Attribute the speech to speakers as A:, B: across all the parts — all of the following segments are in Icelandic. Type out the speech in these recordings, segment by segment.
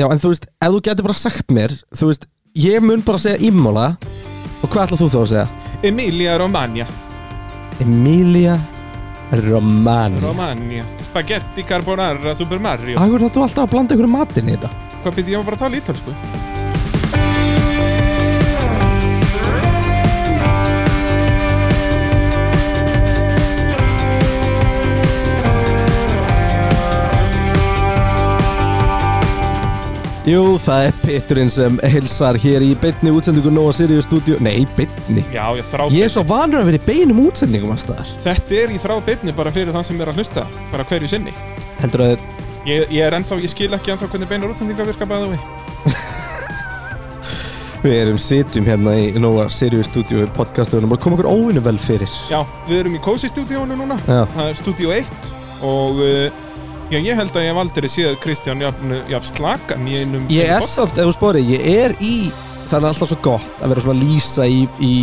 A: Já, en þú veist, ef þú getur bara sagt mér Þú veist, ég mun bara segja Imola Og hvað ætlað þú þá að segja?
B: Emilia Romagna
A: Emilia Romagna
B: Romagna Spaghetti carbonara Super Mario
A: Akkur það þú alltaf að blanda ykkur matinn í þetta
B: Hvað byrði ég var bara að tala ítalsku?
A: Jú, það er Peturinn sem hilsar hér í beinni útsendingu Nóa Sirius Studio Nei, beinni
B: Já, ég þrá
A: Ég er svo vanur að vera í beinum útsendingum að staðar
B: Þetta er í þráðbyrni bara fyrir þann sem er að hlusta Bara hverju sinni
A: Heldur að
B: Ég, ég er ennþá, ég skil ekki ennþá hvernig beinar útsendingar virka bæði við
A: við erum sitjum hérna í Nóa Sirius Studio podcastunum og koma okkur óvinnu vel fyrir
B: Já, við erum í Cozy stúdíónu núna
A: Já.
B: Það er stúdíó 1 Og uh, já, ég held að ég hef aldrei séð Kristján jafn, jafn slakan í einum
A: Ég
B: einum
A: er
B: bot-
A: samt, ef þú spóri, ég er í Það er alltaf svo gott að vera svona að lýsa í, í,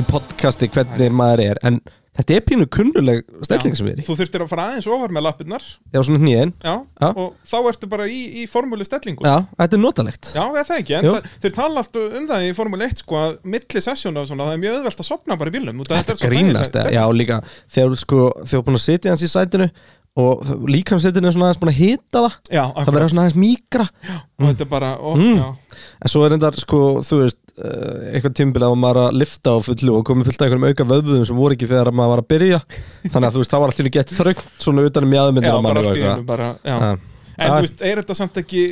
A: í podcasti hvernig maður er En þetta er pínu kunnuleg stelling sem við erum í
B: Þú þurftir að fara aðeins ofar með lappirnar
A: Já, svona hnýðin
B: Já,
A: Já.
B: og þá ertu bara í, í formúlu stellingu
A: Já, þetta er notalegt
B: Já, eða það ekki, en
A: Jú.
B: það, þeir tala alltaf um það í Formule 1, sko, að milli sessjónu og svona, það er mjög auðvelt að sopna bara í bílnum út af
A: Þetta
B: er svo
A: grínast
B: þægileg
A: eða? Já, líka þegar þú sko, þegar þú er búin að sitja hans í sætinu Og líkamsætinu er svona aðeins búin að hita það
B: stemning. Já,
A: Það
B: akkurat,
A: verður svona aðeins mýkra
B: og þetta er bara, ó,
A: Mm.
B: já,
A: En svo er reyndar, sko, þú veist uh, eitthvað tímbilega að maður er að lifta á fullu og komið fullt af einhverjum auka vöðvum sem voru ekki þegar maður var að byrja þannig að þú veist, þá var allir gett þröngt svona utan um
B: já,
A: jáðmyndir
B: bara allt í einu, bara, já.
A: Já.
B: En
A: Já.
B: þú veist, er þetta samt ekki,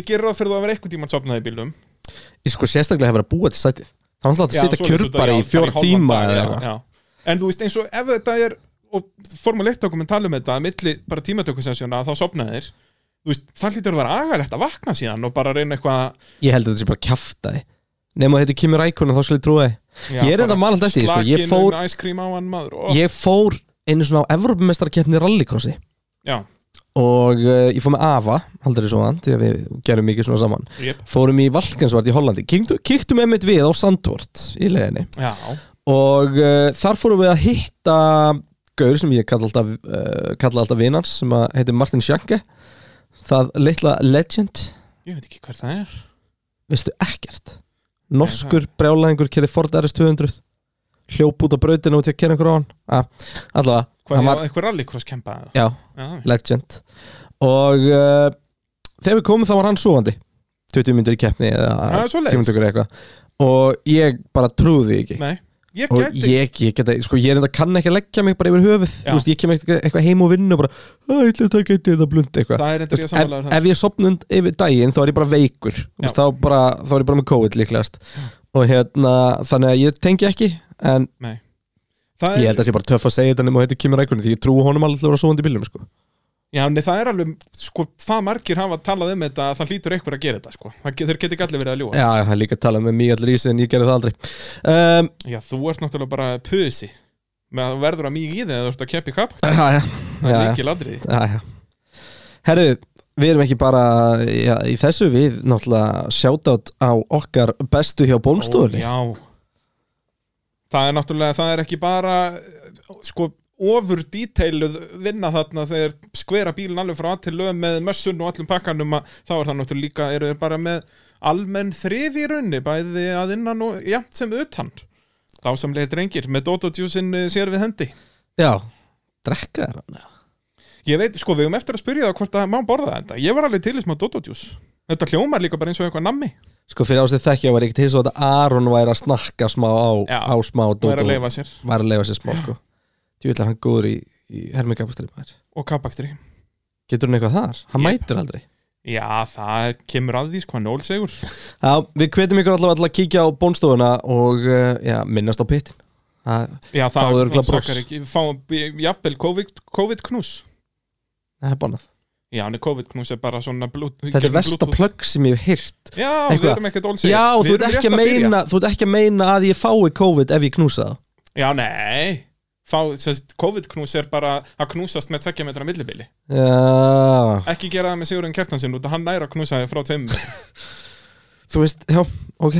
B: ég ger ráð fyrir þú að vera eitthvað tímann sopnað í bílnum.
A: Ég sko sérstaklega hefur verið að búa til sætið Það er alltaf
B: Já,
A: að sitja
B: svoleiðis út af-
A: kjörbari
B: já,
A: í fjóra
B: bara hálfan
A: tíma
B: dag,
A: eða
B: já,
A: eitthvað
B: já. En þú veist, eins og ef þetta er, og Formule 1 dokumenn tala um þetta, að milli bara tímatökusessjóna, þá sopnaði þér, þú veist, það hlýtur að vera agalegt að vakna síðan og bara reyna eitthvað að-
A: Ég held að þetta sé bara kjaftaði Nefn að þetta kemur ækona þá skulle ég trúa þið
B: já,
A: Ég er
B: bara
A: enda að mala alltaf eftir því, sko. Ég
B: slakinn
A: fór-
B: um ice cream á hann maður, ó,
A: Ég fór einu svona á Evropamestarkeppni rallycrossi
B: já,
A: og uh, ég fór með Ava, haldur þið svo hann því að við gerum mikið svona saman
B: jep,
A: Fórum í Valkensvart í Hollandi Kíktu- Kíktum einmitt við á Sandvort í leiðinni
B: já.
A: og uh, þar fórum við að hitta gaur sem ég kalla alltaf, uh, kalla alltaf vinans sem að heitir Martin Sjanke það litla legend
B: Ég veit ekki hver það er
A: veistu ekkert norskur brjálæðingur kerði Ford RS200 hljóp út á brautinu út í að kerja einhver á hann ah, allavega,
B: Hvað,
A: hann
B: var...
A: var,
B: einhver rallycross kempa eða?
A: já,
B: Já,
A: legend og uh, þegar við komum þá var hann svoandi 20 myndir í keppni
B: það
A: eða
B: er svo leiðis
A: tímundugur eitthvað og ég bara trúði því ekki
B: Nei, ég
A: og
B: geti
A: ég, ég geta, sko ég er enda kann ekki að leggja mig bara yfir höfuð,
B: Já.
A: þú veist, ég kem eitthvað, eitthvað heim og vinnu og bara, að ætla að taka eitt eða blund eitthvað,
B: Það er
A: Þú
B: endur ég
A: veist, ef,
B: samanlega það
A: ef ég sopnund yfir daginn þá er ég bara veikur, Þú veist, þá, bara, þá er ég bara með COVID líklegast og hérna, þannig að ég tengi ekki en
B: Það
A: ég
B: er,
A: held að sé bara töff að segja þetta nema þetta kemur rækunni því ég trú honum alveg að vera svoandi bílum sko.
B: já, nei, það er alveg, sko, það margir hafa talað um þetta að það hlýtur einhver að gera þetta, sko Það get- Þeir geti ekki allir verið að ljúga
A: já, það er líka að tala með mig allir í sig en ég gerði það aldrei um,
B: Já, þú ert náttúrulega bara pusi með að þú verður að mýg í þig eða þú ert að keppi kapp
A: já, já,
B: Það
A: já,
B: er
A: já.
B: ekki ladrið
A: Jæja. Herru, við erum ekki bara já, í þessu, við náttúrulega shoutout á okkar bestu hjá bónstofunni
B: Já Það er náttúrulega, það er ekki bara sko, ofur detailuð vinna þarna þegar skvera bílinn alveg frá að til lög með mössun og allum pakkanum að þá er það náttúrulega líka, eru þeir bara með almenn þrif í raunni, bæði að innan og jafnt sem utan þá samlega drengir með Dota Juicein sér við hendi
A: Já, drekka þér hann
B: Ég veit, sko, við höfum eftir að spyrja það hvort að má borða þetta ég var alveg til í smá Dota Juice Þetta hljómar líka bara eins og eitthvað nammi
A: Sko fyrir ásið þekkja var ég ekkert hins á þetta Aron væri að snakka smá á,
B: Já,
A: á smá
B: og er
A: dót
B: að
A: og-
B: leifa sér
A: væri að leifa sér smá sko Því vil hann góður í, í hermingafastri maður
B: og kappakstri
A: Getur hann eitthvað þar? Hann
B: Jep.
A: mætir aldrei
B: Já, það kemur að því, sko, hann er ólsegur
A: Já, við hvetjum ykkur allavega til að kíkja á bónstofuna og uh, já, minnast á pittin Það
B: Já,
A: Fáðu
B: það,
A: örugglega
B: það
A: bros.
B: sakar ekki Fáum b- jafnvel COVID, COVID knús
A: það er bannað
B: Já, en COVID knús er bara svona blut,
A: Þetta er versta plögg sem ég hef heyrt
B: Já, við
A: Eitthvað.
B: erum ekkert ólsegir
A: Já, þú ert, ekki að meina, þú ert ekki að meina að ég fái COVID ef ég knúsa það
B: Já, nei Fá, sérst, COVID knús er bara að knúsast með tveggja metra millibili
A: Já,
B: Ekki gera það með Sigurinn Kjartansinn út að hann næra að knúsa þig frá tveim metrum.
A: þú veist, já, ok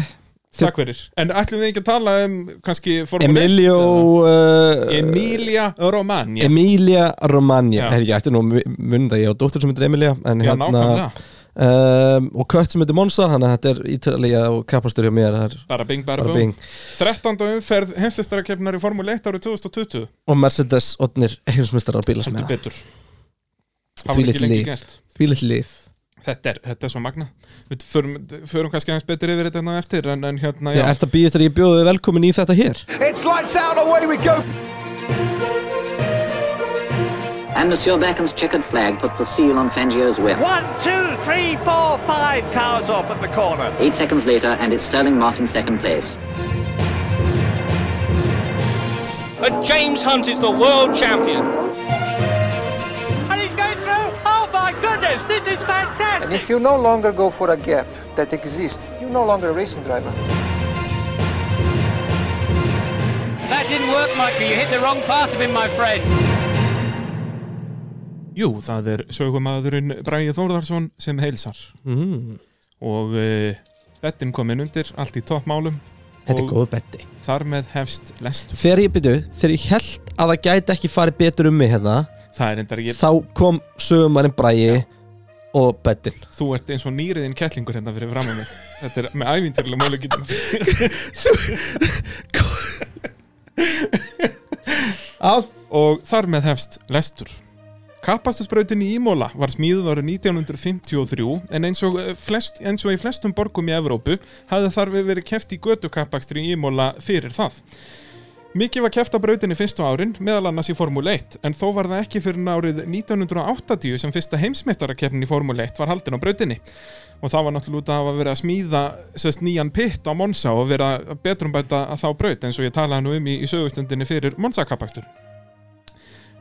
B: Takk fyrir En ætlum við ekki að tala um kannski Formule 1
A: Emilio
B: eða-
A: uh,
B: Emilia Romagna
A: Emilia Romagna
B: Já.
A: Herri, ég ætti nú að mu- muna það, ég á dóttur sem heitir Emilia En,
B: Já,
A: hérna,
B: nákvæmlega
A: um, og kött sem heitir Monza þannig að þetta er ítalía og kapastur hjá mér það er
B: bara bing, bara
A: bara
B: bing
A: bing
B: 13. umferð heimslistarakefnar í Formule 1 árið 2020
A: og Mercedes odnir heimsmyndstarar bíla sem
B: heldur
A: er
B: betur Það var
A: því
B: ekki
A: litt
B: lengi
A: líf
B: gert.
A: því litt líf
B: þetta er, þetta er svo magna við förum, förum kannski aðeins betur yfir þetta hérna á eftir en, en hérna, já,
A: Er þetta býð eftir að ég bjóði þig velkomin í þetta hér?
C: It's lights out, away we go.
D: And Monsieur Beckham's checkered flag puts the seal on Fangio's win.
E: One, two, three, four, five cars off at the corner.
D: Eight seconds later, and it's Sterling Moss in second place.
F: and James Hunt is the world champion.
E: And he's going through. Oh my goodness, this is fantastic.
G: And if you no longer go for a gap that exists, you're no longer a racing driver.
H: That didn't work, Michael. You hit the wrong part of him, my friend.
B: jú, það er sögumadurinn Bræði Þórðarsson sem heilsar
A: Mm,
B: og uh, bettin komin undir allt í toppmálum
A: þetta er
B: Og-
A: góð betti
B: þar með hefst lestur
A: Þegar ég byrju, þegar ég held að það gæti ekki farið betur um mig hérna
B: það er endar ekki,
A: Þá kom sögumarinn Bræi og bettin
B: þú ert eins og nýriðin kettlingur hérna fyrir fram að mig þetta er með ævintýrlega mögulegitum
A: Á,
B: og þar með hefst lestur. Kapastusbrautin í Ímóla var smíðuð árið 1953 en eins og, eh, flest, eins og í flestum borgum í Evrópu hafði þarf verið keft í götukapakstri í Ímóla fyrir það. Mikið var keft á brautinni fyrstu árin, meðal annars í Formule 1, en þó var það ekki fyrir árið 1980 sem fyrsta heimsmeistarakeppnin í Formule 1 var haldin á brautinni. Og það var náttúrulega út af að vera að smíða sérst nýjan pitt á Monsa og vera um að betrumbæta þá braut eins og ég talaði nú um í, í sögustundinni fyrir Monsa-kapakstur.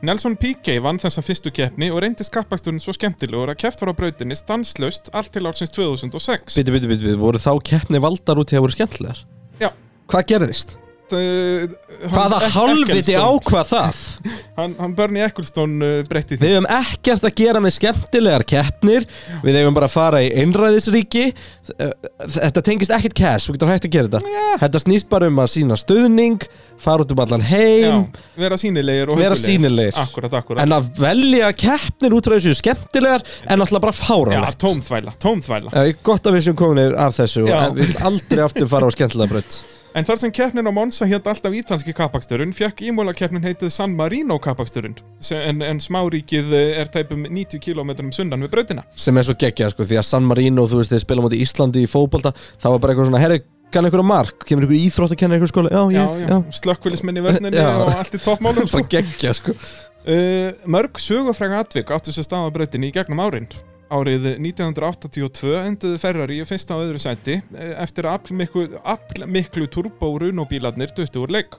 B: Nelson Piquet vann þessa fyrstu keppni og reyndist kappaksturinn svo skemmtilegur að keft var á brautinni stanslaust allt til ársins 2006.
A: byrju, byrju, byrju, voru þá keppni valdar út í að voru skemmtilegar?
B: Já.
A: Hvað gerðist?
B: Uh,
A: Hvaða hálfviti ákvað það?
B: Hann, hann Bernie Ecclestone uh, breytti því.
A: Við hefum ekkert að gera með skemmtilegar keppnir Við hefum bara að fara í einræðisríki Þetta tengist ekkert cash, við getum hægt að gera þetta Þetta snýst bara um að sína stöðning Fara út um allan heim
B: Já, vera sínilegir og
A: Vera
B: huggulegir.
A: sýnilegir.
B: Akkurat, akkurat.
A: En að velja keppnir út frá þessu skemmtilegar En alltaf bara
B: Já,
A: fáránlegt
B: tómþvæla, tómþvæla.
A: Eh, Gott að við séum komin yfir af þessu
B: Já.
A: og Við viljum aldrei aftur fara á skemmtilega braut
B: En þar sem keppnin á Monsa hétt alltaf ítalski kappaksturinn, fekk ímóla keppnin heitið San Marino kappaksturinn, en, en smáríkið eh, er tæpum 90 km sundan við brautina.
A: Sem er svo geggjað sko Því að San Marino, þú veist, þeir spila á móti Íslandi í fótbolta Það var bara eitthvað svona, herri, kann einhverja mark Kemur einhverju íþrótt að kenna einhverju skóla Já,
B: Já,
A: ég,
B: já,
A: já,
B: slökkvillismenn í vörninni
A: Já.
B: og allt í toppmálum.
A: Bara geggjað sko
B: Uh, mörg sögufræga atvik áttu sér stað á brautinni í gegnum árin. Árið 1982 enduðu Ferrari í fyrsta og öðru sæti eh, eftir að aflmiklu, aflmiklu turbo og runobílarnir duttu úr leik.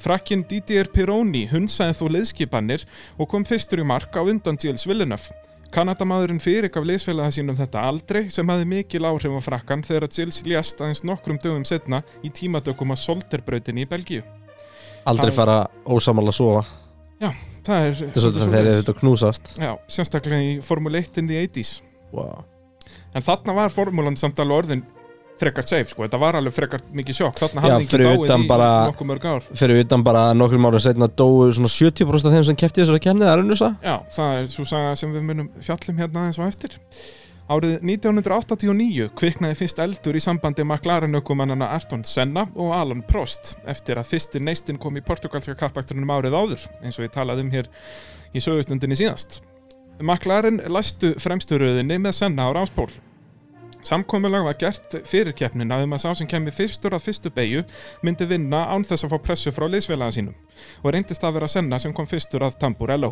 B: Frakkin Didier Pironi hunsaði þó leiðskipanir og kom fyrstur í mark á undan Gilles Villeneuve. Kanadamaðurinn fyrirgaf leiðsfélaga sínum þetta aldrei sem hafði mikil áhrif á frakkan þegar að Gilles lést aðeins nokkrum dögum setna í tímadökum á Solterbrautinni í Belgíu.
A: Aldrei
B: Það-
A: fara ósamal að sofa
B: Já, það er...
A: Þetta er svolítið þegar þeir eru þetta að knúsast
B: Já, sérstaklega í Formule 1 in the 80s
A: wow.
B: En þarna var formúlan samt alveg orðin frekar safe, sko, þetta var alveg frekar mikið sjokk Þarna
A: Já,
B: hafði ekki
A: fyrir
B: dáið
A: utan
B: í bara...
A: bara-
B: nokkuð mörg ár
A: Fyrir utan bara að nokkrum ára setna dóu svona 70% af þeim sem kefti þessari kemni Það er unnur það
B: Já, það er svo saga sem við munum fjallum hérna eins og eftir Árið 1989 kviknaði fyrst eldur í sambandi McLaren ökumannana Ayrton Senna og Alan Prost eftir að fyrstir neistinn kom í portugalska kappakturinn árið áður eins og ég talaði um hér í sögustundinni síðast McLaren læstu fremsturöðinni með Senna á ráspól Samkomulag var gert fyrir keppnina um að sá sem kemur fyrstur að fyrstu beigju myndi vinna án þess að fá pressu frá liðsfélaga sínum og reyndist að vera Senna sem kom fyrstur að Tamburello.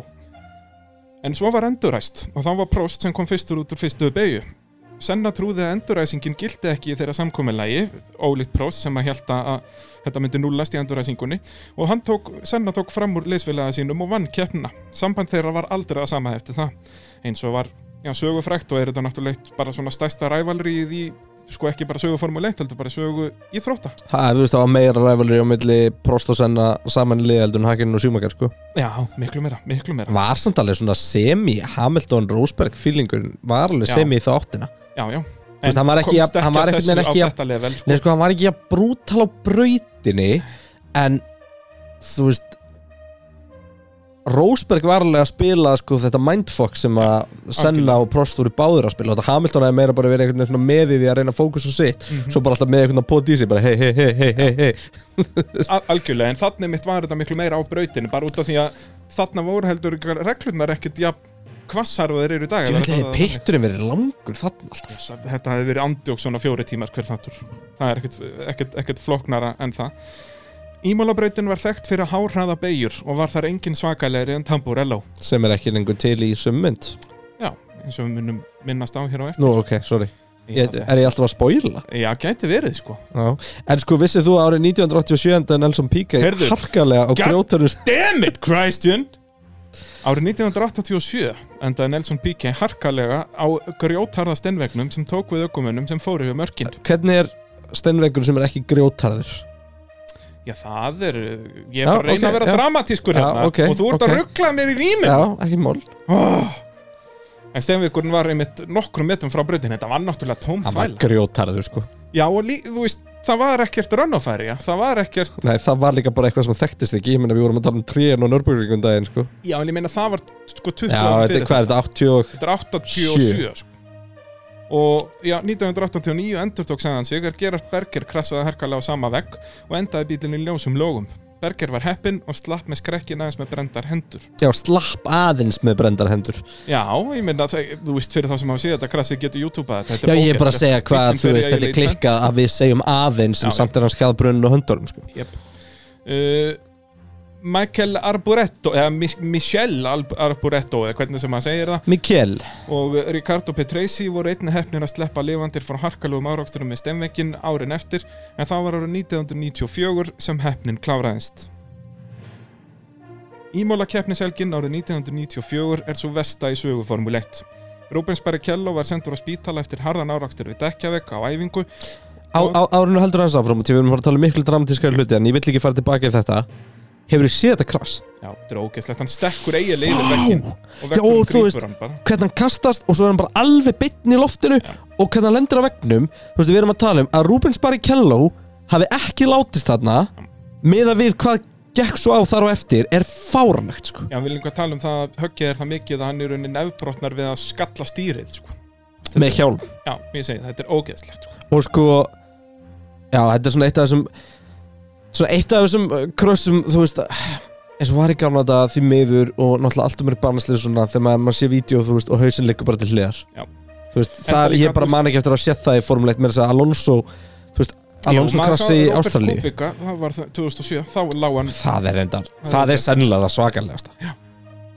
B: En svo var enduræst og þá var Prost sem kom fyrstur út úr fyrstu beigju. Senna trúði að enduræsingin gildi ekki í þeirra samkomulagi, ólíkt Prost sem að held að að þetta myndi núllast í enduræsingunni og hann tók, Senna tók fram úr liðsfélaga sínum og vann keppnina. Samband þeirra var aldrei að sama eftir það, eins og var já, sögufrækt og er þetta náttúrulega eitt bara svona stærsta rævalrið í, sko ekki bara sögu Formule 1, heldur bara sögu í þrótta.
A: Það þú veist, það var meira ræfalri á milli Prost og Senna saman í liðeldun Hakinn og Sjúmakar sko
B: Já, miklu meira, miklu meira.
A: Var samt alveg svona semi Hamilton Rosberg feelingurinn Var alveg
B: Já.
A: semi í þáttina
B: Já, já.
A: veist, hann var ekki
B: komst
A: jafn- hann var
B: að
A: einhvern veginn
B: þessu
A: ekki
B: á
A: jafn-
B: þetta level, sko.
A: Nei sko, hann var ekki að brútal á brautinni En þú veist Rósberg var alveg að spila sko, þetta mindfuck sem að Senna og Prost voru báður að spila og þetta Hamilton hefði meira bara verið einhvern veginn svona með í því að reyna að fókusa á sitt svo bara alltaf með einhvern veginn að pota í sig bara hei, hei, hei, hei, hei, hei
B: Al- algjörlega, en þannig mitt var þetta miklu meira á brautinu bara út af því að þarna voru heldur ykkar reglurnar ekkit jafn hvassar og þeir eru í dag
A: Ég veit
B: Þetta-
A: að pitturinn verið langur þarna alltaf
B: þetta hefði verið andjók svona fjóri tímar hver þáttur það er ekkert, ekkert, ekkert flóknara en það Ímálabrautin var þekkt fyrir háhraða beigjur og var þar engin svakalegri en Tamburello
A: sem er ekki lengur til í summynd
B: já, eins og við munum minnast á hér á eftir
A: Nú, ok, sorry ég,
B: Ég-
A: Er ég alltaf að spoila?
B: já, gæti verið sko
A: Já. En sko, vissið þú að árið 1987 en Nelson Pika
B: Heyrðu.
A: harkalega á
B: Gad-
A: grjótarins
B: Damn it, Christian Árið 1987 endaði Nelson Piquet harkalega á grjótarða steinvegnum sem tók við ökumönnum sem fóru hjá mörkin
A: Hvernig er steinveggur sem er ekki grjótarður?
B: Já, það er, ég
A: Já,
B: er bara að reyna
A: ok,
B: að vera
A: já.
B: dramatískur
A: Já,
B: hérna
A: ok,
B: og þú ert
A: ok.
B: að ruggla mér í rýmin
A: Já, ekki mál
B: En steinvegurinn var einmitt nokkrum metrum frá breytin, þetta var náttúrulega tóm
A: Hann var
B: þvæla
A: grjótarður sko
B: Já, og lí, þú veist, það var ekkert rönnafæri, það var ekkert
A: Nei, það var líka bara eitthvað sem þekktist ekki Ég meina við vorum að tala um tríin og nörbjörgum daginn sko.
B: Já, en ég meina það var sko 20
A: Já, þetta
B: árum
A: er
B: fyrir
A: hvað er þetta? 80 og
B: Þetta er 87 sko. Og já, 1989 endurtók segðan sig er Gerard Berger krassaði herkalega á sama vegg og endaði bílinn í ljósum lógum. Berger var heppinn og slapp með skrekkin aðeins með brendar hendur.
A: Já, slapp aðeins með brendar hendur
B: Já, ég meina, þau- þú veist, fyrir þá sem hafa séð þetta krassi getur YouTube að þetta.
A: Já,
B: þetta.
A: ég er bara að
B: ógeðslegt.
A: segja hvað,
B: Bíllinn
A: þú
B: fer í
A: veist, þetta er
B: eiginlega í tvennt.
A: klikkað að við segjum aðeins en
B: Já,
A: samt er hann skjæðbrunnin og höndorum sko.
B: Jep. Uh, Michael Arboreto, eða Mi- Michel Alb- Arboreto, eða hvernig sem hann segir það,
A: Mikkel,
B: og eh, Ricardo Petresi voru einni hefnir að sleppa lifandir frá harkalugum áraksturum með stemvekkin árin eftir en það var árið 1994 sem hefnin kláraðist. Ímóla keppnishelgin árið 1994 er svo vesta í sögu Formule 1. Rubens Barrichello var sendur á spítala eftir harðan árakstur við dekkjavegg á æfingu
A: á, á, árinu heldur hans áfram og því við erum að fara að tala um miklu dramatískari hluti en ég vill ekki fara tilbaka í þetta Hefur þið séð þetta krass?
B: Já, þetta er ógeðslegt, hann stekkur eiginlega yfir veggin og
A: Já, og
B: veggur
A: þú veist-
B: grýpur hann bara
A: Hvernig hann kastast og svo er hann bara alveg bytn í loftinu og hvernig hann lendir á vegnum Þú veist, við erum að tala um að Rubens Barrichello hafi ekki látist þarna meða við hvað gekk svo á þar og eftir er fáranlegt sko.
B: Já, hann vil einhver tala um það að höggið er það mikið að hann er unni nefbrotnar við að skalla stýrið sko.
A: með hjálm
B: Já, ég segi það, þetta er ógeðslegt sko.
A: og sko já, þetta er svona eitt af þessum svona eitt af þessum uh, krossum þú veist, eins og var í gamla þetta því meður og náttúrulega allt um er barnaslið svona þegar maður, maður sé vídeo þú veist og hausinn liggur bara til hliðar
B: Já.
A: þú veist,
B: Enda
A: það
B: líka,
A: ég bara
B: þú
A: man ekki eftir að sé það í formuleitt með þess að Alonso þú veist, Alonso krassi í Ástralíu
B: Kubica, það var það 2007, þá lág hann
A: það er endar,
B: Það
A: það
B: er
A: er sennilega það svakalegasta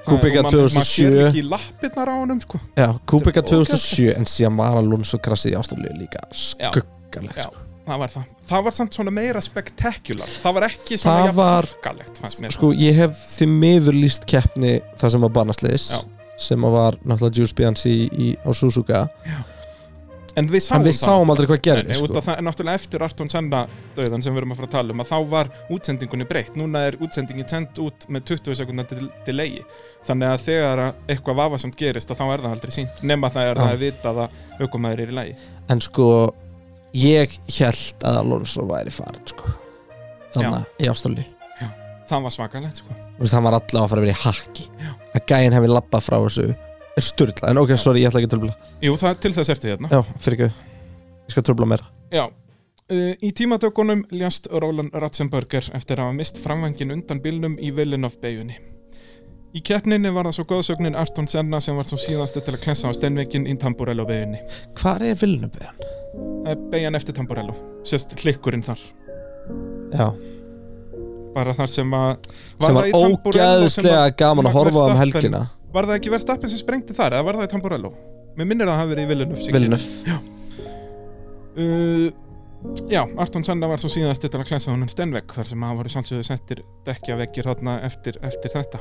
A: Kubica
B: og maður- maður sér
A: 2007.
B: ekki í lappirnar á honum sko.
A: já, Kubica
B: Þetta er
A: 2007 en síðan var Alonso krassi í Ástralíu líka
B: Já.
A: skuggalegt
B: Já,
A: sko.
B: það var það Það var samt svona meira spektakular Það var ekki svona
A: Það
B: jafn
A: var-
B: harkalegt, fannst mér
A: sko ég hef því miður líst keppni það sem var barnasliðis
B: Já.
A: sem að var náttúrulega Jules Bianchi í, í, á Suzuka
B: En við sáum
A: en við sáum aldrei hvað
B: En,
A: gerði
B: sko.
A: sko.
B: það, en náttúrulega eftir Arton Senna döðan sem við erum að fara að tala um að þá var útsendingunni breytt núna er útsendingin send út með 20 sekundar til delay þannig að þegar að eitthvað vafasamt gerist að þá er það aldrei sínt nema það er
A: Já.
B: það að vita að aukumæður er í lagi
A: en sko ég held að Alonso væri farin sko. þannig í Ástrali
B: það var svakalegt sko
A: hann var alltaf að fara að vera í haki að gæinn hefði labbað frá þessu er sturla, en ok, sorry, ég ætla ekki að tröfla
B: Jú, það, til þess ertu hérna
A: já, fyrir ekki, ég skal tröfla meira
B: Já, uh, í tímatökunum ljast Roland Ratzenberger eftir að hafa mist framvangin undan bílnum í Villeneuve beigunni. Í keppninni var það svo góðsögnin Arton Senna sem var svo síðastu til að klessa á steinveikin í Tamburello beigunni.
A: hvað er Vilnuböðan?
B: Beigjan Eh, eftir Tamburello, sérst hlikkurinn þar.
A: já,
B: Bara þar sem að...
A: sem
B: það
A: var
B: í Tamburello sem
A: ógæðslega gaman að
B: Max
A: horfa á um
B: Verstappen-
A: helgina
B: Var það ekki verðstappin sem sprengdi þar eða var það í Tamburello? Mér minnir að það hafi verið í Villeneuve. sig.
A: Vilnub,
B: Uh, já, Arton Senna var svo síðast til að klesa honum Stenvegg þar sem hann var í sjálfsögðu settir dekkjaveggir þarna eftir, eftir þetta.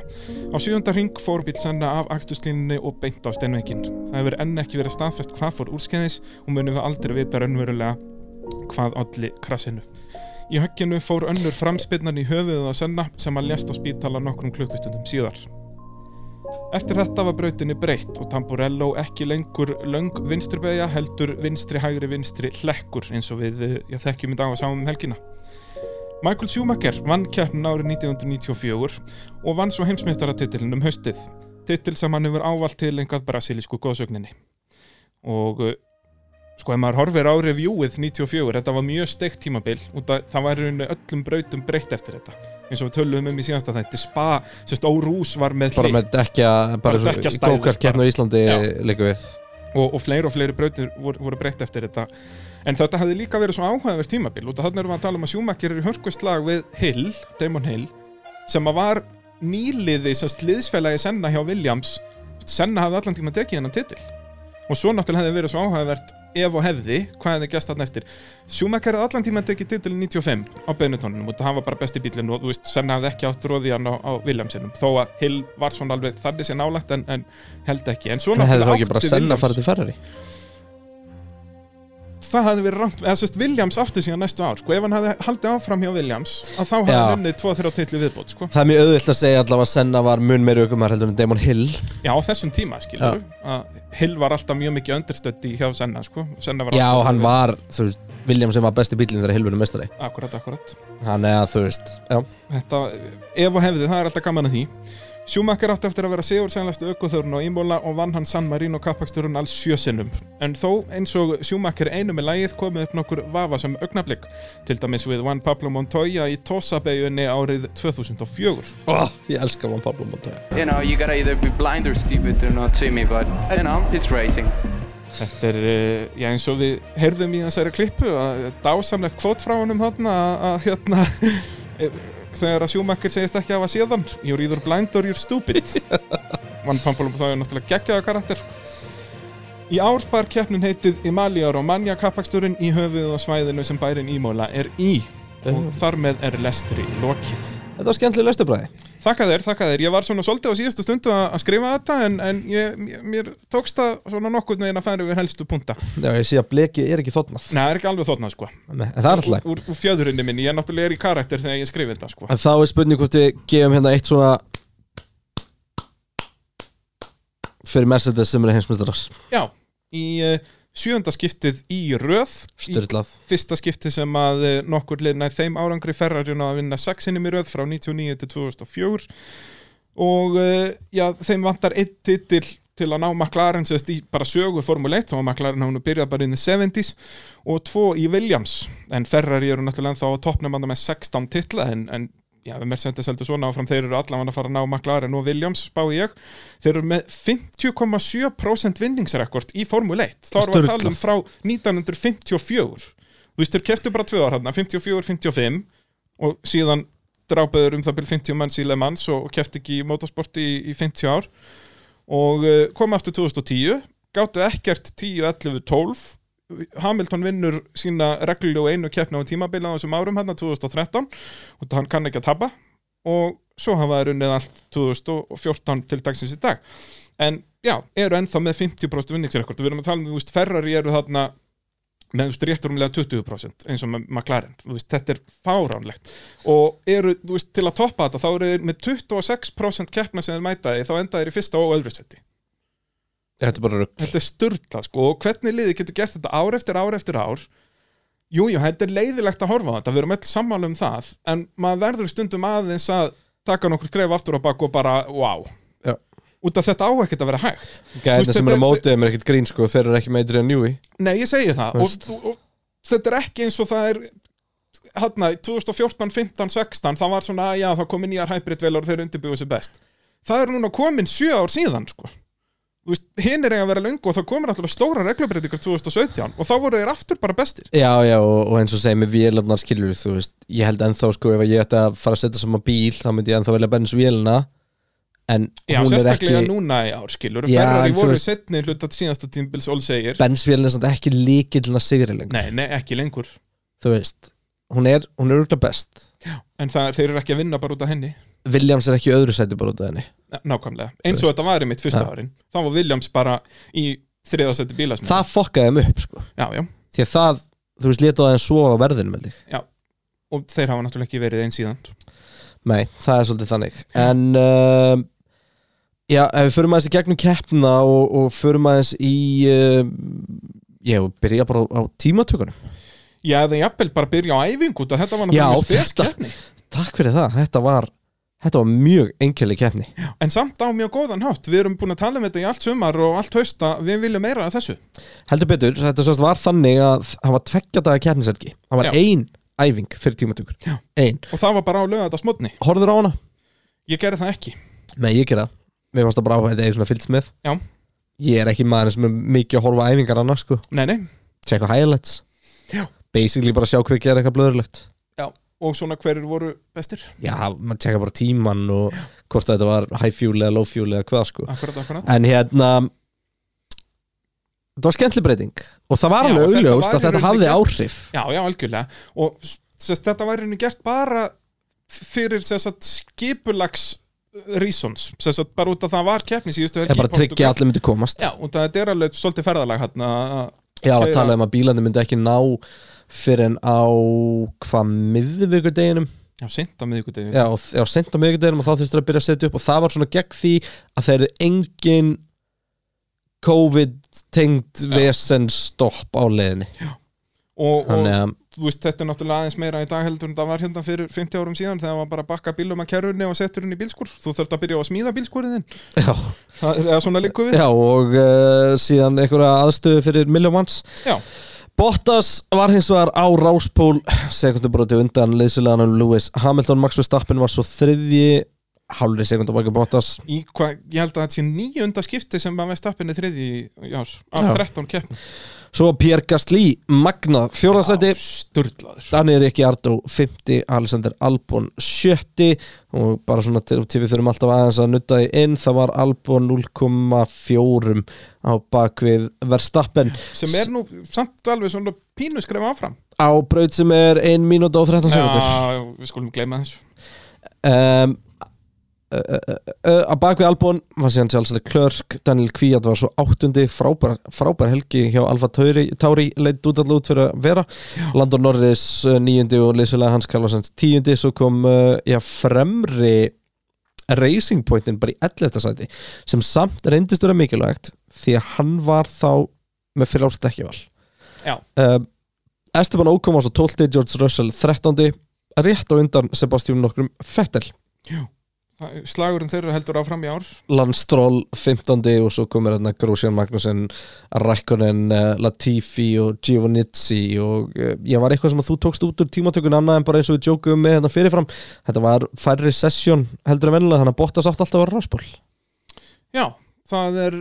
B: Á sjöunda ring fór bíl Senna af akstuslínunni og beint á Stenveggin. Það hefur enn ekki verið staðfest hvað fór úrskeiðis og munum við aldrei vita raunverulega hvað olli krasinu. Í högginu fór önnur framspinnan í höfuðið á Senna sem að lést á spítala nokkrum klukkustundum síðar. Eftir þetta var brautinni breytt og Tamburello ekki lengur löng vinsturbeigja heldur vinstri hægri vinstri hlekkur eins og við eh, já, þekkjum í dag og sáum um helgina. Michael Schumacher vann keppnin árið 1994 og vann svo heimsmeistaratitilin um haustið titil sem hann hefur ávallt til engað brasilísku góðsögninni og uh, sko ef maður horfir á reviewið 94, þetta var mjög steikt tímabil út að það var í rauninni öllum brautum breytt eftir þetta eins og við töluðum um í síðansta þætti Spa, sérst Órús var með
A: bara
B: hlið
A: með dekja, bara
B: Bara
A: eins og
B: dekkjastæður,
A: gókart keppni á Íslandi
B: Já.
A: líka við
B: og, og fleiri og fleiri brautir voru, voru breytt eftir þetta en þetta hafði líka verið svo áhugaverð tímabil út af þarna erum við að tala um að Schumacher er í hörkvist lag við Hill, Damon Hill sem að var nýliði sem sliðsfélagi Senna hjá Williams Senna hafði allan tíma tekið hennan titil og svo náttúrulega hefði verið svo áhugavert ef og hefði, hvað hefði gæst þarna eftir Schumacher hafði allan tíma tekið titil 95 á Benettoninum og það var bara besti bílinn og þú veist, Senna hafði ekki átt róðið hann á, á Williamsinum þó að Hill var svona alveg þannig sér nálægt en, en held ekki en svo
A: en hefði þá ekki bara
B: átti
A: senna
B: Williams-
A: að fara til Ferrari
B: það hafði verið rámt, eða sérst Williams aftur síðan næstu ár, sko, ef hann hafði haldið áfram hjá Williams, að þá hafði
A: Já.
B: hann unnið 2-3 titli viðbót, sko,
A: það er mjög auðvilt að segja allavega að senna var mun meiri aukumar heldur en Damon Hill
B: já, á þessum tíma skilur, að Hill var alltaf mjög mikið understötti hjá Senna, sko, Senna var
A: já,
B: alltaf-
A: hann var, þú veist, William sem var besti bílinn þegar Hill vunum mestari
B: akkurat, akkurat,
A: hann er að, þú veist, já
B: þetta, ef og hefði, það er alltaf gaman að því Schumacher átti eftir að vera sigur sænlæstu ökkuþörun og ímóla og vann hann San Marino kappaksturinn alls sjösinnum. En þó eins og Schumacher einu með lægið komið upp nokkur vafa sem augnablik, til dæmis við Juan Pablo Montoya í Tosa-beyjunni árið 2004.
A: oh, ég elska Juan Pablo Montoya
H: You know, you gotta either be blind or stupid to not see me, but you know, it's racing.
B: Þetta er, eh, já eins og við heyrðum í þessari klippu að dásamlegt kvót frá honum þarna að, að hérna eh, þegar að Schumacher segist ekki að hafa séðan You're either blind or you're stupid Van Pampolum þá er náttúrulega geggjaða karakter sko. Í ár bar keppnin heitið Emalia Romagna kappaksturinn í höfuð og svæðinu sem bærin Ímóla er í og þar með er lestri lokið
A: þetta var skemmtileg löstubræði
B: Þakka þér, þakka þér. Ég var svona svolítið á síðustu stundu að að skrifa þetta en, en ég, mér, mér tókst það svona nokkurn veginn að færa yfir helstu punta.
A: já, ég sé að bleki er ekki þotnað
B: Nei, það er ekki alveg þóttna sko
A: en það er alltaf
B: úr, úr fjöðurinnu minni, ég náttúrulega er í karakter þegar ég skrif þetta sko
A: en þá er spurning hvort við gefum hérna eitt svona fyrir Mercedes sem er heimsmyndstarar
B: Já, í uh, sjönda skiptið í röð
A: Sturlað.
B: Í Fyrsta skiptið sem að uh, nokkur liðnaði þeim árangri Ferrari náði að vinna sexinum í röð frá 99 til 2004 og uh, já, þeim vantar einn titil til að ná McLaren sérst í bara sögu Formule 1 þá var McLaren hafði nú byrjað bara inn í 70s og tvo í Williams en Ferrari eru náttúrulega ennþá á toppnum þarna með 16 titla en, en já, við Mercedes heldur svona áfram þeir eru allan að fara að ná McLaren og Williams spái ég þeir eru með 50,7% vinningsrekord í Formule 1 þá erum við að tala um
A: Sturlað.
B: frá 1954 þú veist þeir keftu bara tvö ár hann 54-55 og síðan drápaður um það byrjum 50 manns í Le Mans og, og kefti ekki í motorsporti í, í 50 ár og uh, kom aftur 2010 gáttu ekkert 10, 11, 12 Hamilton vinnur sína reglulegu einu keppna á tímabila á þessum árum hérna 2013 og hann kann ekki að tapa og svo hafa þeir unnið allt 2014 til dagsins í dag en já, eru ennþá með 50% vinningsrekord við erum að tala um, þú veist, Ferrari eru þarna með þú veist, rétt rúmlega 20% eins og með McLaren, þú veist, þetta er fáránlegt og eru, þú veist, til að toppa þetta þá eru þeir með 26% keppna sem þeir mæta í, þá enda þeir í fyrsta og öðru seti
A: þetta er bara rugg
B: þetta er sturdla sko og hvernig liði getur gert þetta ár eftir ár eftir ár jújú, jú, þetta er leiðilegt að horfa á þetta, við erum öll sammála um það en maður verður stundum aðeins að taka nokkur skref aftur á bakk og bara wow,
A: Já.
B: út af þetta á ekkert að vera hægt Þú
A: gæðina
B: veist,
A: sem eru
B: þetta-
A: mótið þeim er ekkert grín sko þeir eru ekki meitri en njúi
B: Nei, ég segi það og,
A: Veist.
B: og, og þetta er ekki eins og það er hérna, 2014, 15, 16 það var svona, já, það komi nýjar hybridvelar og þeir undirbygðu sér best það er núna komin sjö ár síðan, sko Þú veist, hinn er eiga að vera löngu og það komur alltaf stóra reglubreitingar 2017 og þá voru þeir aftur bara bestir
A: já já og, og eins og segir með vélarnar skilur þú veist ég held ennþá sko ef ég ætti að fara að setja saman bíl þá myndi ég ennþá velja Benz vélina en
B: Já,
A: hún er
B: sérstaklega
A: ekki
B: núna í ár, skilur
A: Já,
B: Ferrari
A: en þú
B: voru
A: veist-
B: setni hluta síðasta tímbils Ól segir,
A: Benz vélina er samt ekki líkillin að sigri lengur
B: nei, nei, ekki lengur
A: þú veist hún er hún er út af best
B: en það, þeir eru ekki að vinna bara út af henni
A: Williams er ekki í öðru sæti bara út af henni
B: nákvæmlega, eins og þetta var í mitt fyrsta
A: Ja.
B: árin þá var Williams bara í þriðasetti bílasmið
A: það fokkaði þeim upp sko
B: Já, já,
A: því að það þú veist leta það en svo á verðinum held ég
B: já og þeir hafa náttúrulega ekki verið einn síðan
A: Nei, það er svolítið þannig En uh, Já, ef við förum aðeins í gegnum keppna og, og förum aðeins í uh, Já, byrja bara á tímatökunum
B: Já, eða jafnvel bara byrja á æfingu út að þetta var
A: Já,
B: náttúrulega spes
A: þetta
B: keppni
A: Takk fyrir það, þetta var Þetta var mjög engjali keppni
B: En samt á mjög góðan hátt, við erum búin að tala um þetta í allt sumar og allt hausta, við viljum meira af þessu
A: Heldur betur, þetta sérst var þannig að það var tveggja daga keppniselgi Það var
B: Já.
A: ein æfing fyrir tímatökur Já. Ein,
B: Og það var bara á lögða þetta smotni,
A: horfður á hana?
B: ég gerði það ekki
A: Nei, ég gera það Mér fannst það bara áhæðið eða svona fylgst með
B: Já,
A: Ég er ekki maður sem er mikið að horfa á æfingar annars sko
B: nei, nei,
A: Tjekka highlights
B: Já.
A: Basically bara sjá hver gera eitthvað blöðurlegt
B: já Og svona hverir voru bestir,
A: Já, maður tjekka bara tíman og hvort þetta var high fuel eða low fuel eða hvað sko
B: akkurat, akkurat
A: En hérna Þetta var skemmtli breyting Og það var
B: Já,
A: alveg
B: og þetta
A: augljóst
B: var í
A: að þetta
B: rauninni
A: hafði
B: gert-
A: áhrif
B: Já, já, algjörlega Og s- sest, þetta væri henni gert bara f- fyrir sess að skipulags uh, reasons, sess að bara út að það var keppni síðustu helgi
A: Ég bara
B: í Portúgal.
A: tryggja að allir myndi komast
B: Já, og það er alveg svolítið ferðalag hann
A: Já, að
B: Keyra-
A: tala um að bílandi myndi ekki ná fyrir en á hvað miðvikudeginum
B: Já, seint á miðvikudegi
A: já, og- já, sent á miðvikudeginum og þá þurftur að byrja að setja upp og það var svona gegn því að það eru engin COVID-tengd vesen stopp á leiðinni
B: og, og
A: Þannig að,
B: þú veist, þetta er náttúrulega aðeins meira í dag heldur en það var hérna fyrir 50 árum síðan þegar maður bara bakka bílum að kerrunni og settur hún í bílskur þú þurft að byrja á að smíða bílskurinn þinn
A: já,
B: Það er- eða svona líku við
A: já og uh, síðan einhverja aðstöðu fyrir miljón manns
B: Já.
A: Bottas var hins vegar á ráspól sekundubróti undan leysuleganum Lewis Hamilton, Max Verstappen var svo þriðji hálfri sekundubróti Bottas
B: Í hva, ég held að þetta sé nýjunda skipti sem maður veist appinni þriði í ár af
A: Já.
B: 13 keppnum
A: Svo Pierre Gasly, Magna, fjórðarsæti
B: Sturlaður
A: Daniel Ricciardo, 50 Alexander Albon, 70 og bara svona til, til við þurfum alltaf aðeins að nutta því inn, það var Albon 0,4 á bakvið Verstappen
B: sem er nú samt alveg svona pínu skref áfram
A: á braut sem er 1 mínúta og 13 sekundur
B: Já, við skulum gleyma þessu
A: um, uh, uh, uh, á bakvið Albon var síðan sjálfsagt Klörk, Daniel Kvíat var svo áttundi, frábær, frábær helgi hjá Alfa Tauri, Tauri leitt út allu út fyrir að vera, Landon Norris uh, níundi og leysilega Hans Karlsson tíundi, svo kom uh, já, fremri Racing Pointin bara í 11. sæti sem samt reyndist vera mikilvægt því að hann var þá með fyrir ást ekki val
B: Já.
A: um, Esteban Ókom var svo 12. George Russell 13. rétt á undan Sebastian nokkrum Fettel
B: Það- Slagurinn þeirra heldur áfram í ár
A: Landstról 15. og svo komur hérna Grúsjan Magnússon, Rækkonen eh, Latifi og Giovannizzi og eh, ég var eitthvað sem að þú tókst út úr tímatökun annað en bara eins og við jókum með hérna fyrirfram þetta var færri sessjón heldur en vennilega þannig að Bottas átt alltaf að vera ráspól
B: Já, það er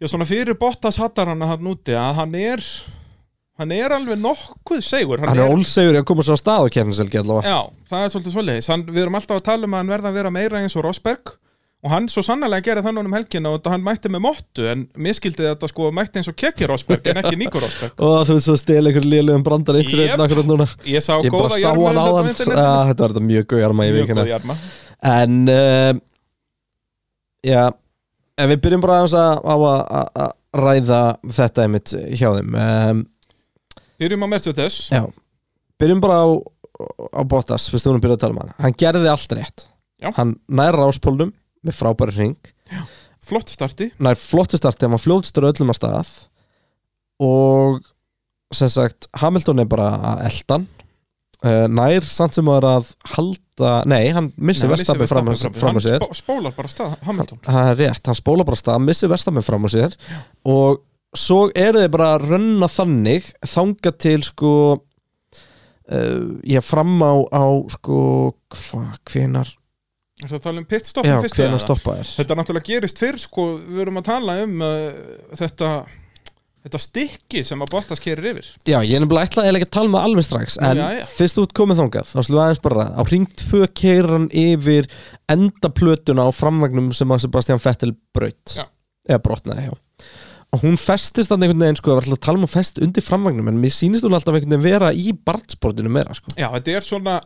B: Já, svona fyrir Bottas hattar hann hann úti að hann er hann er alveg nokkuð segur
A: hann er ólsegur í að koma svo að stað á kérniselgi allavega
B: Já, það er svolítið svoleiðis hann, Við erum alltaf að tala um að hann verða að vera meira eins og Rosberg og hann svo sannlega gerir það núna um helgina og þetta hann mætti með mottu en mér skildi þetta sko mætti eins og kekki Rosberg en ekki Nico Rosberg
A: og þú veist svo stil einhver liðlegum brandar internet
B: Jep.
A: akkurat núna
B: Ég sá
A: ég bara
B: góða
A: sá hann
B: jarma
A: áðan
B: hérna
A: Ah, þetta var þetta mjög góð jarma ég
B: Mjög
A: vikina
B: góða jarma
A: En uh, Já Ef við byrjum bara aðeins að, á að, að- að ræða þetta einmitt hjá þeim um,
B: Byrjum á Mercedes
A: Já Byrjum bara á, á Bottas Fyrst við vorum að byrja að tala um hann Hann gerði allt rétt
B: Já.
A: Hann nær ráspólnum með frábæri hring
B: Flott starti
A: Nær flottu starti, hann var fljótstur öllum að stað Og sem sagt, Hamilton er bara að eldan uh, Nær samt sem var að halda Nei, hann
B: Nei,
A: missir
B: hann vissi
A: verstafið fram,
B: Verstappen
A: fram að sér
B: Hann spó- spólar bara af stað Hamilton
A: það er rétt, hann spóla bara af stað, missi verstamenn fram á sér og svo eru þeir bara að rönna þannig þanga til sko uh, ég fram á, á sko hvað, hvenar
B: Það að tala um pitstop
A: já,
B: í fyrstu
A: hvenar
B: eða?
A: stoppa þér
B: Þetta náttúrulega gerist fyrr sko Við erum að tala um uh, þetta þetta stikki sem að Bottas kerir yfir
A: já, ég er nefnilega ætlaði eiginlega ekki að tala með alveg strax en
B: Já, já.
A: fyrst þú ert komið þangað, þá slúið aðeins bara ræða. á ring 2 keirir hann yfir endaplötuna á framvagnum sem að Sebastian Vettel braut
B: Já.
A: eða brotnaði hjá og hún festist þannig einhvern veginn sko, við ætlum að tala um að fest undir framvagnum en mér sýnist hún alltaf einhvern veginn vera í barnsportinu meira sko.
B: Já, þetta er svona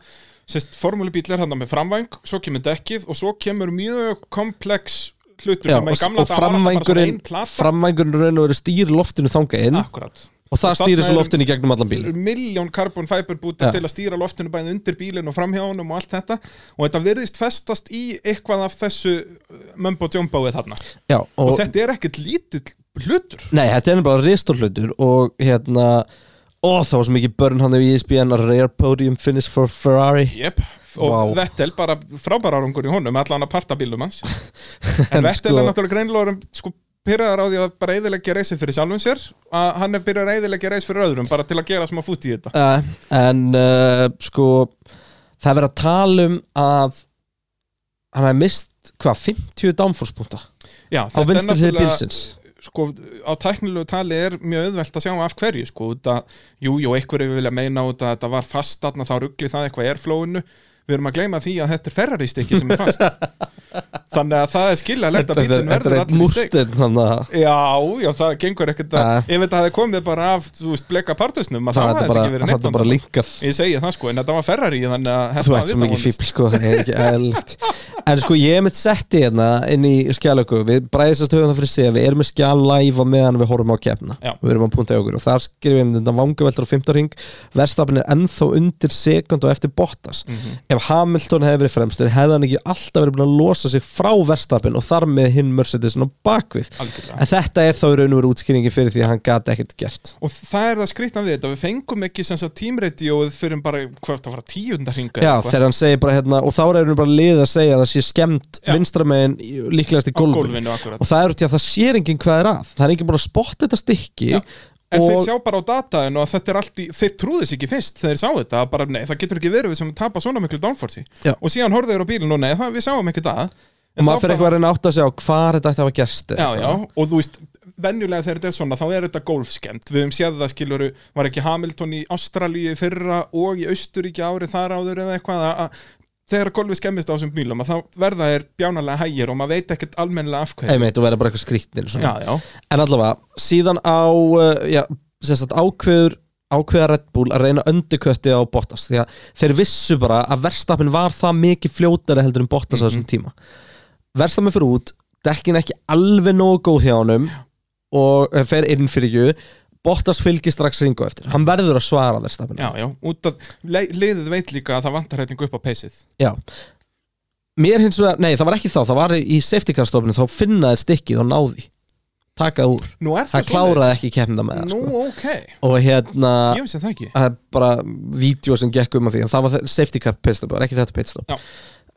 B: sérst, formúlubíl er hann með framvæng svo kemur dekkið og svo kemur mjög komplex hlutur
A: Já,
B: sem í
A: og,
B: gamla
A: og
B: dag var alltaf bara svona
A: framvængurinn
B: ein plata
A: framvængurinn raun og veru stýri loftinu þanga inn
B: Akkurat
A: og það
B: Og
A: stýri
B: þarna
A: svo
B: eru-
A: loftinu í gegnum allan bíl
B: Miljón carbon fiber búti
A: Já.
B: til að stýra loftinu bæði undir bílinn og framhjáunum og allt þetta og þetta virðist festast í eitthvað af þessu uh, mumbo jumboið þarna og,
A: Já, og,
B: þetta er ekkert lítill hlutur
A: Nei, þetta er bara ristur hlutur og hérna Ó, það var svo mikið börn hann E í ESPN að rare podium finish for Ferrari
B: Jep, og
A: Vá.
B: Vettel bara frábæra árangur í honum allan að parta bílum hans en Vettel
A: sko-
B: er náttúrulega greinilega sko pyrraðar á því að bara eiðilegja reisi fyrir sjálfum sér að hann er byrjað að eiðilegja reis fyrir öðrum bara til að gera smá fút í þetta
A: uh, En uh, sko Það er verið að tala um að hann hefði mist hvað, 50 downforce-punta á
B: Já, þetta er
A: vinstri hlið
B: náttúrulega-
A: bílsins
B: sko, á tæknilegu tali er mjög auðvelt að sjá af hverju sko, út að, jú, jú, einhverju vilja meina út að þetta var fast þarna, þá ruggli það eitthvað airflowinu, við erum að gleyma því að þetta er ferraristykki sem er fast þannig að það er skiljalegt að
A: Þetta er-
B: bílinn
A: þetta
B: verður
A: er eitt
B: um allir í steik
A: múrstinn þannig að
B: Já, já, það gengur ekkert að
A: Nei.
B: ef þetta hefði komið bara af, þú veist, bleka partusnum að
A: það
B: það
A: er
B: hefði
A: bara,
B: ekki verið neitt
A: þetta er bara
B: annað.
A: linkað
B: Ég segi það sko, en þetta var ferrari þannig að þetta
A: Þú
B: var
A: ert svo
B: vita
A: mikið
B: vonlaust.
A: fíbl sko, það er ekki eðlilegt En sko ég er mitt setti hérna inn í skjálöku Við bræðisast höfum það fyrir sig að Við erum með skjál live á meðan við horfum á kefna
B: Já.
A: Við erum á punta í okkur og þar skrifum við þetta vangaveldur á 15 ring Verstafin er ennþá undir sekund og eftir Bottas
B: Mhm.
A: Ef Hamilton hefði verið fremstur hefði hann ekki alltaf verið búin að losa sig frá Verstafin og þar með hinn Mercedesin á bakvið
B: Algjörlega.
A: En þetta er þá í raun og verið útskýringi fyrir því að hann gat ekkert gert
B: Og það er það skrýtna við þetta, við fengum ekki sem sagt tímradióið fyrir bara hvert að fara tíundar hringa
A: Já, þegar hann segir bara hérna og þá er hann bara liðið að segja að það sé skemmt
B: Já.
A: vinstramegin líklegast í
B: á
A: gólfinu
B: gólfinu akkurat
A: og það er út í að það sér enginn hvað er að það er enginn búin að spotta þetta stykki
B: Já. En þeir
A: og
B: sjá bara á dataðinu að þetta er allt í, þeir trúðu sig ekki fyrst þegar þeir sá þetta, að bara nei, það getur ekki verið við sem tapa svona miklu downforce í.
A: Já.
B: Og síðan horfðu þeir á bílinu og nei, það, við sáum ekki það. En
A: maður fyrir
B: þá bara-
A: eitthvað að reyna átt að sjá hvað þetta ætti að hafa gerst
B: Já, já, og þú veist, venjulega þegar þetta er svona, þá er þetta golfskemmt. Við höfum séð það skiluru, var ekki Hamilton í Ástralíu í fyrra og í Austuríki ári þar áður eða eitthvað að, að þegar golfið skemmist á þessum bílum að þá verða þeir bjánalega hægir og maður veit ekkert almennilega af hverju.
A: einmitt og verða bara eitthvað skrýtnir
B: Já,
A: svona.
B: já,
A: en allavega, síðan á uh, já, sem sagt, ákveður ákveða Red Bull að reyna öndukötti á Bottas því að þeir vissu bara að verstafinn var það mikið fljótari heldur en Bottas
B: Mhm.
A: á þessum tíma verstafinn fyrir út, dekkin ekki alveg nógu góð hjá honum og eh, fer inn fyrir ju Bottas fylgir strax ringu eftir hann verður að svara verstafinn
B: já, já, út að le- liðið veit líka að það vantar hætningu upp á peysið.
A: Já Mér hins vegar, nei það var ekki þá, það var í safety car stofnum þá finna þeir stikkið og náði taka það úr,
B: Nú er
A: það
B: það
A: kláraði ekki kemna með það
B: Nú,
A: sko.
B: ok,
A: og hérna,
B: ég vissi það ekki.
A: það er bara vídeo sem gekk um að því, en það var þe- safety car pitstop, það var ekki þetta pitstop
B: Já.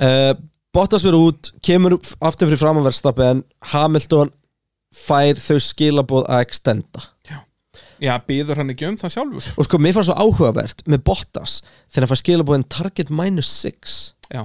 A: uh, Bottas verið út, kemur upp- aftur fyrir framanverðstappi en Hamilton fær þau skilaboð að extenda
B: Já, býður hann ekki um það sjálfur.
A: og sko, mér fannst svo áhugavert með Bottas þegar hann fær skilaboðin target minus 6
B: Já.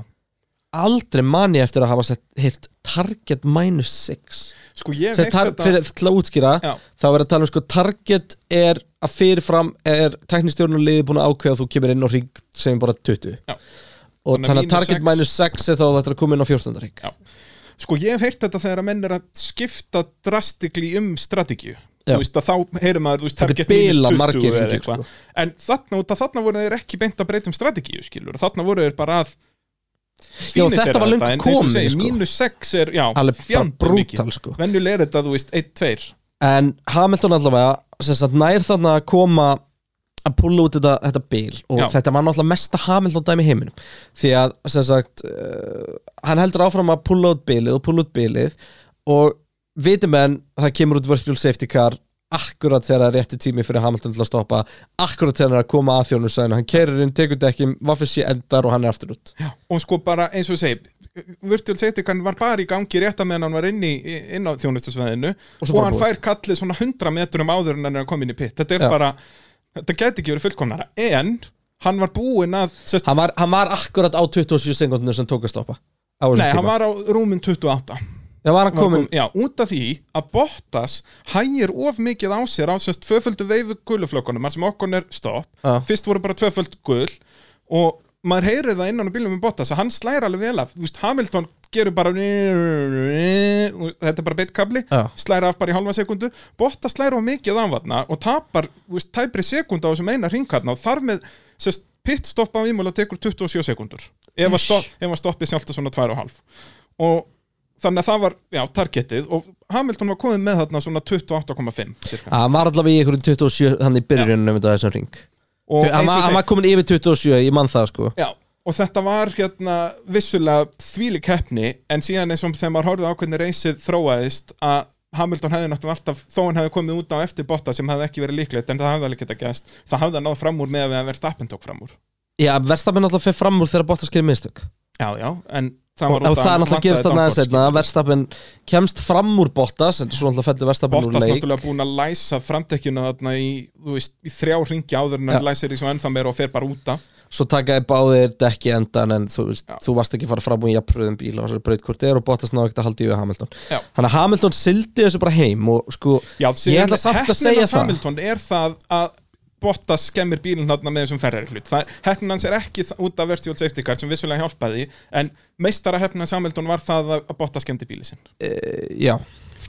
A: aldrei manni eftir að hafa sett hirt target minus 6
B: Sko, ég
A: Sest,
B: veit
A: tar,
B: þetta...
A: fyrir, til að útskýra
B: Já.
A: þá er að tala um sko target er að fyrirfram er teknistjórn og liði búin að ákveða að þú kemur inn og ring sem bara 20
B: Já.
A: og þannig að
B: Þannig að mínus
A: target
B: sex-
A: minus 6 er þá þetta er að koma inn á 14 ring
B: Já. Sko ég hef heyrt þetta þegar að menn er að skipta drastikli um strategíu
A: Já.
B: Þú veist að þá heyrir maður, þú veist,
A: Þetta er
B: target mínus
A: bilað
B: 20
A: margir
B: eða
A: hringir,
B: eitthvað.
A: sko.
B: En þarna, út af þarna voru þeir ekki beint að breyta um strategíu, skilur Þarna voru þeir bara að
A: Já,
B: fínisera
A: þetta var löngu
B: en eins og
A: komið,
B: segir,
A: sko.
B: Mínus 6 er, já,
A: Alveg bara
B: fjandi
A: brútal,
B: mikið
A: sko.
B: Venjulega er þetta, þú veist, 1-2
A: en Hamilton allavega sem sagt, nær þarna að koma að pulla út þetta, þetta bil og
B: Já.
A: þetta var náttúrulega mesta Hamilton dæmi í heiminum því að sem sagt uh, hann heldur áfram að pulla út bilið og pulla út bilið og vitum enn það kemur út virtual safety car akkurat þegar það er réttu tími fyrir Hamilton til að stoppa akkurat þegar hann er að koma að þjónum sæðinu hann kerir inn, tekur dekkim, vaffir sé endar og hann er aftur út
B: og sko bara eins og segir virtual safety car var bara í gangi rétt að meðan hann var inn, í, inn á þjónustusveðinu
A: Og
B: og,
A: svo bara
B: hann
A: búið.
B: fær kallið svona 100 metrum áður en hann er að koma inn í pitt þetta er
A: Já.
B: bara, þetta gæti ekki verið fullkomnara en hann var búinn að sest,
A: hann var, hann var akkurat á 27 sekundinu sem tók að stoppa á þessum
B: nei, hann
A: tíma.
B: var á rúmin 28
A: Já, var hann
B: Var
A: komin,
B: kom- já, út af því að Bottas hægir of mikið á sér á sérst tvöföldu veifu guluflökkunum þar sem okkur er stopp,
A: Já.
B: fyrst voru bara tvöföld gul og maður heyrið það innan á bílum með Bottas að hann slæra alveg vel af, þú veist, Hamilton gerur bara þetta er bara beitkabli,
A: Já.
B: slæra af bara í halva sekundu Bottas slæra of mikið af þarna og tapar, þú veist, tæpri sekund á þessum eina ringarna og þar með sérst, pitstopp á ímúla tekur 27 sekundur ef að, stopp, ef að stoppið sjálft svona 2,5 og þannig að það var, já, targetið og Hamilton var komið með þarna svona 28,5 cirka.
A: hann var allavega í einhverjum 27 hann í byrjunum um þetta þessum ring
B: og,
A: hann,
B: eins
A: var,
B: og
A: hann
B: seg,
A: var komin yfir 27, ég man það sko
B: já, og þetta var hérna vissulega þvíli keppni en síðan eins og þegar maður horfði á hvernig reysið þróaðist að Hamilton hefði náttúrulega alltaf, þó hann hefði komið út á eftir Bottas sem hefði ekki verið líklegt en það hefði alveg geta gæst, það hefði hann náð fram úr með að vera Stappen tók fram úr
A: Já, Verstappen alltaf fyrir fram úr þegar Bottas gerir mistök
B: Já, já, en það
A: og
B: var
A: og það er náttúrulega gerist þarna aðeins hérna,
B: setna
A: einna Verstappen kemst fram úr Bottas en svo náttúrulega fellur Verstappen úr
B: Bottas
A: leik
B: náttúrulega búin að læsa framtekjuna þarna í, þú veist, í þrjá ringi áður en hann
A: Já.
B: læsir því svo ennþá meira og fer bara út af
A: svo takaði báðir dekki endan en þú, veist,
B: Já.
A: þú varst ekki að fara fram úr jafnpröðum bíl og þessari braut hvort er og Bottas náðu ekkert að haldi yfir Hamilton
B: Já.
A: þannig að Hamilton sildi þessu bara heim og sko,
B: Já,
A: ég ætla samt að segja það
B: Hamilton er það að Bottas skemmir bílinn þarna með þessum ferrari hlut hefnin hans er ekki þa- út af virtual safety card sem vissulega hjálpaði en meistara hefnin hans Hamilton var það að að Bottas skemmdi bílinn sinn
A: já,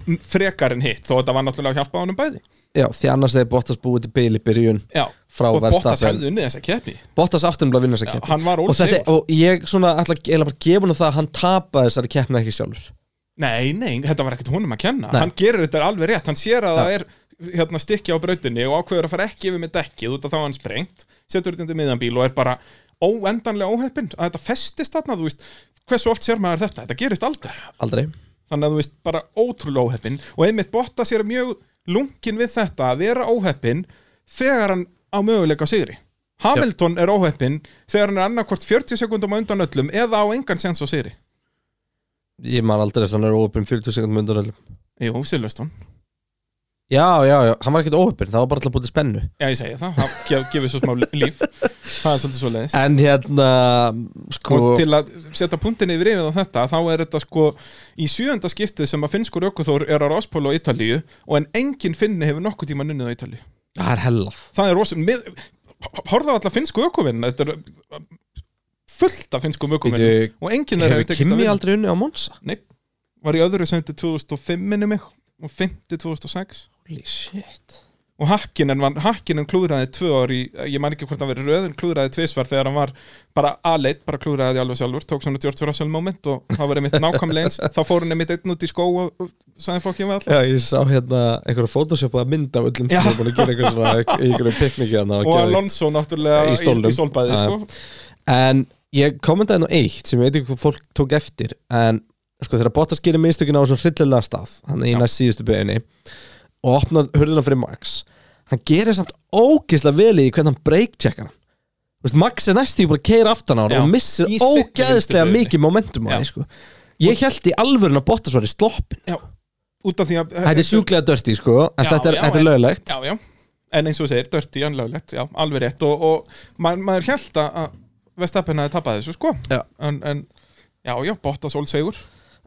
B: M- frekar en hitt þó þetta var náttúrulega að hjálpa honum bæði
A: já, því annars hefði Bottas búið til bíl í byrjun
B: Já,
A: Frá
B: og Bottas
A: Verstappen.
B: hefði unnið þessa keppni
A: Bottas áttunum að vinna þessa
B: Já,
A: keppni
B: hann var
A: og, þetta,
B: ósigur.
A: og ég svona ætla að eiginlega bara að gefa hann það að hann tapaði þessari keppni ekki sjálfur
B: Nei, nei, þetta var ekkert honum að kenna
A: Nei.
B: Hann gerir þetta alveg rétt, hann sér að
A: Já.
B: það er hérna, stikki á brautinni og ákveður að fara ekki yfir með dekkið út af þá er hann sprengt setur þetta undir miðanbíl og er bara óendanlega óheppinn að þetta festist þarna, þú veist hversu oft sér maður þetta, þetta gerist aldrei
A: aldrei
B: þannig að þú veist, bara ótrúlega óheppinn og einmitt Bottas er mjög lunkin við þetta að vera óheppinn þegar hann á möguleika á sigri Hamilton er óheppinn þegar hann er annarkvort 40 sekundum á undan öllum eða á engan sens á sigri
A: ég man aldrei eftir hann er óöpinn 40 sekundum undan öllum
B: Jú, Silveston
A: já, já, já, hann var ekkert óöpinn, það var bara alltaf búið til spennu
B: Já, ég segi það, það gef, gefur svo smá líf Það er svolítið svo leiðis
A: en hérna, sko
B: Og til að setja punktin yfir yfir á þetta þá er þetta sko í sjöunda skiptið sem að finnskur ökuþór er á Ráspólu á Ítalíu og en engin finni hefur nokkuð tíma nunnið á Ítalíu
A: það er hellað
B: Það er rosum mið... Horða alltaf finnsku ökuvinn Þetta er uh, fullt af finnskum ökuvinn
A: Bíddu,
B: og enginn þeirra
A: hefur
B: hefur tekist að
A: Kimi
B: vinna
A: aldrei unni á Monza
B: Nei, var í öðru sendi 2005 minni mig og 50 2006
A: holy shit
B: og Hakkinen, var, Hakkinen klúðraði tvö ár í, ég man ekki hvort það verið röðin klúðraði tvisvar þegar hann var bara aðleitt bara klúðraði alveg sjálfur, tók svona George Russell moment og það var einmitt nákvæmlega eins þá fór hann einmitt einn út í skó og og sagði fólk ég var
A: Já, ég sá hérna einhverja photoshopaða mynd af öllum sem
B: Já.
A: er búin að gera eitthvað svona í einhverju pikniki hérna
B: og Alonso náttúrulega
A: Í stólnum. Ah,
B: í, í solbæði
A: Já.
B: sko.
A: En ég kommentaði nú eitt sem ég veit ekki hvað fólk tók eftir en sko þegar Bottas gerir mistökin á þessum hryllilega stað hann er í
B: Já.
A: næst síðustu beginni og opnað hurðina fyrir Max hann gerir samt ógeðslega vel í hvernig hann breakcheckar hann Þú veist, Max er næstu bara að keira aftan á hann
B: Já.
A: og missir
B: Í seinni
A: ógeðslega
B: vinstri beygju.
A: mikið momentum á
B: Já.
A: því sko. Ég held í alvörun að Bottas var í sloppin
B: Já, út af því að
A: Þetta er sjúklega dörti sko en
B: Já,
A: þetta er,
B: já,
A: þetta
B: en-
A: er löglegt
B: Já, já, en eins og þú segir, dörti, anlöglegt, já, alveg rétt og, og maður, maður held að- að Vestapen hafi tapað þessu, sko
A: Já.
B: En, en já, já, Bottas ólsegur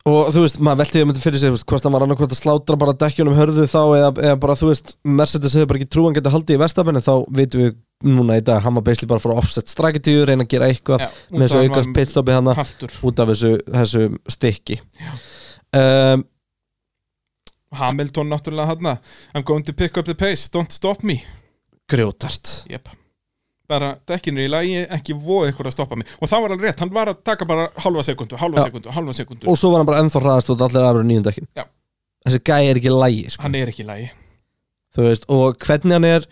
A: og þú veist, maður veltiði um þetta fyrir sig þú veist, hvort hann var annarkvort að slátra bara dekkjunum hörðu þá eða, eða bara þú veist, Mercedes hefur bara ekki trúan geta haldið í verstafinn en þá vitum við núna í dag, hann var beisli bara að fara að offset strategy reyna að gera eitthvað
B: Já, út
A: með þessu
B: af hann
A: aukast
B: var
A: pitstopi hann
B: Haltur
A: út af þessu, þessu stikki um,
B: Hamilton náttúrulega hann I'm going to pick up the pace, don't stop me
A: grjótart
B: Jep bara dekkinu í lagi, ekki voða ykkur að stoppa mig og það var alveg rétt, hann var að taka bara halva sekundu, halva
A: Já.
B: sekundu, halva sekundu
A: og svo var hann bara ennþá hraðast út allir aðra nýjum dekkin
B: Já.
A: þessi gæi er ekki lægi sko,
B: hann er ekki í lagi
A: þú veist, og hvernig hann er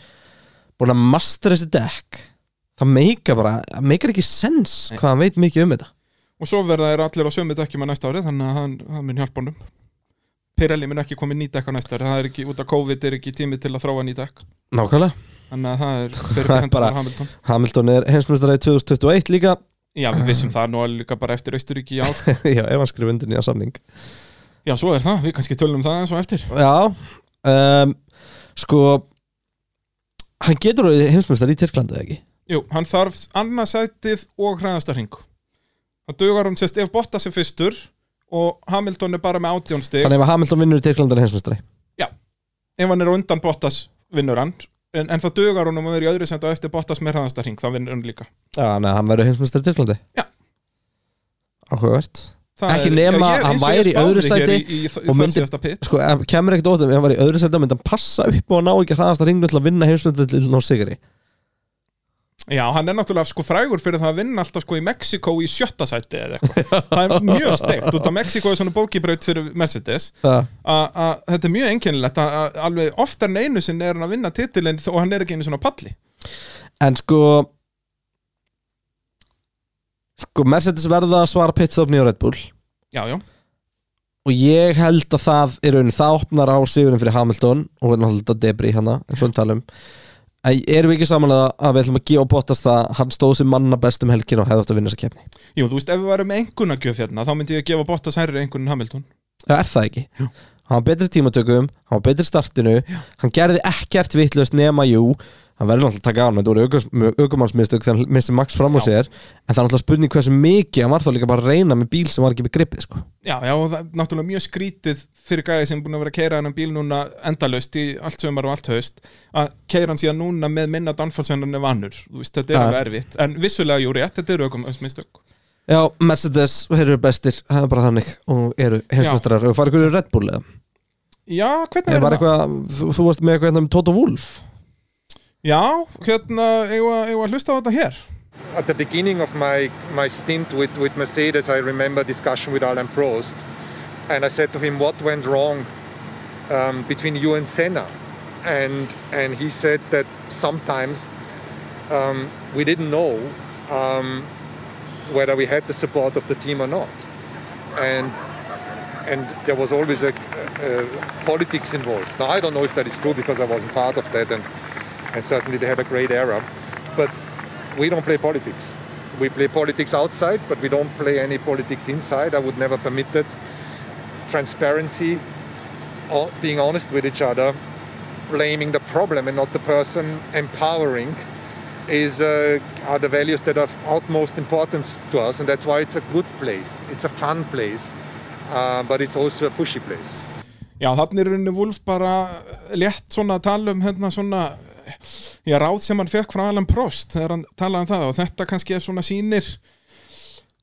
A: búin að mastera þessi dekk það meika bara, það meikar ekki sens hvað hann veit mikið um þetta
B: og svo verða þeir allir á sömu dekkjum að næsta árið þannig að hann, hann mun hjálpa honum Pirelli mun ekki komið nýdekk á næsta árið það er ekki, út af COVID er ekki tími til að þróa nýdekk
A: nákvæmlega
B: þannig að það er
A: Það
B: fyrir
A: er bara-
B: hendur Hamilton
A: Hamilton er heimsmyndstari 2021 líka
B: Já, við vissum það nú alveg líka bara eftir Austuríki í ár
A: Já, ef hann skrifa undir nýja samning
B: Já, svo er það, við kannski tölum um það eins og eftir
A: Já, um, sko Hann getur orðið heimsmyndstari í Tyrklandi eða ekki
B: Jú, hann þarf annarsætið og hraðasta hring Það dugar hann sérst ef Bottas er fyrstur og Hamilton er bara með átjónstig
A: Þannig ef að Hamilton vinnur í Tyrklandi er heimsmyndstari
B: ef hann er á undan Bottas vinnur hann en, en það dugar hann um að vera í öðru senda eftir Bottas með hraðasta hring, þá vinnur hann líka
A: Já, þannig að hann verður heimsmyndstari í Tyrklandi
B: Já.
A: Áhugavert
B: Það
A: Ekki nema
B: Já, ég-
A: að
B: eins og
A: hann
B: ég
A: væri í öðru
B: spáði hér
A: sæti
B: í, í, í,
A: og
B: og
A: myndi-
B: myndi
A: Sko, ef- kemur ekkert óttum, ef hann var í öðru setja myndi hann passa upp og hann ná ekki hraðast að ringna til að vinna heimsmyndstari til ná sigri
B: Já, hann er náttúrulega sko frægur fyrir það að vinna alltaf sko í Mexiko í sjötta sæti eða eitthvað Það er mjög steikt, út af Mexiko er svona bókibraut fyrir Mercedes
A: Það
B: að að þetta er mjög einkennilegt að- að alveg oftar en einu sinn er hann að vinna titilin og hann er ekki einu svona palli
A: En sko Sko, Mercedes verða að svara pitstopni á Red Bull
B: Já, já,
A: og ég held að það er raun það opnar á sigurinn fyrir Hamilton og við erum alltaf debri hérna, hana en svona talum En um. erum við ekki samanlega að við ætlum að gefa bóttast að hann stóð sem manna best um helgin og hefði átt að vinna þessa kefni?
B: Jú, þú veist, ef við varum með engunagjöf hérna þá myndi ég að gefa Bottas hærri engunin Hamilton
A: Það er það ekki. Hann var betri í tímatökum, hann var betri í startinu, hann gerði ekkert vittlust nema, jú, hann verður náttúrulega að taka án, þetta voru aukumannsmistök þegar hann missi Max fram á sér, en það er náttúrulega spurning hversu mikið hann var þá líka bara að reyna með bíl sem var ekki með gripið, sko.
B: Já, já, og það er náttúrulega mjög skrítið fyrir gæði sem er búin að vera að keira hennan bíl núna endalaust í allt sömar og allt haust að keira hann síðan núna með minna danfalsvennan ef annur, þú veist, þetta er
A: Já.
B: alveg erfitt en vissulega, jú, rétt, þetta eru aukum mistök
A: Já, Mercedes eru bestir, það er bara þannig, og eru heimsmestrar, og farið hverju Red Bull eða?
B: Já, hvernig
A: Er
B: er
A: var
B: það?
A: eitthvað, þú, þú varst með eitthvað hérna um Toto Wolff?
B: Já, hérna, eigum að- eigum að hlusta á þetta hér
I: At the beginning of my, my stint with, with Mercedes, I remember a discussion with Alan Prost, and I said to him, What went wrong um, between you and Senna? And, and he said that sometimes um, we didn't know um, whether we had the support of the team or not. And, and there was always a, a politics involved. Now, I don't know if that is true because I wasn't part of that, and, and certainly they had a great era. But we don't play politics. We play politics outside, but we don't play any politics inside. I would never permit that. Transparency, o- being honest with each other, blaming the problem and not the person, empowering, is uh, are the values that are of utmost importance to us, and that's why it's a good place. It's a fun place, uh, but it's also a pushy place.
B: Já, þannig er rauninni Wolf bara létt svona að tala um hérna svona já, ráð sem hann fekk frá Alan Prost þegar hann talaði um það og þetta kannski er svona sýnir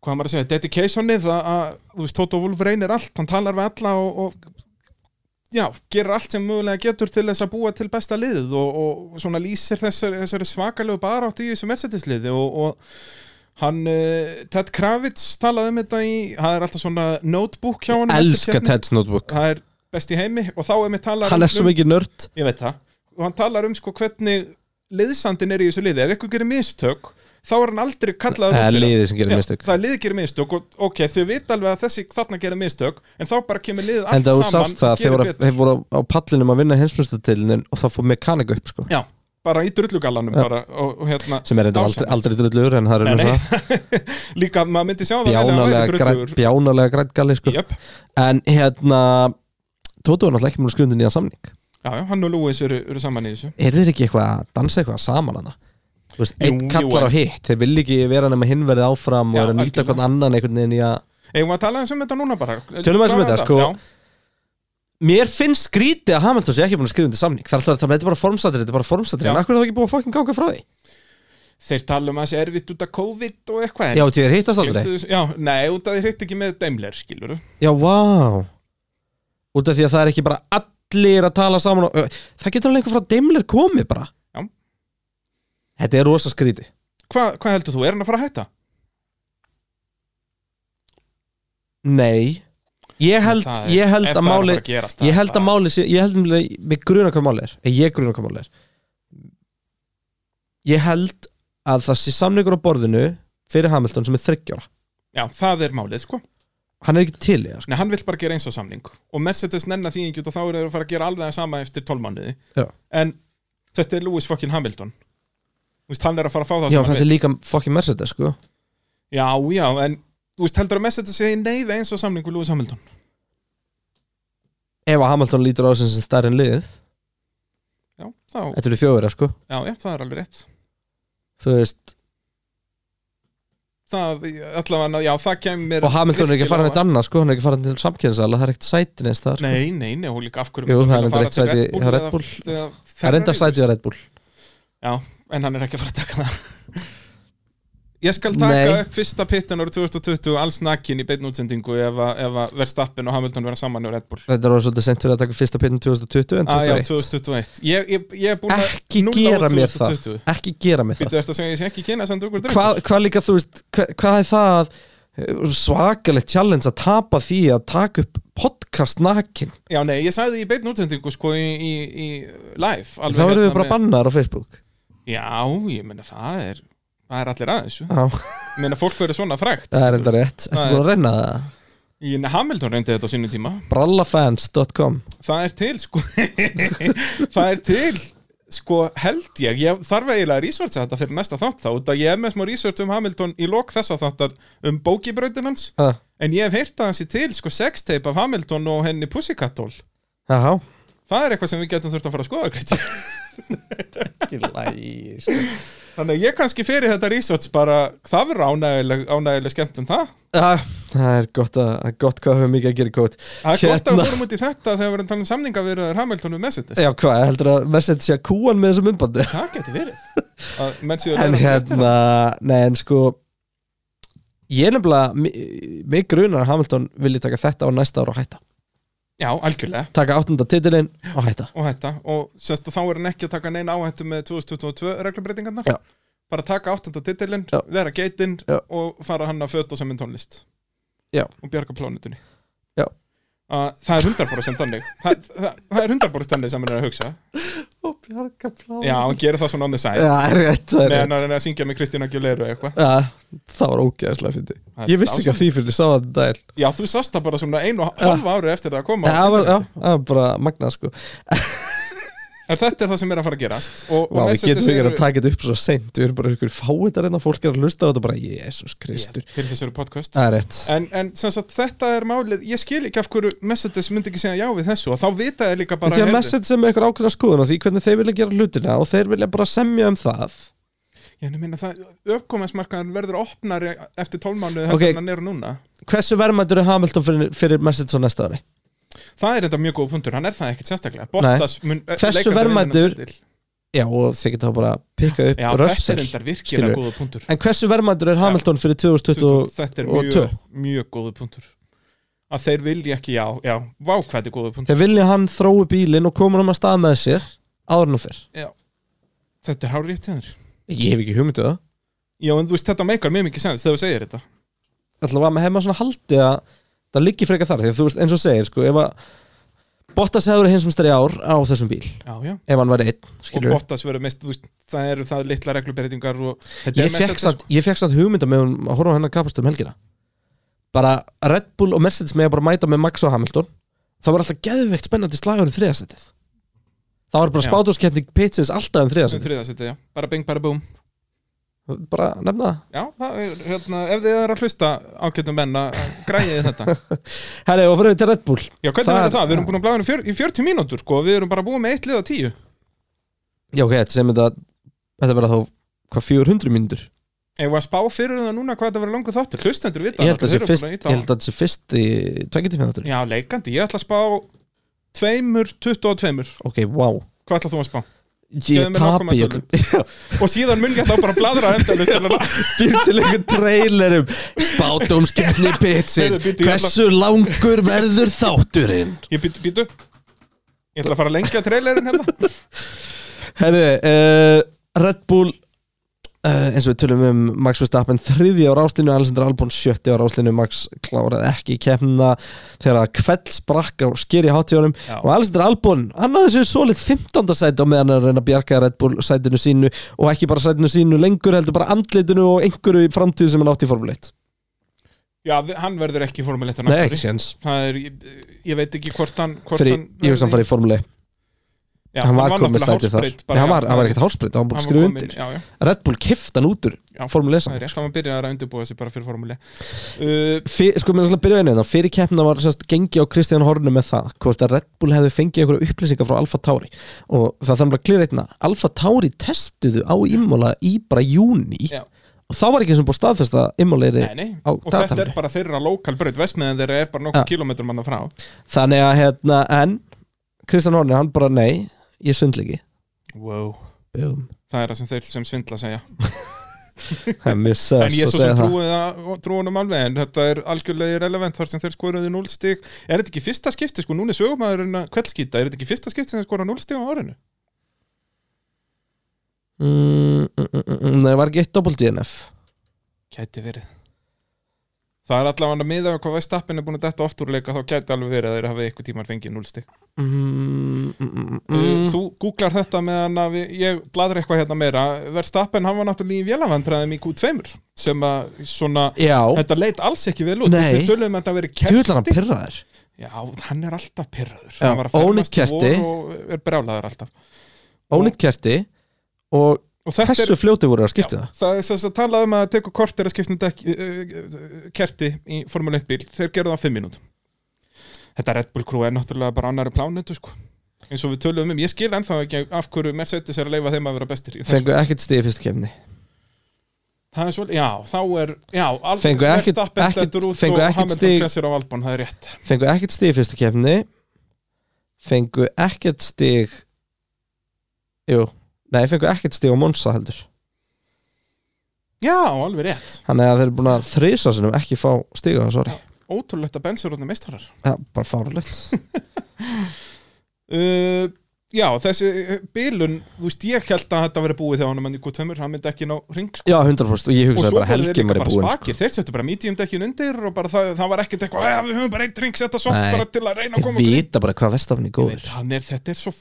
B: hvað á maður að segja, dedicationið að, að þú veist, Tóta Wolf reynir allt, hann talar við alla og, og já, gerir allt sem mögulega getur til þess að búa til besta liðið og, og svona lýsir þessari, þessari svakalegu barátt í þessu Mercedes-liði og, og Hann, eh, Ted Kravitz talaði um þetta í, það er alltaf svona notebook hjá hann
A: Elska Ted's Notebook.
B: hérna. það er best í heimi og þá er mér talað
A: Hann er svo mikið nörd.
B: ég veit það og hann talar um sko hvernig liðsandin er í þessu liði ef ykkur gerir mistök þá er hann aldrei kallaður
A: Það er
B: út fyrir
A: liðið sem gerir
B: Já,
A: mistök.
B: það er liðið gerir mistök og ok, þau vita alveg að þessi þarna gerir mistök en þá bara kemur liðið
A: En
B: allt
A: það þú
B: saman
A: sást það,
B: og
A: þeir
B: gerir
A: voru,
B: betur
A: þeir voru á pallinum að vinna heimsmyndstöldilin og það fór mekanika upp sko
B: já, bara í drullugallanum
A: Já.
B: bara, og, og hérna
A: sem er þetta aldrei,
B: dásamlegt.
A: aldrei drullur en það er nú
B: Nei,
A: það
B: líka maður myndi sjá það vel að hann væri
A: bjánalega, græn,
B: drullugur.
A: bjánalega græntgalli sko
B: Jöp.
A: en hérna Tóto er náttúrulega ekki múin að skrifa undir nýjan samning
B: já, já, hann og Lewis eru, eru saman í þessu
A: er þeir ekki eitthvað að dansa eitthvað saman að það
B: Jú,
A: einn
B: jú,
A: kallar á
B: en-
A: hitt, þeir vil ekki vera nema hinn verði áfram
B: Já,
A: og er að nýta
B: algjörlega.
A: hvern annan einhvern veginn í að
B: eigum við að tala eins um þetta núna bara
A: Tölum aðeins um
B: Klára
A: þetta, sko.
B: Já.
A: Mér finnst skrítið að Hamilton sé ekki búin að skrifa undir samning Það er alltaf að þetta er bara formsatri, þetta er bara formsatri
B: Já.
A: En akkur er það ekki búið að fokkin ganga frá því?
B: þeir tala um að þessi erfitt út af COVID og eitthvað en-
A: Já, því þeir hittast aldrei
B: Gleymdu þessu- Já, nei, út af því hreitt ekki með Daimler, skilur
A: Já, vá Út af því að það er ekki bara allir að tala saman og, Það getur alveg einhver frá Daimler komið bara
B: Já.
A: Þetta er rosa skríti
B: Hva, Hvað heldur þú, er hann að fara að hætta?
A: Nei Ég held,
B: Það er-
A: ég held
B: ef
A: að
B: það er
A: máli
B: bara að gerast, það
A: Ég
B: er
A: held að
B: bara-
A: máli sé- Ég held um að Við gruna hvað máli er Eh, Ég gruna hvað máli er Ég held að það sé samningur á borðinu Fyrir Hamilton sem er 30 ára
B: Já, það er málið, sko
A: Hann er ekki til í það sko.
B: Nei, hann vill bara gera eins og samning og Mercedes nennar því ekki út og þá eru þeir að fara að gera alveg það sama eftir 12 mánuði
A: Já.
B: En þetta er Lewis fucking Hamilton Þú veist, hann er að fara að fá
A: Já,
B: það sem hann
A: þetta
B: vill
A: er líka fucking Mercedes sko
B: Já, já, en þú veist, heldur að Mercedes segi nei við eins og samning við Lewis Hamilton
A: Ef að Hamilton lítur á þessum sem stærri en liðið
B: Já, þá,
A: Þetta eru þjóður sko
B: já, já, það er alveg rétt
A: Þú veist
B: Það, allavega, já, það kemur
A: og Hamilton er ekki
B: virkilega
A: farin
B: á
A: eitt annað sko, hann er ekki farin til samkynnsala það er ekkert sæti neins það sko.
B: Nei, nei, nei, og líka af hverju
A: Jú, það er
B: myndi hann
A: reyndar
B: fara
A: eitt sæti hjá Red
B: til
A: Bull.
B: eða
A: það er enda
B: Ferrari,
A: sæti á Red Bull
B: Já, en hann er ekki að fara að taka það Ég skal taka
A: Nei.
B: upp fyrsta pittin árið 2020 alls nakin í beinn útsendingu ef að, ef að Verstappen og Hamilton vera saman á Red Bull
A: þetta er orðið svolítið sent fyrir að taka fyrsta pittin 2020 en
B: Ah, já,
A: 2021
B: 2021 Ég, ég, ég er búin að
A: ekki
B: núlla
A: gera
B: út
A: mér það
B: 2020.
A: ekki gera mér
B: Býttu
A: það
B: eftir að segja, ég sé ekki kynna sem dugur drengur
A: hvað hvað líka þú veist hvað, hvað er það að eh, svakalegt challenge að tapa því að taka upp podcast nakin
B: Já, nei, ég sagði í beinn útsendingu sko í, í, í live alveg
A: þá verðum
B: hérna
A: við bara
B: með-
A: bannar á Facebook
B: Já, ég meina það er Það er allir aðeins
A: Já,
B: Ég meina fólk verður svona frægt
A: það er enda rétt, ertu
B: Það er-
A: búin að reyna það
B: Í Hamilton reyndi þetta á sínum tíma
A: Brallafans.com
B: Það er til sko Það er til sko held ég, ég þarf eiginlega að researcha þetta fyrir næsta þátt þá, út að ég hef með smá research um Hamilton í lok þessa þáttar um bókibrautin hans,
A: Ha,
B: en ég hef heyrt að hans í til sko sextape af Hamilton og henni Pussycat Doll,
A: Jaha
B: það er eitthvað sem við getum þurft að fara að skoða Kristján.
A: Ekki lægi sko.
B: þannig að ég kannski fyrir þetta research bara, það verður ánægileg, ánægileg skemmt um það,
A: Ah, Það er gott, að, það er gott hvað höfum mikið að gera í kót
B: það er gott að við fórum út í þetta þegar við erum að tala um samninga við Hamilton við Mercedes,
A: Hérna. Já hvað, heldur að Mercedes sé að kúan með þessum umbandi
B: það geti verið að menn séu
A: En
B: að læra um þetta.
A: hérna, nei en sko Ég er nefnilega mi- Mig grunar að Hamilton vilji taka þetta á næsta ára og hætta
B: já, algjörlega
A: Taka áttunda titilinn og hætta
B: og þetta og semst að þá er hann ekki að taka neina áhættu með 2022 reglubreitingarnar
A: Já.
B: bara taka áttunda titilinn,
A: Já.
B: vera geitinn
A: Já.
B: og fara hann að föta sem en tónlist
A: Já.
B: og bjarga plánutinni
A: Já.
B: það er 100% þannig það, það, það er 100% þannig sem hann er að hugsa
A: Og bjarga plá
B: já, hann gerir það svona on the side
A: Já, er rétt, það er
B: meðan
A: rétt
B: hann er að syngja með Kristín Aguilera eða eitthvað
A: Já, það var ógeðslega
B: Það
A: fyndi
B: er
A: Ég vissi ekki að því fyrir ég sá þetta dæl
B: já, þú sast það bara svona einu og halva ári eftir það að koma
A: Það var, já, það var bara magnað sko
B: en þetta er það sem er að fara að gerast og, og
A: Vá, við
B: Mercedes
A: getum ekki
B: eru-
A: að taka þetta upp svo seint Við erum bara ykkur fáið að reyna Fólk er að hlusta á þetta bara, jésus kristur
B: til þessu podcast
A: Það er rétt
B: En, en sem sagt, þetta er málið, ég skil ekki af hverju Mercedes myndi ekki segja já við þessu og þá vita ég líka bara
A: Því að
B: heyrðu,
A: message sem er ykkur ákveðna skoðun á því hvernig þeir vilja gera hlutina og þeir vilja bara semja um það
B: Ég meina það, öfkomasmarkaðan verður opnari eftir tólmánuð
A: Ok.
B: heldur en hann er núna
A: Hversu verðmættur er Hamilton fyrir, fyrir message á næsta ári?
B: Það er þetta mjög góð punktur, hann er það ekkit sérstaklega Bottas mun ö,
A: Hversu
B: leikandi
A: verðmætur-
B: vinna hann til.
A: Já, og þeir geta þá bara að pikka upp
B: Já, þetta er
A: rössir
B: endar
A: skilur.
B: virkilega góða punktur
A: En hversu verðmættur er Hamilton fyrir 2020
B: Þetta er
A: og tvö.
B: mjög, mjög góða punktur Að þeir vilja ekki, já, já, vá hvað þetta er góða punktur
A: Þeir vilja hann þrói bílinn og koma hann að stað með sér áður nú fyrr
B: Þetta er hárið til þér
A: Ég hef ekki hugmyndið það
B: Já, en þú veist, þetta meikar mjög mikið sens þegar þú segir þetta
A: ætla að maður hefði maður svona haldið að það liggi frekar þar, því að þú veist eins og þú segir sko, ef að Bottas hefur verið heimsumstari ár á þessum bíl
B: Já, já
A: ef hann var einn,
B: og
A: skilur
B: Bottas verður mest, þú veist, það eru það litla reglubreitingar og þetta
A: ég
B: er
A: fekk
B: mest
A: samt, ég fékk samt hugmynda með hún að horfa á hennar kapastur um helgina bara Red Bull og Mercedes með að bara mæta með Max og Hamilton það var alltaf geðveikt spennandi slagur um þriðasettið það var bara
B: Já.
A: spáturskeppning pitsins alltaf um
B: sem
A: þriðasettið
B: þriða setja, já, bara bing, bara búm
A: bara nefna það
B: Já, það er, hérna, ef þið eru að hlusta ágættum menn að að græðið þetta
A: herri og fyrir við til Red Bull
B: Já, hvernig
A: Þar-
B: verður það? Við erum búin að bláða fjör, í 40 mínútur, sko, við erum bara búin með eitt lið á 10
A: já ok, þetta sem þetta þetta verða þá hvað 400 mínútur
B: Ef að spá fyrir það núna hvað þetta verður langur þáttur Hlustendur vita
A: ég held að
B: það,
A: þetta sé fyrst
B: þeir eru búin að
A: ég
B: ýta á-
A: held að þetta sé fyrst í tveggjartífmyndatur
B: Já, leikandi, ég ætla að spá tveimur, 22
A: ok, wow
B: Hvað ætla þú að spá? Gefðu
A: ég
B: mér
A: tapi ég
B: nákvæma Og síðan mun ég þá bara að bladra endalust til að
A: býr til einhvern trailerum spátumskeppni um pitsins
B: Heyrðu, bíddu, ég ætla-
A: hversu langur verður þátturinn
B: Ég býtu, býtu Ég ætla að fara að lengja trailerinn hérna
A: herri, uh, Red Bull uh, eins og við tölum um Max Verstappen þriðja á ráslinu, Alessandra Albon sjötti á ráslinu Max kláraði ekki kemna þegar að kveld sprakk á skeri hátjónum
B: Já.
A: og Alessandra Albon hann hafði sér svolít 15. sæti á meðan hann er að reyna að bjarga Red Bull sætinu sínu og ekki bara sætinu sínu lengur heldur bara andlitinu og einhverju í framtíð sem hann átti í Formule 1
B: Já, við- hann verður ekki formuleitt
A: Nei, ekki séns
B: Það er, ég, ég veit ekki hvort hann hvort
A: Fyrir,
B: hann
A: ég veist hann farið í Formule 1
B: Já,
A: hann var komið
B: náttúrulega
A: sæti þar
B: hársbreidd
A: Nei,
B: bara,
A: hann var,
B: já,
A: hann var ekkert hársbreyt, hann var búin að skrifa
B: kominn,
A: undir
B: Já, já,
A: Red Bull kifta hann út úr
B: Já,
A: Formule 1
B: það er
A: samning.
B: rétt, hann var byrjað að undirbúa sig bara fyrir formule uh,
A: Fyr- Sko, mér er alltaf að byrja einu þannig Fyrir keppna var semst gengi á Kristján Hornu með það Hvort að Red Bull hefði fengið einhverja upplýsingar frá Alfa Tauri Og það þarf bara að klýra einna Alfa Tauri testuðu á Imola í bara júni
B: Já.
A: Og þá var ekki sem búið staðfest að Imola er
B: Nei, nei,
A: á
B: og þetta er
A: dagatalinu.
B: bara þeirra lokal braut Vestmiðan þeirra er bara nokkuð
A: Já.
B: kilómetrum manna frá
A: Þannig að hérna, en Kristján Hornu, hann bara nei Ég svindla ekki
B: wow.
A: Bum.
B: Það er það sem þeir sem svindla segja
A: Það missa
B: En ég svo sem trúið það, trúinum alveg En þetta er algjörlega irrelevant þar sem þeir skoruðu 0 stig Er þetta ekki fyrsta skipti, sko, núna er sögumæðurinn að kveldskýta Er þetta ekki fyrsta skipti sem skora 0 stig á árinu?
A: mm, mm, mm, mm, Nei, var ekki eitt doppelt DNF
B: Gæti verið Það er allavega að miða við hvað Vestappin er búin að detta oft úr leika þá gæti alveg verið að þeir hafi eitthvað tíman fengið núlstig
A: Mm-hmm.
B: mm. Þú googlar þetta meðan að við, ég bladra eitthvað hérna meira Verstappen hann var náttúrulega í vélavandræðum í Q2 sem að svona
A: Já.
B: þetta leit alls ekki vel út
A: Nei.
B: Við tölum að þetta verið
A: Tjúðlan hann
B: kerti
A: pyrraður
B: Já, hann er alltaf pyrraður
A: Já,
B: Hann var að fermast
A: ónýtt
B: í vor
A: kerti.
B: og er brjálaður alltaf
A: Ónýtt kerti Og
B: og þetta
A: hversu
B: er,
A: fljóti voru að skipta það
B: það er sem sagt talað um að teka kortir að skipta um dekk, uh, kerti í Formule 1 bíl, þeir gerðu það á 5 mínútum þetta Red Bull crew er náttúrulega bara annari plánetu sko eins og við töluðum um, ég skil ennþá ekki af hverju Mercedes er að leifa þeim að vera bestir í þessu.
A: Fengu ekkert stig í fyrstu kemni
B: það er svo, já, þá er já, alveg
A: Fengu ekkit-
B: Verstappen
A: ekkit-
B: dettur út
A: fengu
B: og
A: ekkit
B: Hamilton
A: stig-
B: klessir á Albon, það er rétt
A: Fengu ekkert stig í fyrstu kemni Fengu ekkert stig Jú Nei, fengu ekkert stig á Monsa heldur
B: já, alveg rétt,
A: Þannig að þeir eru búin að þrýsa sinum ekki fá stig á þessu ári
B: ótrúlegt að bensur út meistarar
A: Já, bara fárulegt
B: uh, já, þessi bilun þú veist, ég held að þetta verið búið þegar hann er mann í góð tveimur, hann myndi ekki ná ring sko.
A: Já, 100% og ég hugsaði
B: og svo
A: bara
B: bara þeir
A: helgin
B: líka
A: var í
B: bara
A: búin sko.
B: spakir þeir settu bara medium dekkin undir og bara það, það var ekkert eitthvað, "Eh, við höfum bara eitt ring setta soft
A: Nei.
B: bara til að reyna að
A: Ég
B: koma okkur í."
A: vita bara hvað vestafni er
B: Nei,
A: góður
B: hann er, þetta er svo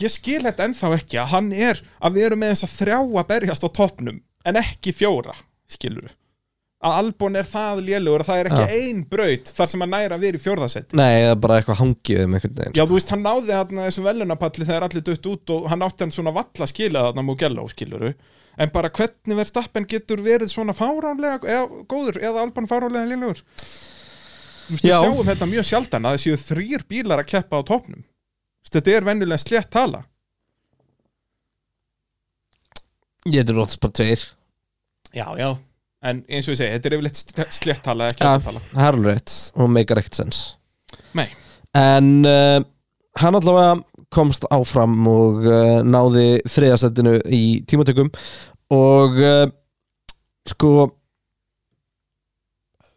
B: ég skil þetta ennþá ekki að hann er að við erum með þess að þrjá að berjast á toppnum en ekki fjóra, skilur að Albon er það lélugur að það er ekki
A: Já.
B: ein braut þar sem hann næra að vera í fjórðasetti
A: Nei, eða bara eitthvað hangið um einhvern veginn
B: Já, þú veist, hann náði þarna þessu velunapalli þegar allir dött út og hann átti hann svona valla skila þarna Mugello, skiluru En bara hvernig verð stappen getur verið svona fáránlega, eða góður, eða alban fáránlega lélugur Þú veist, við
A: Já.
B: sjáum þetta mjög sjaldan að það séu þrýr bílar að keppa á topnum Þetta er venjulega slétt tala
A: Ég þetta er óttast bara tveir
B: Já, já En eins og ég segi, þetta er yfirleitt st- slétt tala, ekki
A: Já,
B: ja. tala
A: það er alveg rétt og meikar ekkert sens
B: Nei,
A: En uh, hann allavega komst áfram og uh, náði þriðasettinu í tímatökum og uh, sko uh,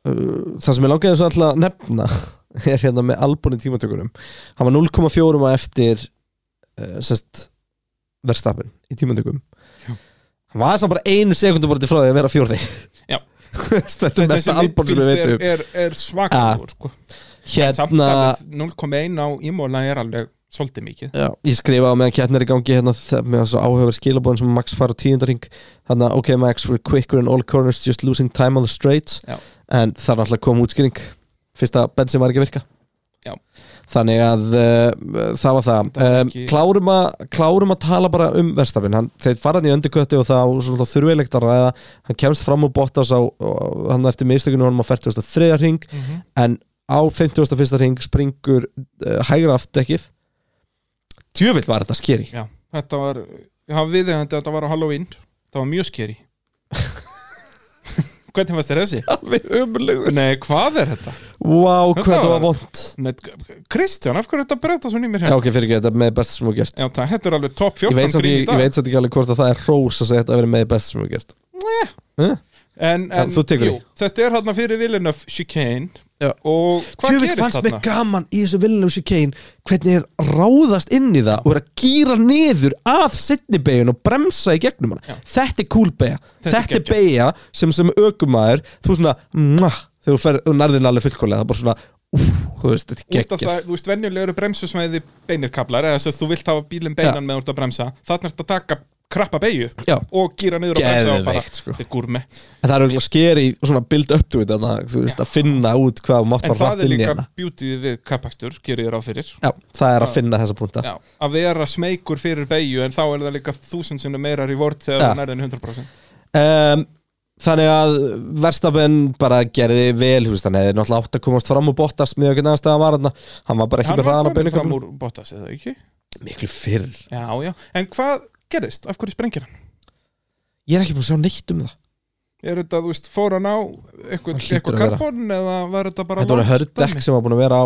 A: það sem ég langaði svo alltaf að nefna er hérna með albúni tímatökunum hann var 0,4 á eftir uh, sest verðstapin í tímatökum hann var þess að bara einu sekundu bara til frá því að vera fjórði
B: Já.
A: þetta er mesta albúni sem við
B: midfield
A: veitum
B: er, er, er svakagur, sko Samt
A: hérna
B: alveg 0,1 á ímóla er alveg svolítið mikið
A: Já, ég skrifa á meðan keppnir er í gangi hérna þ- með þessu áhöfur skilabóðin sem Max fara á tíundaring þannig að ok Max, we're quicker in all corners just losing time on the straights
B: Já.
A: en það er alltaf kom útskýring fyrst að bensin var ekki að virka
B: Já.
A: þannig að uh, það var það,
B: Það var
A: um,
B: ekki-
A: klárum, að, klárum að tala bara um verstafinn hann, þeir fara hann í öndurkötti og það á þurfiðlegt að ræða, hann kemst fram og bóttast á, á- hann eftir mistökunum honum á 43. ring
B: Mhm.
A: en á 51. ring springur uh, hægra aftdekkið djöfitt var þetta skeri
B: Já, þetta var Ég hafa viðegandi að þetta var á Halloween Það var mjög skeri Hvernig fannst þér þessi?
A: alveg umlugur
B: Nei, hvað er þetta?
A: Vá, hvað
B: Þetta
A: þetta var
B: var-
A: vond
B: Nei, Kristján, af hverju er þetta breyta svona í mér
A: Já,
B: hér?
A: ok, fyrir ekki, þetta er með best sem þú hefur gert
B: Já, það, þetta er alveg top
A: Ég
B: 14
A: veit samt
B: grín í
A: ekki-
B: dag
A: ég veit samt ekki alveg hvort að það er hrós að segja þetta að vera með best sem þú hefur gert Eh?
B: En,
A: Já,
B: en
A: þú tekur
B: jú, þetta er hérna fyrir Villeneuve Chicane
A: Já.
B: Og hvað
A: Djöfitt
B: gerist
A: fannst mér
B: þarna?
A: gaman í þessu Villeneuve Chicane hvernig er ráðast inn í það og er að gýra niður að setni beigun og bremsa í gegnum hana Þetta er cool beigja,
B: Þetta er
A: þetta er
B: geggjað.
A: beigja sem sem ökumæður, þú svona mwah, þegar þú ferð, þú nærðin alveg fullkólega það er bara svona, úf, þú veist, þetta er
B: Út af
A: geggjað
B: það, þú veist, venjulega eru bremsusvæði beinirkablar eða þess að þú vilt hafa bílinn beinan með úr að bremsa Þarna ertu að taka krappa beigju
A: Já.
B: og gýra niður og bremsa og bara,
A: Geðveikt, sko.
B: þetta er gúrmi
A: En það er auðvitað skeri svona build up to it þannig að þú veist að finna út hvað þú mátt
B: En
A: fara
B: það
A: rætt
B: er
A: inn í
B: líka
A: hana
B: beauty við kappakstur, gerir ég ráð fyrir
A: Já, það er að finna þessa punta
B: Já, að vera smeykur fyrir beigju en þá er það líka þúsund sinni meira reward þegar
A: Já.
B: það nærðin 100%
A: um, Þannig að Verstapen bara gerði vel þú veist, hann hefði náttúrulega átt að komast fram og bóttast með okkur næðast að hann var hann hann var bara ekki
B: Hann
A: með
B: var
A: hraðan á
B: komin fram
A: beinugöfnum
B: úr Bottas eða ekki?
A: Miklu fyrr
B: Já, já, en hvað gerðist? Af hverju sprengir hann?
A: Ég er ekki búin að sjá neitt um það
B: Er þetta, þú veist, fór hann á eitthvað,
A: Hann hlýtur
B: eitthvað
A: að vera.
B: karbon eða var þetta bara
A: Þetta voru
B: langt
A: hördekk
B: dæmi?
A: sem var búin að vera á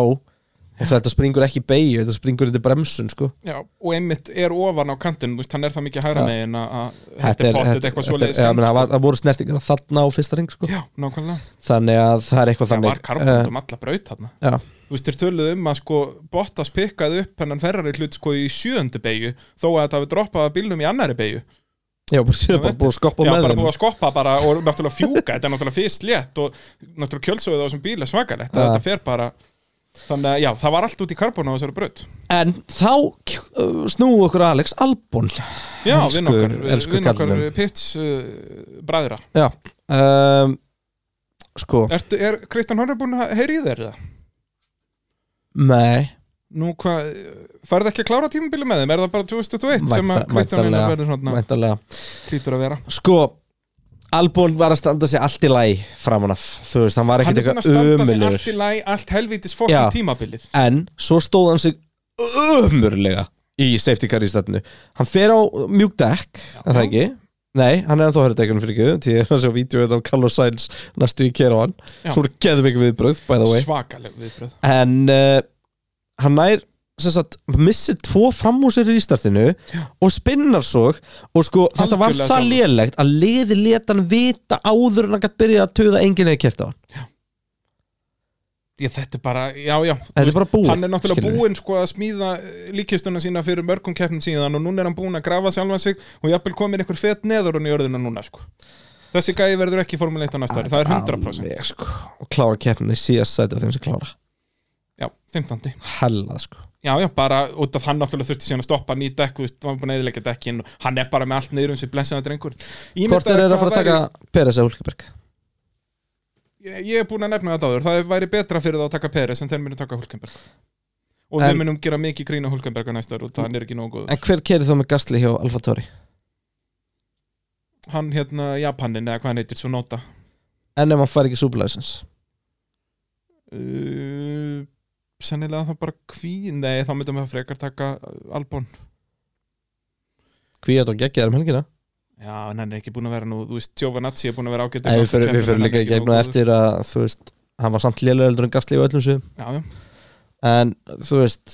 A: og þetta springur ekki í beigju, þetta springur undir bremsun sko.
B: Já, og einmitt er ofan á kantinn, þú veist, hann er það mikið hæra
A: Já.
B: megin að að- þetta er pottið eitthvað svo leiðis
A: Já, menn, það var- það voru snertingar þarna á fyrsta ring sko.
B: Já, nákvæmlega
A: Þannig að það er eitthvað
B: Það
A: þannig
B: var karbon um alla braut þarna
A: uh, já.
B: þú veist, þeir töluðu um að sko Bottas pikkaði upp hennan ferrari hlut sko í sjööndu beigju þó að þetta hafi droppað að bílnum í annari beigju
A: Já, bara, síðan bara búið að skoppa
B: Já,
A: með
B: bara
A: þeim
B: búið að skoppa bara og náttúrulega fjúka þetta er náttúrulega fyrst létt og náttúrulega kjölsöðu á þessum bíl er svakalegt
A: Ja.
B: þetta fer bara þannig að já, það var allt út í karbon á þessari braut
A: En þá uh, snúu okkur að Alex Albon
B: já,
A: Elsku-
B: vinn okkar, eh,
A: elsku
B: vinn okkar
A: kallinum.
B: pits uh, bræðra
A: Já um, Sko,
B: Ertu, er Kristján Horner búin að heyri þér það?
A: nei
B: Nú hvað, farið ekki að klára tímabili með þeim? Er það bara 2021 sem að
A: Vænta-
B: Kristján Horner verður svona
A: væntanlega.
B: klítur að vera?
A: Sko, Albon var að standa sig allt í læg framan af Þú veist, hann var
B: Hann
A: ekkert
B: er búin að
A: eitthvað
B: standa sig allt
A: ömurlegur
B: í læg, allt helvítis
A: Já.
B: fokkin tímabilið
A: En svo stóð hann sig ömurlega í safety car í stættinu Hann fer á mjúk dekk, er það ekki? Nei, hann er ennþá hörðdekkunum fyrir ekki Því ég er að sjá vídeo þetta á Carlos Sainz næstu í kera á hann
B: Já.
A: Svo voru geðum ekki viðbröð, by the way
B: Svakaleg viðbröð
A: en uh, hann nær sem sagt, missir tvo fram úr sér í startinu og spinnar svo og sko þetta var
B: Algjörlega
A: það
B: sjálfur.
A: lélegt að liði leta hann vita áður en hann gætt byrja að töða enginn eða kæft á hann
B: Já, þetta er bara, já, já
A: Þetta er bara búið,
B: Hann er náttúrulega
A: skilurðu.
B: búinn sko að smíða eh, líkistuna sína fyrir mörgum keppnum síðan og núna er hann búinn að grafa sjálfan sig og jafnvel komin einhver fet neður hann í örðina núna sko Þessi gæi verður ekki formuleitt á næsta ári, það er 100%
A: Alveg, sko, og klára keppni síðast sæti af þeim sem klára
B: Já, 15.
A: hellað sko
B: Já, já, bara út af hann náttúrulega þurfti síðan að stoppa ný dekk, þú veist, hann var búinn að eðilegja dekkin og hann er bara með allt niður um sér blessaða drengur Ímyndaðu
A: hvort er að
B: hvað
A: fara að taka
B: væri-
A: Peres eða Hulkeberg
B: Ég, ég er búinn að nefna þetta áður, það væri betra fyrir það að taka Peres en þeir munum taka Hulkenberg Og
A: En-
B: við munum gera mikið grína Hulkenberg á næsta ári og hann er ekki nógu góð
A: en hver kerir þá með Gastli hjá Alfa Tauri
B: hann hérna Japanin eða hvað hann heitir Sonota
A: en ef hann fær ekki Superlicense
B: uh, sennilega þá bara kví nei þá myndum við að frekar taka uh, Albon
A: hví að það geggja þær um helgina
B: já en hann er ekki búin að vera nú þú veist Giovanazzi er búin að vera ágætt
A: Nei, við förum- við förum líka í gegnum það eftir að þú veist hann var samt lélega eldur en Gastli og öllum sviðum
B: já já
A: en þú veist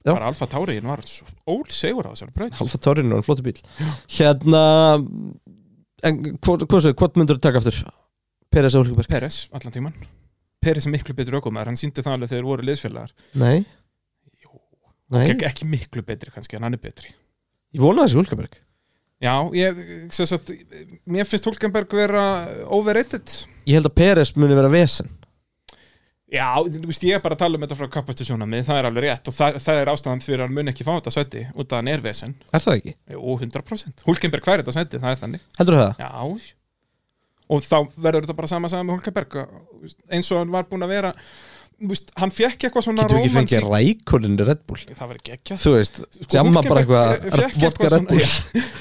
A: Já.
B: bara Alfa Tauri hann var svo ól segur á þessari braut
A: Alfa Taurinu er flottu bíl hérna en hvort, hvort, hvort myndur þú taka aftur? Peres eða Hulkeberg?
B: Peres allan tíman Peres er miklu betur ökumæður hann síndi það alveg þegar þeir voru liðsfélagar
A: Nei
B: Jú.
A: Nei,
B: Ek, ekki miklu betri kannski en hann er betri
A: ég vona þessi Hulkeberg
B: já ég sem sagt mér finnst Hulkenberg vera overrated
A: ég held að Peres muni vera vesen
B: Já, þú veist, ég er bara að tala um þetta frá kapastusjónamið, það er alveg rétt og það, það er ástæðan fyrir að hann mun ekki fá þetta sæti út af hann er vesen,
A: er það ekki?
B: jú, 100% Hulkenberg hver er þetta sæti, það er þannig
A: heldur það?
B: Já, og þá verður þetta bara sama saman með Hulkenberg þú veist, eins og hann var búinn að vera þú veist, hann fekk eitthvað svona
A: getur ekki
B: rómantík-
A: fengið rækoninu Red Bull
B: Það verður geggjað
A: þú veist, jamma Sko, bara eitthvað vodka Red Bull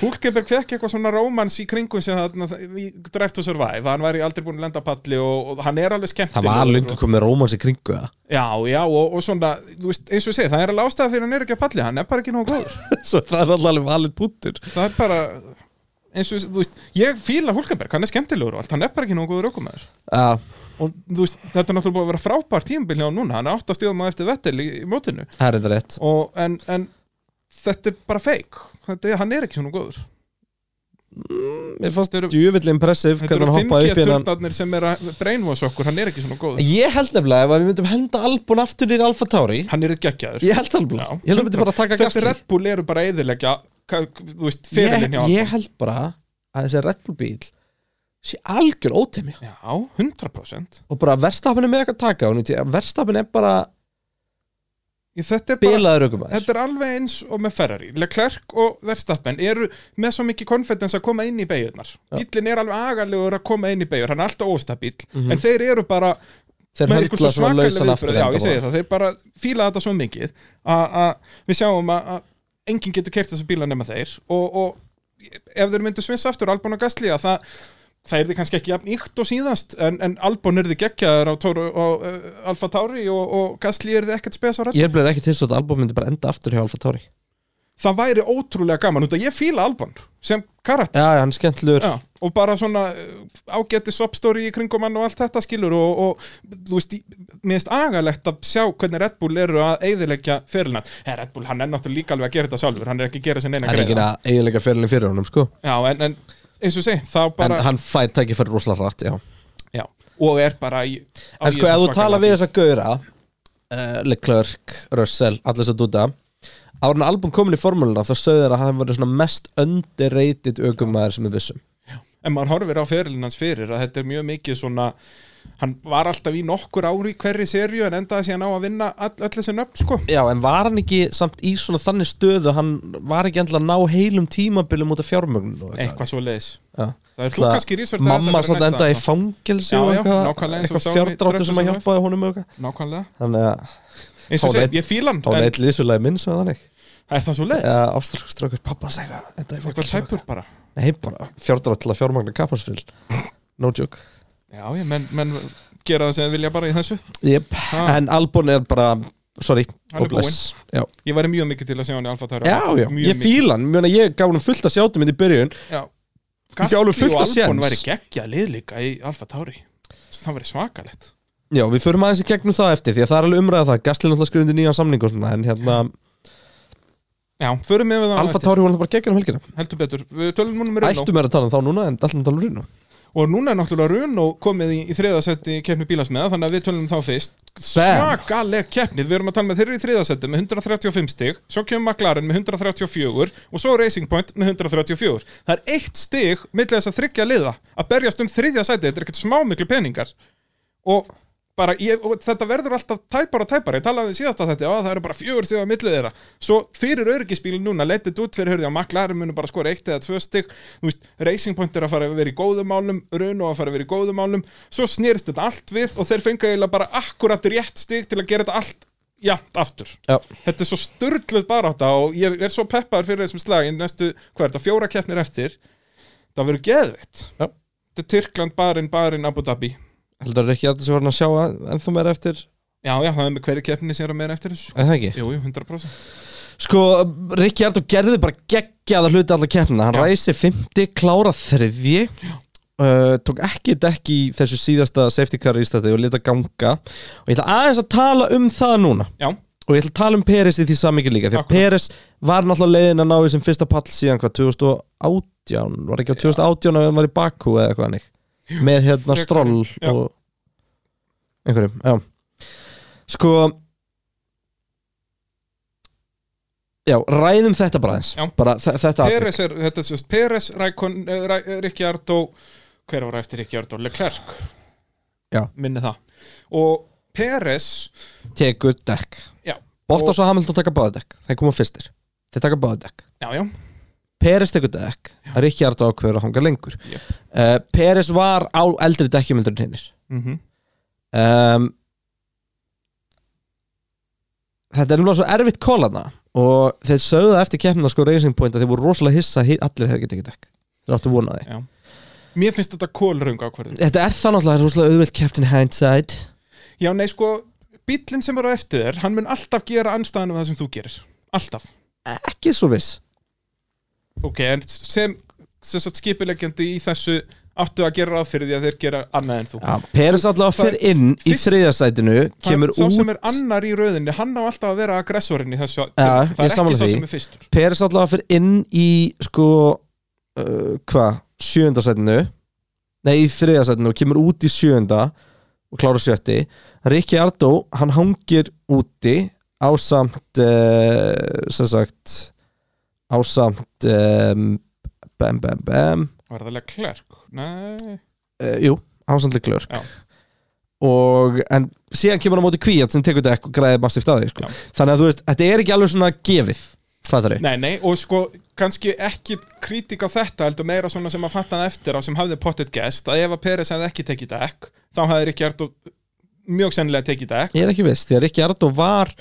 B: Hulkenberg fekk eitthvað svona rómans í kringum sem þarna, í Drive to Survive, hann væri aldrei búinn að lenda á palli og, og hann er alveg skemmt
A: það var lengur komið rómans í kringu það
B: Já, já, og, og svona, þú veist, eins og ég segi, það er alveg ástæða fyrir hann er ekki að palli, hann er bara ekki nógu góður.
A: svo það er allavega valið pútur
B: Það er bara, eins og, þú veist, ég fíla Hulkenberg, hann er skemmtilegur og allt, hann er bara ekki nógu góður ökumæður.
A: Já,
B: Og þú veist, þetta er náttúrulega búið að vera frábær tímabil hjá honum núna, hann er átt að stíða maður eftir Vettel í, í mótinu.
A: það er þetta rétt
B: Og, en, en þetta er bara feik, þetta er, hann er ekki svona góður.
A: mér fannst
B: Þetta eru-
A: djúvill impressive
B: Þetta
A: hvernig
B: eru
A: hann hoppaði upp hérna. í hennan
B: 5G-turtarnir sem er að brainwash okkur, hann er ekki svona góður.
A: Ég held nefnilega ef að við myndum henda Albon aftur í Alfa Tauri
B: Hann er geggjaður.
A: Ég held alveg
B: Já.
A: Ég held að myndi bara taka
B: Þetta
A: gastur
B: Red Bull eru bara að eyðileggja, ka- þú veist,
A: ég,
B: fyrirlin hjá
A: ég held bara að þessi Red Bull bíl sé algjör ótemja
B: Já, 100%.
A: og bara verstafin er með eitthvað að taka hún verstafin er bara
B: Ég, þetta er bara
A: bilaður aukum
B: Þetta er alveg eins og með Ferrari Leclerc og Verstappen eru með svo mikið konfidens að koma inn í beigurnar Bíllinn er alveg agalegur að koma inn í beigur hann er alltaf óstabíl,
A: Mhm.
B: en þeir eru bara
A: þeir
B: með
A: höndla
B: eitthvað
A: svona
B: svakaleg
A: lausan aftur
B: viðbröð Já, ég
A: enda
B: segi
A: bara.
B: það, þeir bara fíla þetta svo mikið að að við sjáum að, að enginn getur kert þessa bíla nema þeir og, og ef þeir myndu svinsa aftur Albon og Gastli að það það er þið kannski ekki jafn ykt og síðast en, en Albon er þið geggjaður á, Tóru, á uh, Alfa Tauri og, og Gastli er þið ekkert spes á rætt
A: Ég er bleið ekki til svo að Albon myndi bara enda aftur hjá Alfa Tauri
B: það væri ótrúlega gaman út að ég fíla Albon sem karakter
A: Já, já, hann er skemmtlur
B: Já, og bara svona ágætti soppstóri í kringum hann og allt þetta skilur og, og þú veist, ég- mér finnst agalegt að sjá hvernig Red Bull eru að eyðileggja fyrirlega, hey, Red Bull hann er náttúrulega líka alveg að gera þetta sjálfur, hann er ekki að gera sér neina
A: Það er ekki
B: greiða.
A: að eiginlega fyrirlin fyrir honum sko
B: Já, en, en eins og segi, þá bara
A: En hann fær tækifæri rosalega rætt, já
B: já, og er bara í á
A: En
B: í
A: sko, ef þú
B: þessum svakalega
A: tala við
B: bíl.
A: eh, þess að gauðra uh, Leclerc, Russell, allir þess að dúta Árun album komin í formúluna þá sögðu þeir að hann verið svona mest underrated aukumæður sem við vissum
B: en maður horfir á ferilinn hans fyrir að þetta er mjög mikið svona hann var alltaf í nokkur ári í hverri serju en endaði síðan á að vinna all, öll þessi nöfn sko
A: Já, en var hann ekki samt í svona þannig stöðu hann var ekki endilega að ná heilum tímabilum út af fjármögn og eitthvað.
B: eitthvað svo leiðis
A: Já.
B: það er þú
A: Ætla-
B: kannski research
A: Mamma satt enda í fangelsi og
B: Já, já,
A: eitthvað,
B: nákvæmlega eins og
A: eitthvað
B: sáum í
A: fjárdráttur sem að
B: Draugasögunni.
A: hjálpaði honum og eitthvað.
B: nákvæmlega
A: Þannig að
B: eins og
A: Tón
B: segir,
A: einn-
B: ég fíla hann
A: þá er
B: en
A: eitt lýsulega minn sem þannig
B: er það svo leiðis?
A: eða áströkkur pappa segja enda í
B: eitthvað
A: fangelsi og
B: tæpur bara
A: eitthvað. Nei, bara fjárdrátt til að fjármagna kapparsfyl No joke
B: já, já, menn, menn gera það sem þið vilja bara í þessu
A: Jep,
B: Ha.
A: en Albon er bara Sorry,
B: Hann er
A: og bless. Já,
B: ég væri mjög mikið til að sjá hann í Alfa Tæra
A: já, já. ég fíla hann Ég meina, Ég gaf hann fullt að sjátum inn í byrjun
B: Gasti
A: alveg
B: og
A: fullt af
B: Albon
A: séns.
B: væri geggja lið líka í Alfa Tauri það væri svakalett
A: Já, við förum aðeins í gegnum það eftir Því að það er alveg umræða það Gastlinn alltaf skrifundi nýjan samning og svona En hérna,
B: já, förum við með það á
A: Alfa
B: eftir.
A: Tauri var alltaf bara geggjur um helgina
B: heldur betur, við tölum núna með Renault
A: Ættum er að tala um þá núna, en alltaf tala um Rino
B: og núna er náttúrulega Renault komið í, í þriðasetti keppni bílasmiða, þannig að við tölum þá fyrst
A: Bam.
B: svakaleg keppnið, við erum að tala með þeirri í þriðasetti með 135 stig, svo kemur McLaren með 134 og svo Racing Point með 134, það er eitt stig millir þess að þryggja liða, að berjast um þriðja sæti, þetta er ekkert smá miklu peningar og bara, ég, og þetta verður alltaf tæpar og tæpar, ég talaði um síðast að þetta að það eru bara fjögur þegar að millið þeirra svo fyrir öryggisbílin núna, leitt þetta út fyrir hörði að maklarinn munu bara skora eitt eða tvö stygg þú veist, Racing Point er að fara að vera í góðum málum Runo að fara að vera í góðum málum svo snýrst þetta allt við og þeir fengu eiginlega bara akkurat rétt stygg til að gera þetta allt jafnt aftur
A: Já,
B: þetta er svo störluð baráta og ég er svo peppaður fyrir þessum slagin næstu, hvað er þetta, fjóra keppnir eftir það verður geðvitt
A: Já.
B: þetta er Tyrkland, Barin, Barin, Abu Dhabi
A: heldur ekki að þessu var hann að sjá að- ennþá meira eftir
B: Já, já, það er með hverju keppni sem er að meira eftir þessu
A: En það ekki
B: Jú, jú, 100%
A: Sko, Rikki Ardó gerði bara geggjaða hluti allar keppna Hann
B: Já.
A: ræsi 50, klára þriðji uh, Tók ekki dekk í þessu síðasta safety car í stætti og lita ganga Og ég ætla aðeins að tala um það núna
B: Já,
A: Og ég ætla að tala um Peres í því samingi líka Því að
B: Akkurat.
A: Peres var náttúrulega leiðin að ná í sem fyrsta pall síðan hvað 2018 Var ekki á 2018 að hann var í Baku eða eitthvað hannig Með hérna
B: frekar.
A: stroll
B: Já.
A: og einhverjum, já Sko Já, ræðum þetta bara eins
B: Já.
A: bara, þe- Þetta atvik.
B: Peres er, þetta er sérst Peres, Rækon, eh, Ríkjardó Hver var eftir Ríkjardó? Leclerc
A: Já.
B: Minni það Og Peres
A: tekur dekk
B: Já,
A: Bottas og Hamilton taka báðdekk, þeir koma fyrstir Þeir taka báðdekk
B: já, já,
A: Peres tekur dekk, Ríkjard ákveður að hanga lengur
B: Jep.
A: uh, Peres var á eldri dekkjumildurinn hinnir
B: mm
A: um, Þetta er umlega svo erfitt kólana og þeir sögðu það eftir keppna sko Racing Point að þeir voru rosalega hissa að hi- allir hefði getið ekki dekk þeir áttu vonaði
B: já Mér finnst þetta kólrung ákvörðin
A: Þetta er það náttúrulega það er rosalega auðvöld kepptin hindsight
B: Já, nei, sko, bíllinn sem er á eftir þér Hann mun alltaf gera anstæðan af það sem þú gerir Alltaf
A: ekki svo viss
B: Ok, en sem, sem sagt, skipilegjandi í þessu Áttu að gera ráð fyrir því að þeir gera annað en þú
A: ja, Peres allavega
B: Það er
A: fyrir inn í
B: fyrst-
A: þriðasætinu
B: Það-
A: kemur
B: sá sem
A: út
B: er annar í rauðinni, hann á alltaf að vera aggressorinn í þessu
A: Já,
B: það
A: ég
B: er ekki
A: sammála
B: sá
A: því.
B: sem er fyrstur
A: Peres allavega fyrir inn í sko uh, hvað, sjöundasætinu nei í þriðasætinu og kemur út í sjöunda og klára sjötti Rikki Ardó, hann hangir úti ásamt uh, sem sagt ásamt um, bam bam bam
B: var það alveg klerk Nei.
A: uh, jú, ásamt leiklur
B: Já.
A: og en síðan kemur hann á móti kvíat sem tekur þetta og græði massíft að því sko.
B: Já.
A: þannig að þú veist, þetta er ekki alveg svona gefið fattar þau?
B: nei, nei, og sko kannski ekki kritik á þetta heldur meira svona sem að fatta það eftir á sem hafði pottet gest að ef að Peres hefði ekki tekið dekk þá hefði ekki hægt mjög sennilega tekið dekk
A: Ég er ekki viss, því að Rikki Ardó var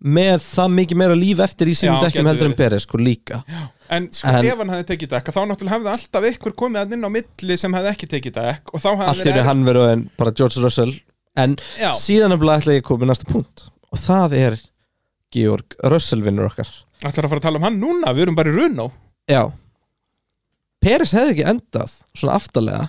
A: með það mikið meira líf eftir í sínum
B: Já,
A: dekkjum
B: gæti
A: heldur en
B: verið.
A: Beres sko líka
B: en sko
A: En-
B: ef hann hefði tekið dekk þá náttúrulega hefði alltaf ykkur komið að inn á milli sem hefði ekki tekið dekk og þá
A: Allt
B: hefði
A: er hann verið en bara George Russell en
B: Já.
A: síðan er bara ætla ég að koma í næsta punkt og það er Georg Russell vinnur okkar
B: Ætlar að fara að tala um hann núna, við erum bara í run
A: Já Peres hefði ekki endað svona aftarlega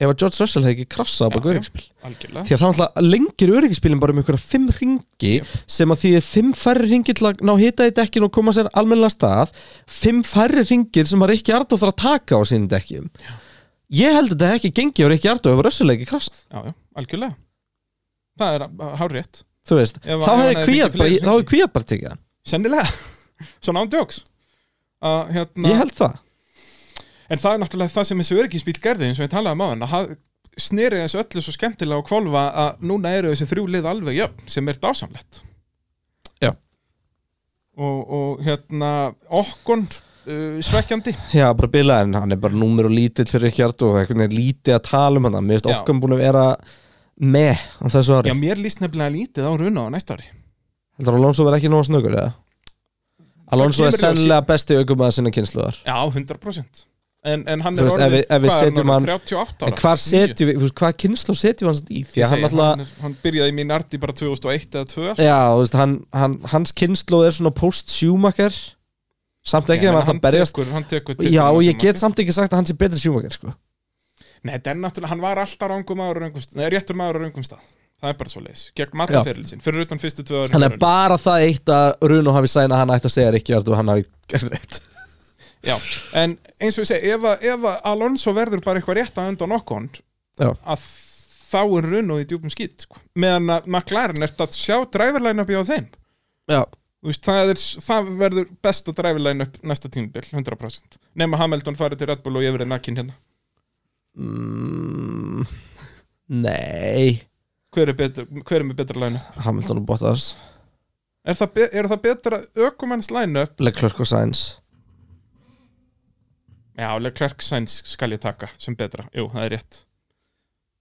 A: ef að George Russell hefði ekki krassað á baka öryggisbíl
B: algjörlega
A: því að það náttúrulega lengir öryggisbílinn bara um ykkur fimm ringi sem að því er fimm færri ringir til að ná hita í dekkin og koma sér almennilega af stað fimm færri ringir sem að Rikki Ardó þarf að taka á sínum dekkjum ég held að þetta hefði ekki gengið á Rikki Ardó ef rössuleiki krassað
B: Já, já, algjörlega Það er hár rétt
A: þú veist,
B: Ef-
A: þá
B: ef hann
A: hefði
B: hefði
A: kvíat bara,
B: fengið fleiri
A: þá hefði
B: hringi.
A: kvíat bara tekið hann
B: Sennilega svona ándjóks uh, hérna,
A: Ég held það
B: en það er náttúrulega það sem þessi öryggisbíl gerði eins og ég talaði um á hann að hann sneri þessu öllu svo skemmtilega og kvolfa að núna eru þessi þrjú lið alveg jöfn sem er dásamlegt
A: Já.
B: og, og hérna okkon uh, svekkjandi
A: Já, bara bilað en hann er bara númer og lítill fyrir Richard og eitthvað lítið að tala um hann Mér finnst
B: Já.
A: okkur búin að vera með á þessu ári
B: Já, mér líst nefnilega lítið á runa á næsta ári
A: Heldur að Alonso verði ekki nóg snöggur eða? Alonso
B: kemur
A: er
B: í ljós.
A: sennilega besti aukumæða sinna kynsluðar
B: Já, 100% En, en hann
A: Þú
B: er
A: veist,
B: orðið,
A: ef við- ef við
B: hvað er
A: setjum
B: hann
A: hann-
B: orðið, 38 ára?
A: En hvar setjum við, þú veist, hvað kynslu setjum við hans í? Því að
B: hann,
A: hann alltaf,
B: er, hann byrjaði í mín arti bara 2001 eða 2002 sko.
A: já, þú veist, hann, hann, hans kynslu er svona post-sjúmakar Samt
B: Ég
A: ekki, hann
B: meina,
A: var alltaf berjast
B: tekur, hann tekur til
A: Já,
B: þennan
A: og ég
B: sem
A: get
B: hann-
A: samt ekki sagt að hann sé betri sjúmakar, sko
B: Nei, þetta er náttúrulega, hann var alltaf rangum maður á röngum stað Nei, réttur maður á röngum stað Það er bara svo leis, gegn mataferilsinn Fyrir utan fyrstu tvö ári
A: Hann er bara það eitt að Runo hafi sæna hann ætti að segja Ríkjard og hann hafi gerði eitt
B: Já, en eins og ég segi Ef, að- ef að Alonso verður bara eitthvað rétt að undan okkur
A: Já.
B: Að þá er runað í djúpum skýt sko. Meðan að McLaren ert að sjá driverlæna býja á þeim
A: Já,
B: Þú veist, það, er, það verður besta dræfilegin upp næsta tímabil, 100% nema Hamilton farið til Red Bull og ég verið nakkin hérna
A: nei
B: hver er, betur, hver er með betra line up?
A: Hamilton og Bottas
B: Er það, be- er það betra ökumanns line up?
A: Leclerc og Sainz
B: Já, Leclerc Sainz skal ég taka sem betra, jú, það er rétt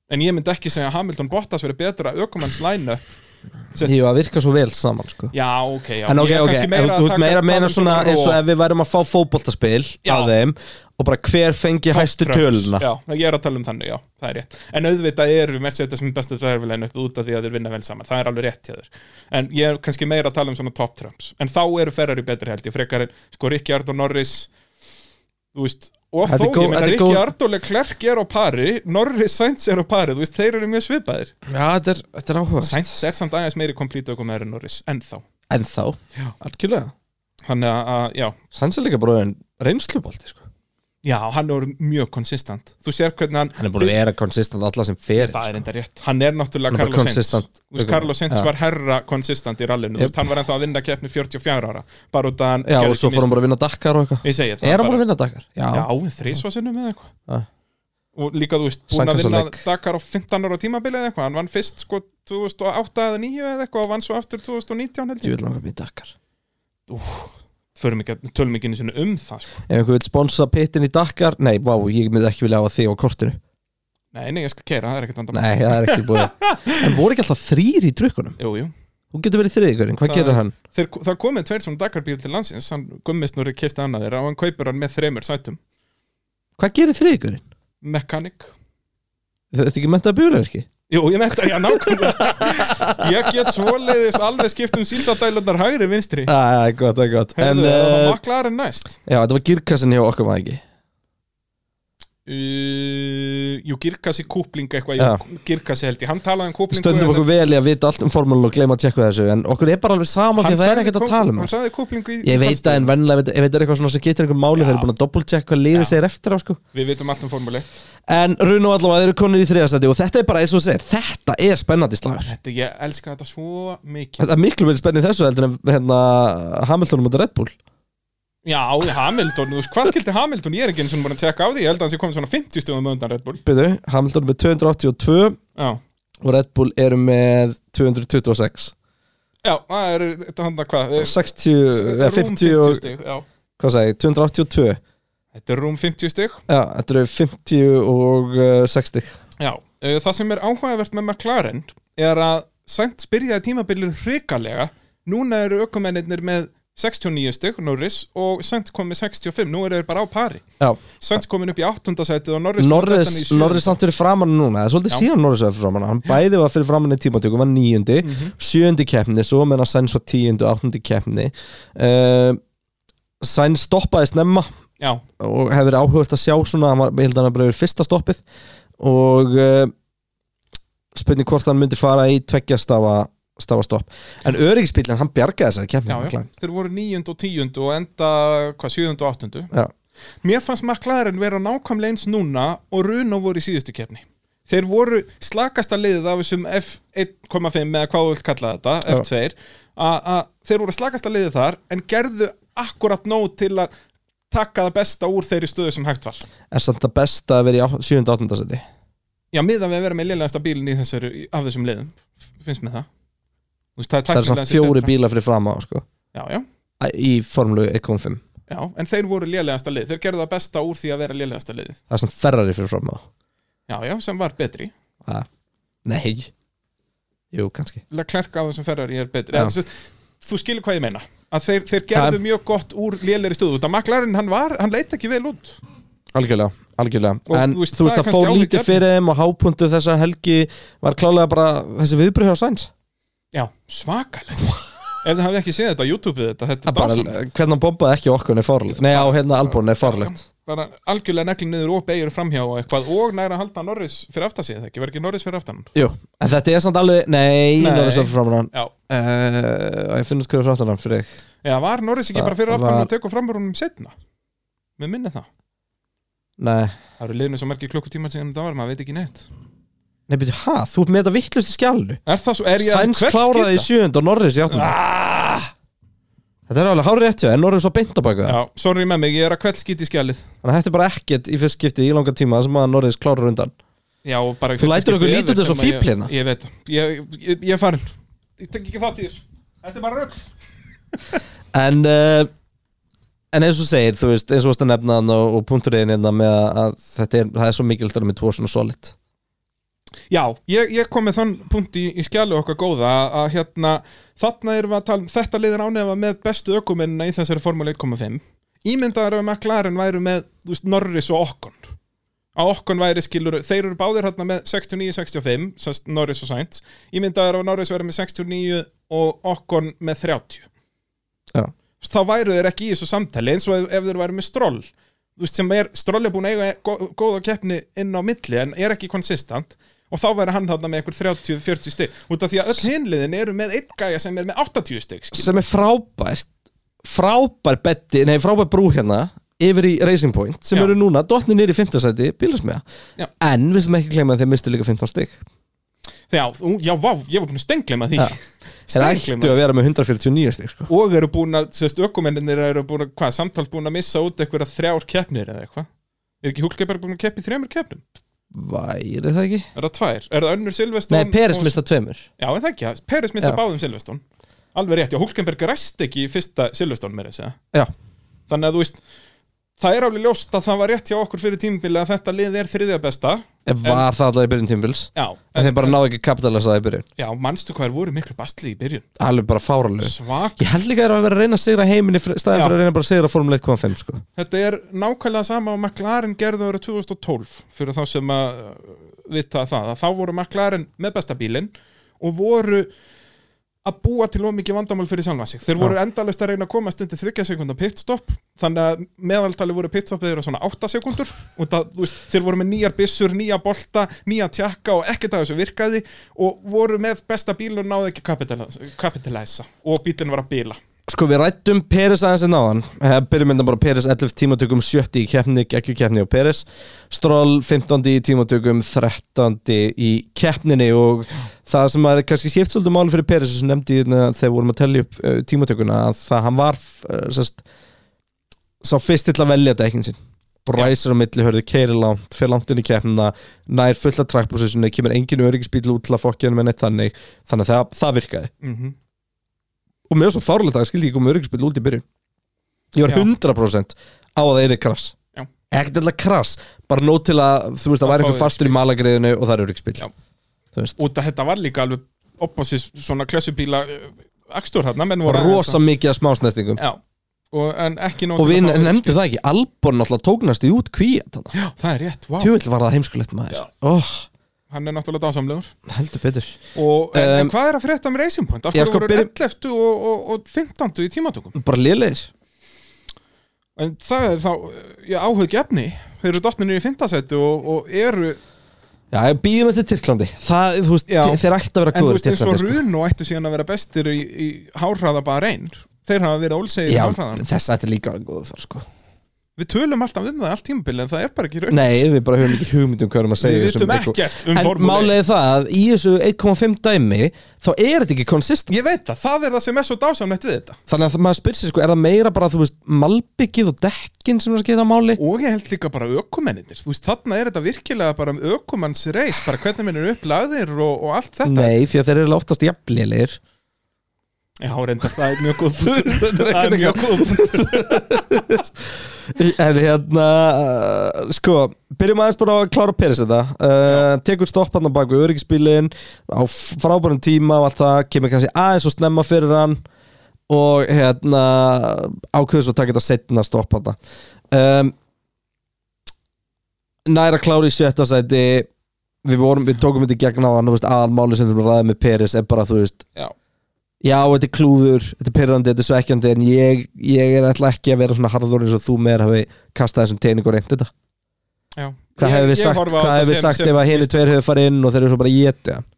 B: en ég myndi ekki segja að Hamilton Bottas verið betra ökumanns line up
A: Því að virka svo vel saman, sko
B: Já, ok, já
A: En ok,
B: Ég er
A: ok,
B: kannski
A: ef þú ert
B: taka
A: meira að meina
B: Hamilton
A: svona
B: og-
A: eins og ef við værum að fá fótboltaspil
B: Já.
A: að þeim og bara hver fengi hæstu
B: Trucks,
A: töluna
B: Já, ég er að tala um þannig, já, það er rétt En auðvitað eru Mercedes með besta dræfilegin upp út af því að þeir vinna vel saman, það er alveg rétt hjá þér En ég er kannski meira að tala um svona top trumps En þá eru Ferrari betri held ég, frekar en sko Ríkjard og Norris Þú veist, og
A: Þetta
B: þó,
A: er góð-
B: ég meina
A: þetta er góð-
B: Ríkjard og Leclerc er á pari Norris Sainz er á pari, þú veist, þeir eru mjög svipaðir
A: Já, þetta er, þetta er áhuga
B: Sainz er samt aðeins meiri komplítu okkur meður en Norris, ennþá
A: En þá, algjörlega
B: Þannig að- að, já,
A: Sainz er líka bara en reynslubolti, sko
B: já, hann er mjög konsistant Þú sér hvernig hann,
A: Hann er búin að vera konsistent alla sem fer sko.
B: Það er enda rétt, sko. hann er
A: Hann
B: náttúrulega
A: er bara
B: Carlos Sainz
A: consistent.
B: Þú veist, Carlos Sainz
A: Ja.
B: var herra konsistent í rallinu, þú
A: Yep.
B: veist, hann var ennþá að vinna keppni 44 ára, bara út að hann
A: Já,
B: gerði
A: og svo
B: ekki
A: fór hann
B: mistök.
A: bara að vinna Dakar og eitthvað
B: Ég segi það
A: Er hann bara að vinna Dakar?
B: Já, þrísvarsinnum eða eitthvað
A: Ja.
B: Og líka, þú veist, búin að
A: Sankasa
B: vinna
A: leik.
B: Dakar á 15 ára tímabilið eða eitthvað Hann vann fyrst sko 2008 eða 2009 eða eitthvað og vann svo aftur 2019 held
A: Ég
B: ég
A: vil langa að vinna Dakar
B: Förum ekki, að- tölum ekki einu sinni um það sko.
A: Ef einhver vil sponsa pittin í Dakar Nei, vá, ég myndi ekki vilja hafa þig á kortinu
B: Nei, nei, ég skal kera, það er ekkert andan
A: Nei, það er ekki búið En voru ekki alltaf þrýr í drukkunum
B: Jú, jú
A: Hún getur verið þriðigurinn, hvað
B: Það-
A: gerir hann?
B: Þeir, það komið tveir svona Dakar bíl til landsins hann gummisnúri kifti annað þeirra og hann kaupir hann með þremur sætum
A: Hvað gerir þriðigurinn?
B: Mechanic
A: Þetta er ekki mentað að bjúra ekki?
B: Jú, ég metta, já, nákvæmlega Ég get svoleiðis alveg skipt um síldadælunar hægri vinstri
A: Já, já, gott, það er gott En,
B: Heyrðu, það var
A: uh,
B: maklar en næst
A: já, þetta var girkassin hjá okkur maður ekki
B: uh, Jú, girkassi kúpling eitthvað
A: Já.
B: Jú, girkassi held ég, hann talaði um kúplingu
A: Stöndum
B: en-
A: okkur vel í að vita allt um formúlun og gleyma að tjekka þessu En okkur er bara alveg sama
B: Hann
A: því að það er
B: sagði
A: ekkert
B: kú-
A: að tala um
B: Hann
A: það.
B: sagði kúplingu í
A: Ég veit það en vennilega, ef þetta er eitthvað svona sem getur einhver máli Þeir eru búin að doppeltjekka hvað liðið segir eftir á sko
B: Við vitum allt um formúli eitt.
A: En Runo allavega, þeir eru konir í þriðastætti Og þetta er bara eins og þú segir, þetta er spennandi slagur
B: Þetta, ég elska þetta svo mikið
A: Þetta er miklu meiri spennið þessu heldur en hérna, Hamilton mútið Red Bull
B: Já, Hamilton, þú veist, hvað skildi Hamilton? Ég er ekki eins og búin að tjekka á því, ég held að hans ég komið svona 50 stöðum undan Red Bull
A: Byrju, Hamilton er með 282
B: Já,
A: og Red Bull eru með 226
B: já það er, þetta handa hvað? eh,
A: 60, eða
B: rúm
A: 50 og,
B: stig, já
A: hvað sagði, ég, 282
B: Þetta er rúm 50 stig
A: Já, þetta eru 50 og uh, 60
B: Já, eh, það sem er áhugavert með McLaren er að Sainz byrjaði tímabilið hrikalega núna eru ökumennir með 69 stygg, Norris og Sainz kom með 65, nú eru þeir bara á pari
A: Já,
B: Sainz komin upp í 8. sætið og Norris
A: Norris, Norris samt fyrir framann núna Það er svolítið
B: sko. Já.
A: síðan Norris var fyrir framann Hann bæði var fyrir framann í tímatöku, var níundi
B: Mhm.
A: mm Sjöundi keppni, svo meðan Sainz var tíundi og Áttundi keppni uh, Sainz stoppaði snemma
B: Já,
A: og hefði verið áhugast að sjá svona hann var, ég held að hann bara verið fyrsta stoppið og uh, spurning hvort hann myndi fara í tveggja stafa, stafa stopp en öryggisbílinn, hann bjargaði þessari
B: já,
A: keppni
B: já,
A: McLaren.
B: þeir voru 9. og 10. og enda hvað, 7. og 8.
A: Já.
B: Mér fannst McLaren vera nákvæmlega eins núna og Runo voru í síðustu keppni Þeir voru slakasta liðið af þessum F1.5 eða hvað þú vilt kalla þetta, F2 að að þeir voru slakasta liðið þar en gerðu akkurat nóg til að taka það besta úr þeirri stöðu sem hægt var
A: Er samt það best að vera í 7. og 8. seti
B: Já, miðan við að vera með liðlegasta bílinn í þessari, í- af þessum liðum, finnst mér það Þú veist,
A: Það er
B: tæknilega
A: svona
B: séð
A: fjóri
B: betra.
A: bílar fyrir fram á sko.
B: Já, já,
A: Æ, Í formlu 1.5
B: já, en þeir voru liðlegasta lið Þeir gerðu það besta úr því að vera liðlegasta lið
A: Það er svona ferrari fyrir fram á
B: Já, já, sem var betri
A: Æ, Nei Jú, kannski
B: Leclerc á þessum Ferrari er betri
A: Já.
B: Eða, þú veist, Þú skilur hvað ég meina Að þeir, þeir gerðu
A: Það-
B: mjög gott úr lélegri stöðu Þetta maklarinn, hann var, hann leit ekki vel út
A: Algjörlega, algjörlega
B: Og
A: En
B: þú veist,
A: þú veist
B: það er
A: að fór
B: kannski
A: lítið
B: áhyggjuefni.
A: fyrir þeim og hápuntu þessa helgi var klálega bara þessi viðbröð hjá Sainz
B: Já, svakalegt Ef þið hafið ekki séð þetta á YouTube þetta, þetta
A: Það
B: er
A: bara,
B: dásamlegt
A: hvernig hann bombaði ekki okkur er fórlegt Nei, á hérna Albon er fórlegt
B: bara algjörlega neglin niður og beigir framhjá og eitthvað og næra að halda Norris fyrir aftan sig, það ekki, verður ekki Norris fyrir aftan hann?
A: Jú, en þetta er samt alveg Nei,
B: Nei.
A: Norris er fyrir framan hann
B: Já,
A: uh, Ég finn út hverju fráttan hann fyrir þig
B: eða var Norris ekki
A: Það
B: bara fyrir aftan hann
A: var-
B: og tekur framhjá hann setna? Mér minni það
A: Nei,
B: Það eru liðinu svo margir klukkutíma síðan þetta var, maður veit ekki neitt
A: nei, byrju, hæ, þú ert með þetta vittlust í skjallu
B: Er það svo, er ég
A: Sainz kláraði í sjöund og Norris í áttunda
B: ah!
A: Þetta er alveg hárið rétt hjá, en Norris var beint á baku það
B: Já, sorry með mig, ég er að kveldskýti í skjalið
A: Þannig að þetta er bara ekkert í fyrst skipti í langan tíma sem að Norris klárar undan
B: Já, og bara í
A: Þú
B: fyrsta
A: lætur
B: skipti
A: okkur
B: yfir
A: líta út eins og
B: sem að ég-
A: fífl hérna.
B: Ég veit, það. ég, ég, ég er farin Ég tek ekki þátt í þessu Þetta er bara rögg
A: En uh, En eins og þú segir, þú veist, eins og varst að nefna hann og, og punkturinn hérna með að, að þetta er, það er svo mikilvægt að vera með tvo svona solid
B: Já, ég, ég kom með þann punkt í, í skjælu okkar góða að, að hérna, þarna erum við að tala um þetta liðir ánefa með bestu ökumennina í þessari formúli 1.5 Ímyndaður ef McLaren væri með þú veist, Norris og Okkon að Okkon væri skilur, þeir eru báðir hérna með 69-65, sem sagt Norris og Sainz Ímyndaður ef Norris væri með 69 og Okkon með 30
A: Já.
B: Þú veist, þá væru þeir ekki í þessu samtali eins og ef, ef þeir væru með stroll Þú veist, sem er, stroll er búin að eiga gó- góða keppni inn á milli en er ekki konsistant og þá væri hann þarna með einhver 30-40 stygg út af því að öll hinliðin eru með einn gæja sem er með 80 stygg
A: sem er frábært frábær betti, nei frábær brú hérna yfir í Racing Point sem
B: Já.
A: eru núna dotni nýri 15 sæti bílasmiða
B: Já.
A: en við sem ekki glemja að þeir mistu líka 15 stygg
B: já, ú, já, vá, ég var búin að stenglema því
A: Já. þeir ættu að
B: stenglema
A: vera með 149 stygg sko.
B: og eru búin að, sérst, ökumenninir eru búin að, hvað, samtals búin að missa út eitthvað þrjár keppnir eða eitthvað er ekki Hulkeberg búin að keppi þrjumur keppnum?
A: væri það ekki?
B: Er það tvær? Er það önnur Silveston?
A: Nei, Peris mista tveimur
B: Já, en það ekki, Peris mista
A: Já.
B: báðum Silveston Alveg rétt, já, Hulkenberg ræst ekki í fyrsta Silveston meira þess að segja.
A: Já.
B: Þannig að þú veist, það er alveg ljóst að það var rétt hjá okkur fyrir tímabili að þetta lið er þriðja besta
A: en var það alltaf í byrjun tímbils
B: Já,
A: en þeir bara náðu ekki kapitalast það í byrjun
B: já manstu hvað er voru miklu bastli í byrjun
A: alveg bara fáralegu
B: Svak,
A: ég held líka að þeir hafi verið að reyna að sigra heiminni fr- staðin
B: Já.
A: fyrir að reyna bara að sigra Formule 1.5 sko.
B: þetta er nákvæmlega sama og McLaren gerði ára 2012 fyrir þá sem að uh, vita það að þá voru McLaren með besta bílinn og voru að búa til of mikið vandamál fyrir sjálfa sig þeir voru endalaust að reyna að komast undir 30 sekundar pitstopp þannig að meðaltali voru pitstoppið þeirra svona 8 sekundur og það, þú veist, þeir voru með nýjar byssur, nýja bolta nýja tjakka og ekkert af þessu virkaði og voru með besta bílinn og náðu ekki kapitala- kapitalæsa og bílinn var að bíla
A: Sko við rættum Peres aðeins en áðan Eh, Byrjum mynda bara Peres 11 tímatökum 70 í keppni, ekki keppni á Peres Stroll 15 í tímatökum 13 í keppninni og það sem að kannski skipt svolítið máli fyrir Peres sem nefndi ég hérna þegar við vorum að tellja upp uh, tímatökuna að það hann var uh, sest, sá fyrst til að velja þetta ekki sinn Bræsir á milli, hörðu keiri langt, fyrir langt inn í keppnina nær fulla trackpositioni, kemur engin öryggisbíl út til að fokkja henni með neitt þannig þannig að það, það virkaði
B: mm -hmm.
A: og mér var svo fárlega það að skildi ég ekki um öryggisbyll út í byrjun ég var
B: Já.
A: 100% á að það er krass
B: Já.
A: ekkert alltaf krass, bara nót til að þú veist, það
B: Að
A: væri
B: fá
A: einhver fastur í malagriðinu og það er öryggisbyll
B: Já.
A: þú veist,
B: út að þetta var líka alveg opposís svona klessubíla uh, akstur hérna, menn
A: og
B: voru aðeins
A: rosa mikið af smásnestingum
B: að- Já, og, en ekki nóg
A: og
B: til
A: við
B: að fá-
A: nefndum það ekki, Albon náttúrulega tóknast í út kvíat þarna.
B: Já, það er rétt, vá,
A: tjúvill var það heimskulegt maður oh,
B: hann er náttúrulega dásamlegur
A: heldur betur
B: og, en,
A: Um,
B: en hvað er að frétta með Racing Point? Af
A: Já,
B: hverju
A: sko,
B: voru
A: byrjum-
B: 11. Og, og, og 15. í tímatökum?
A: bara liðleir,
B: En það er þá, uh, já, áhugja efni þeir eru dottninir í fintasættu og, og eru
A: já, býðum þetta Tyrklandi það, þú veist,
B: Já.
A: þeir ætti að vera
B: en þú
A: góður
B: veist eins og
A: Tyrklandi sko.
B: Runo ættu síðan að vera bestir í, í hárhraða bara einn þeir hafa verið ólsegir í
A: já,
B: hárhraðan
A: þess ætti líka að vera góður þar sko
B: við tölum alltaf um það allt tímabili en það er bara ekki raun
A: Nei, við bara höfum ekki hugmynd um hvað erum að segja
B: Við
A: í þessum
B: vitum
A: leik og-
B: ekkert um
A: En
B: Formúlu
A: málega það að í þessu 1,5 dæmi Þá er þetta ekki konsistent
B: Ég veit það, það er það sem er svo dásamlegt við þetta
A: Þannig að maður spyr sér sko, er það meira bara, þú veist, malbyggið og dekkin sem er að skipta máli?
B: Og ég held líka bara ökumennir Þú veist, þarna er þetta virkilega bara um ökumanns reis bara hvernig minn er upplagðir og, og allt þetta
A: Nei, fyrir að þeir eru oftast jafnlélir.
B: Já, reyndar, það er mjög góð punktur.
A: Þetta er
B: Það er
A: ekkert
B: mjög góð punktur.
A: En hérna, uh, sko, byrjum aðeins bara á að klára Peris þetta. Uh, tekur stoppan á baku öryggisbílinn, á frábærum tíma og allt það, kemur kannski aðeins og snemma fyrir hann og hérna ákveður svo að taka þetta setna stoppan það. Um, næra klára í sjötta sæti, við, vorum, við tókum þetta í gegn á hann, þú veist, aðalmáli sem þú ræðið með Peris er bara, þú veist,
B: Já.
A: já, þetta er klúður, þetta er pyrrandi, þetta er svekkjandi en ég, ég er ætla ekki að vera svona harður eins og þú meir hafi kastað þessum teining og reynd þetta.
B: Já.
A: Hvað
B: Ég-
A: hefur við
B: ég
A: sagt,
B: horfi á
A: hvað
B: þetta
A: hefur við
B: sem-
A: sagt
B: sem-
A: ef að henni tveir hefur farið inn og þeir eru svo bara að geta hann?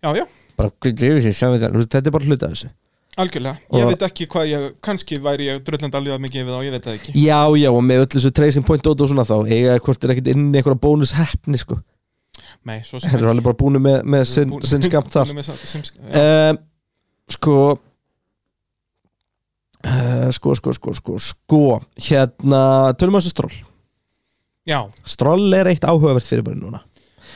B: Já, já,
A: Bara, "Guð, ég sé þetta." Þú veist, þetta er bara hluta af þessu.
B: algjörlega. Ég
A: Og-
B: veit ekki hvað ég, kannski væri ég dröllend alveg að mikið við þá, ég veit það ekki.
A: Já, já, og með öllu þessu tracing point út og svona þá, eiga hvort er ekkert inn í einhverja bónus heppni, sko.
B: Nei, svo sem
A: Þeir eru alveg bara búinu með, með sinn,
B: Búin-
A: sinn skammt þar.
B: búin með sa- sinn skammt, já.
A: um, sko Uh, sko, sko, sko, sko, sko hérna, tölum við þessu stról
B: Já,
A: Stroll er eitt áhugavert fyrir bara núna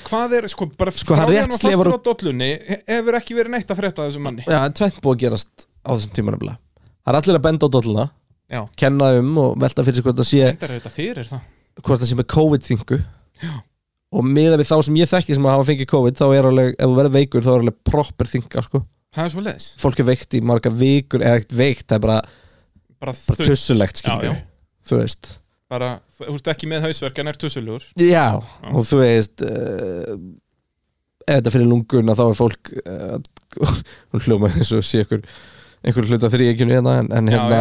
B: hvað er, sko, bara
A: Sko, hann rétt
B: hann
A: slefar
B: fastur á dollunni, he- hefur ekki verið neitt að frétta af þessum manni.
A: Já, tveitt búið að gerast á þessum tíma nefnilega Það er allir að benda á dolluna
B: Já.
A: Kenna um og velta fyrir sig hvort það sé
B: Endar er þetta fyrir það.
A: Hvort það sé með COVID-þingu Og miða við þá sem ég þekki sem að hafa fengið COVID Þá er alveg, ef þú verður veikur þá er alveg proper þinga sko.
B: Það er svo leiðis.
A: Fólk er veikt í marga vikur Eða ekkert veikt, það er bara,
B: Bara,
A: bara
B: þau-
A: tussulegt
B: Já, já.
A: skilur við. Þú veist
B: Bara, þú ert ekki með hausverk en er tussulugur.
A: Já, og þú veist uh, ef þetta fyrir lunguna þá er fólk uh, hún hljómaði eins og sé ykkur einhver hluta þrýekjunu hérna en, en
B: Já,
A: hérna,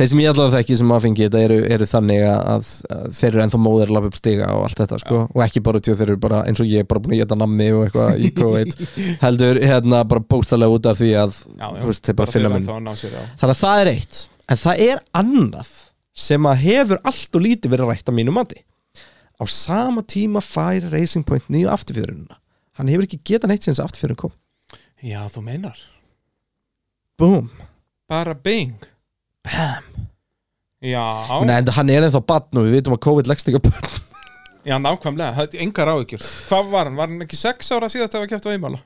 A: þeir sem ég allavega þekki sem að fengi þetta eru, eru þannig að, að þeir eru ennþá móðir að lappa upp stiga og allt þetta sko, og ekki bara tjóð þeir eru bara eins og ég bara búin að geta nammi og eitthvað í COVID heldur hérna bara bókstallega út af því að
B: Já, já.
A: þú veist, þeir bara finna minn
B: Þá að ná sér á.
A: þannig að það er eitt en það er annað sem að hefur allt og lítið verið rætt að mínu mati á sama tíma fær Racing Point nýju afturfjörununa hann hefur ekki getað neitt sinns afturfjörun kom
B: Já, þú meinar.
A: Búm.
B: Bara bing. Bam. Já.
A: Nei, en hann er ennþá barn og við vitum að COVID leggst ekki á barn
B: Já, nákvæmlega, það er engar áhyggjur Hvað var hann? Var hann ekki sex ára síðast ef að kæftu á einmála?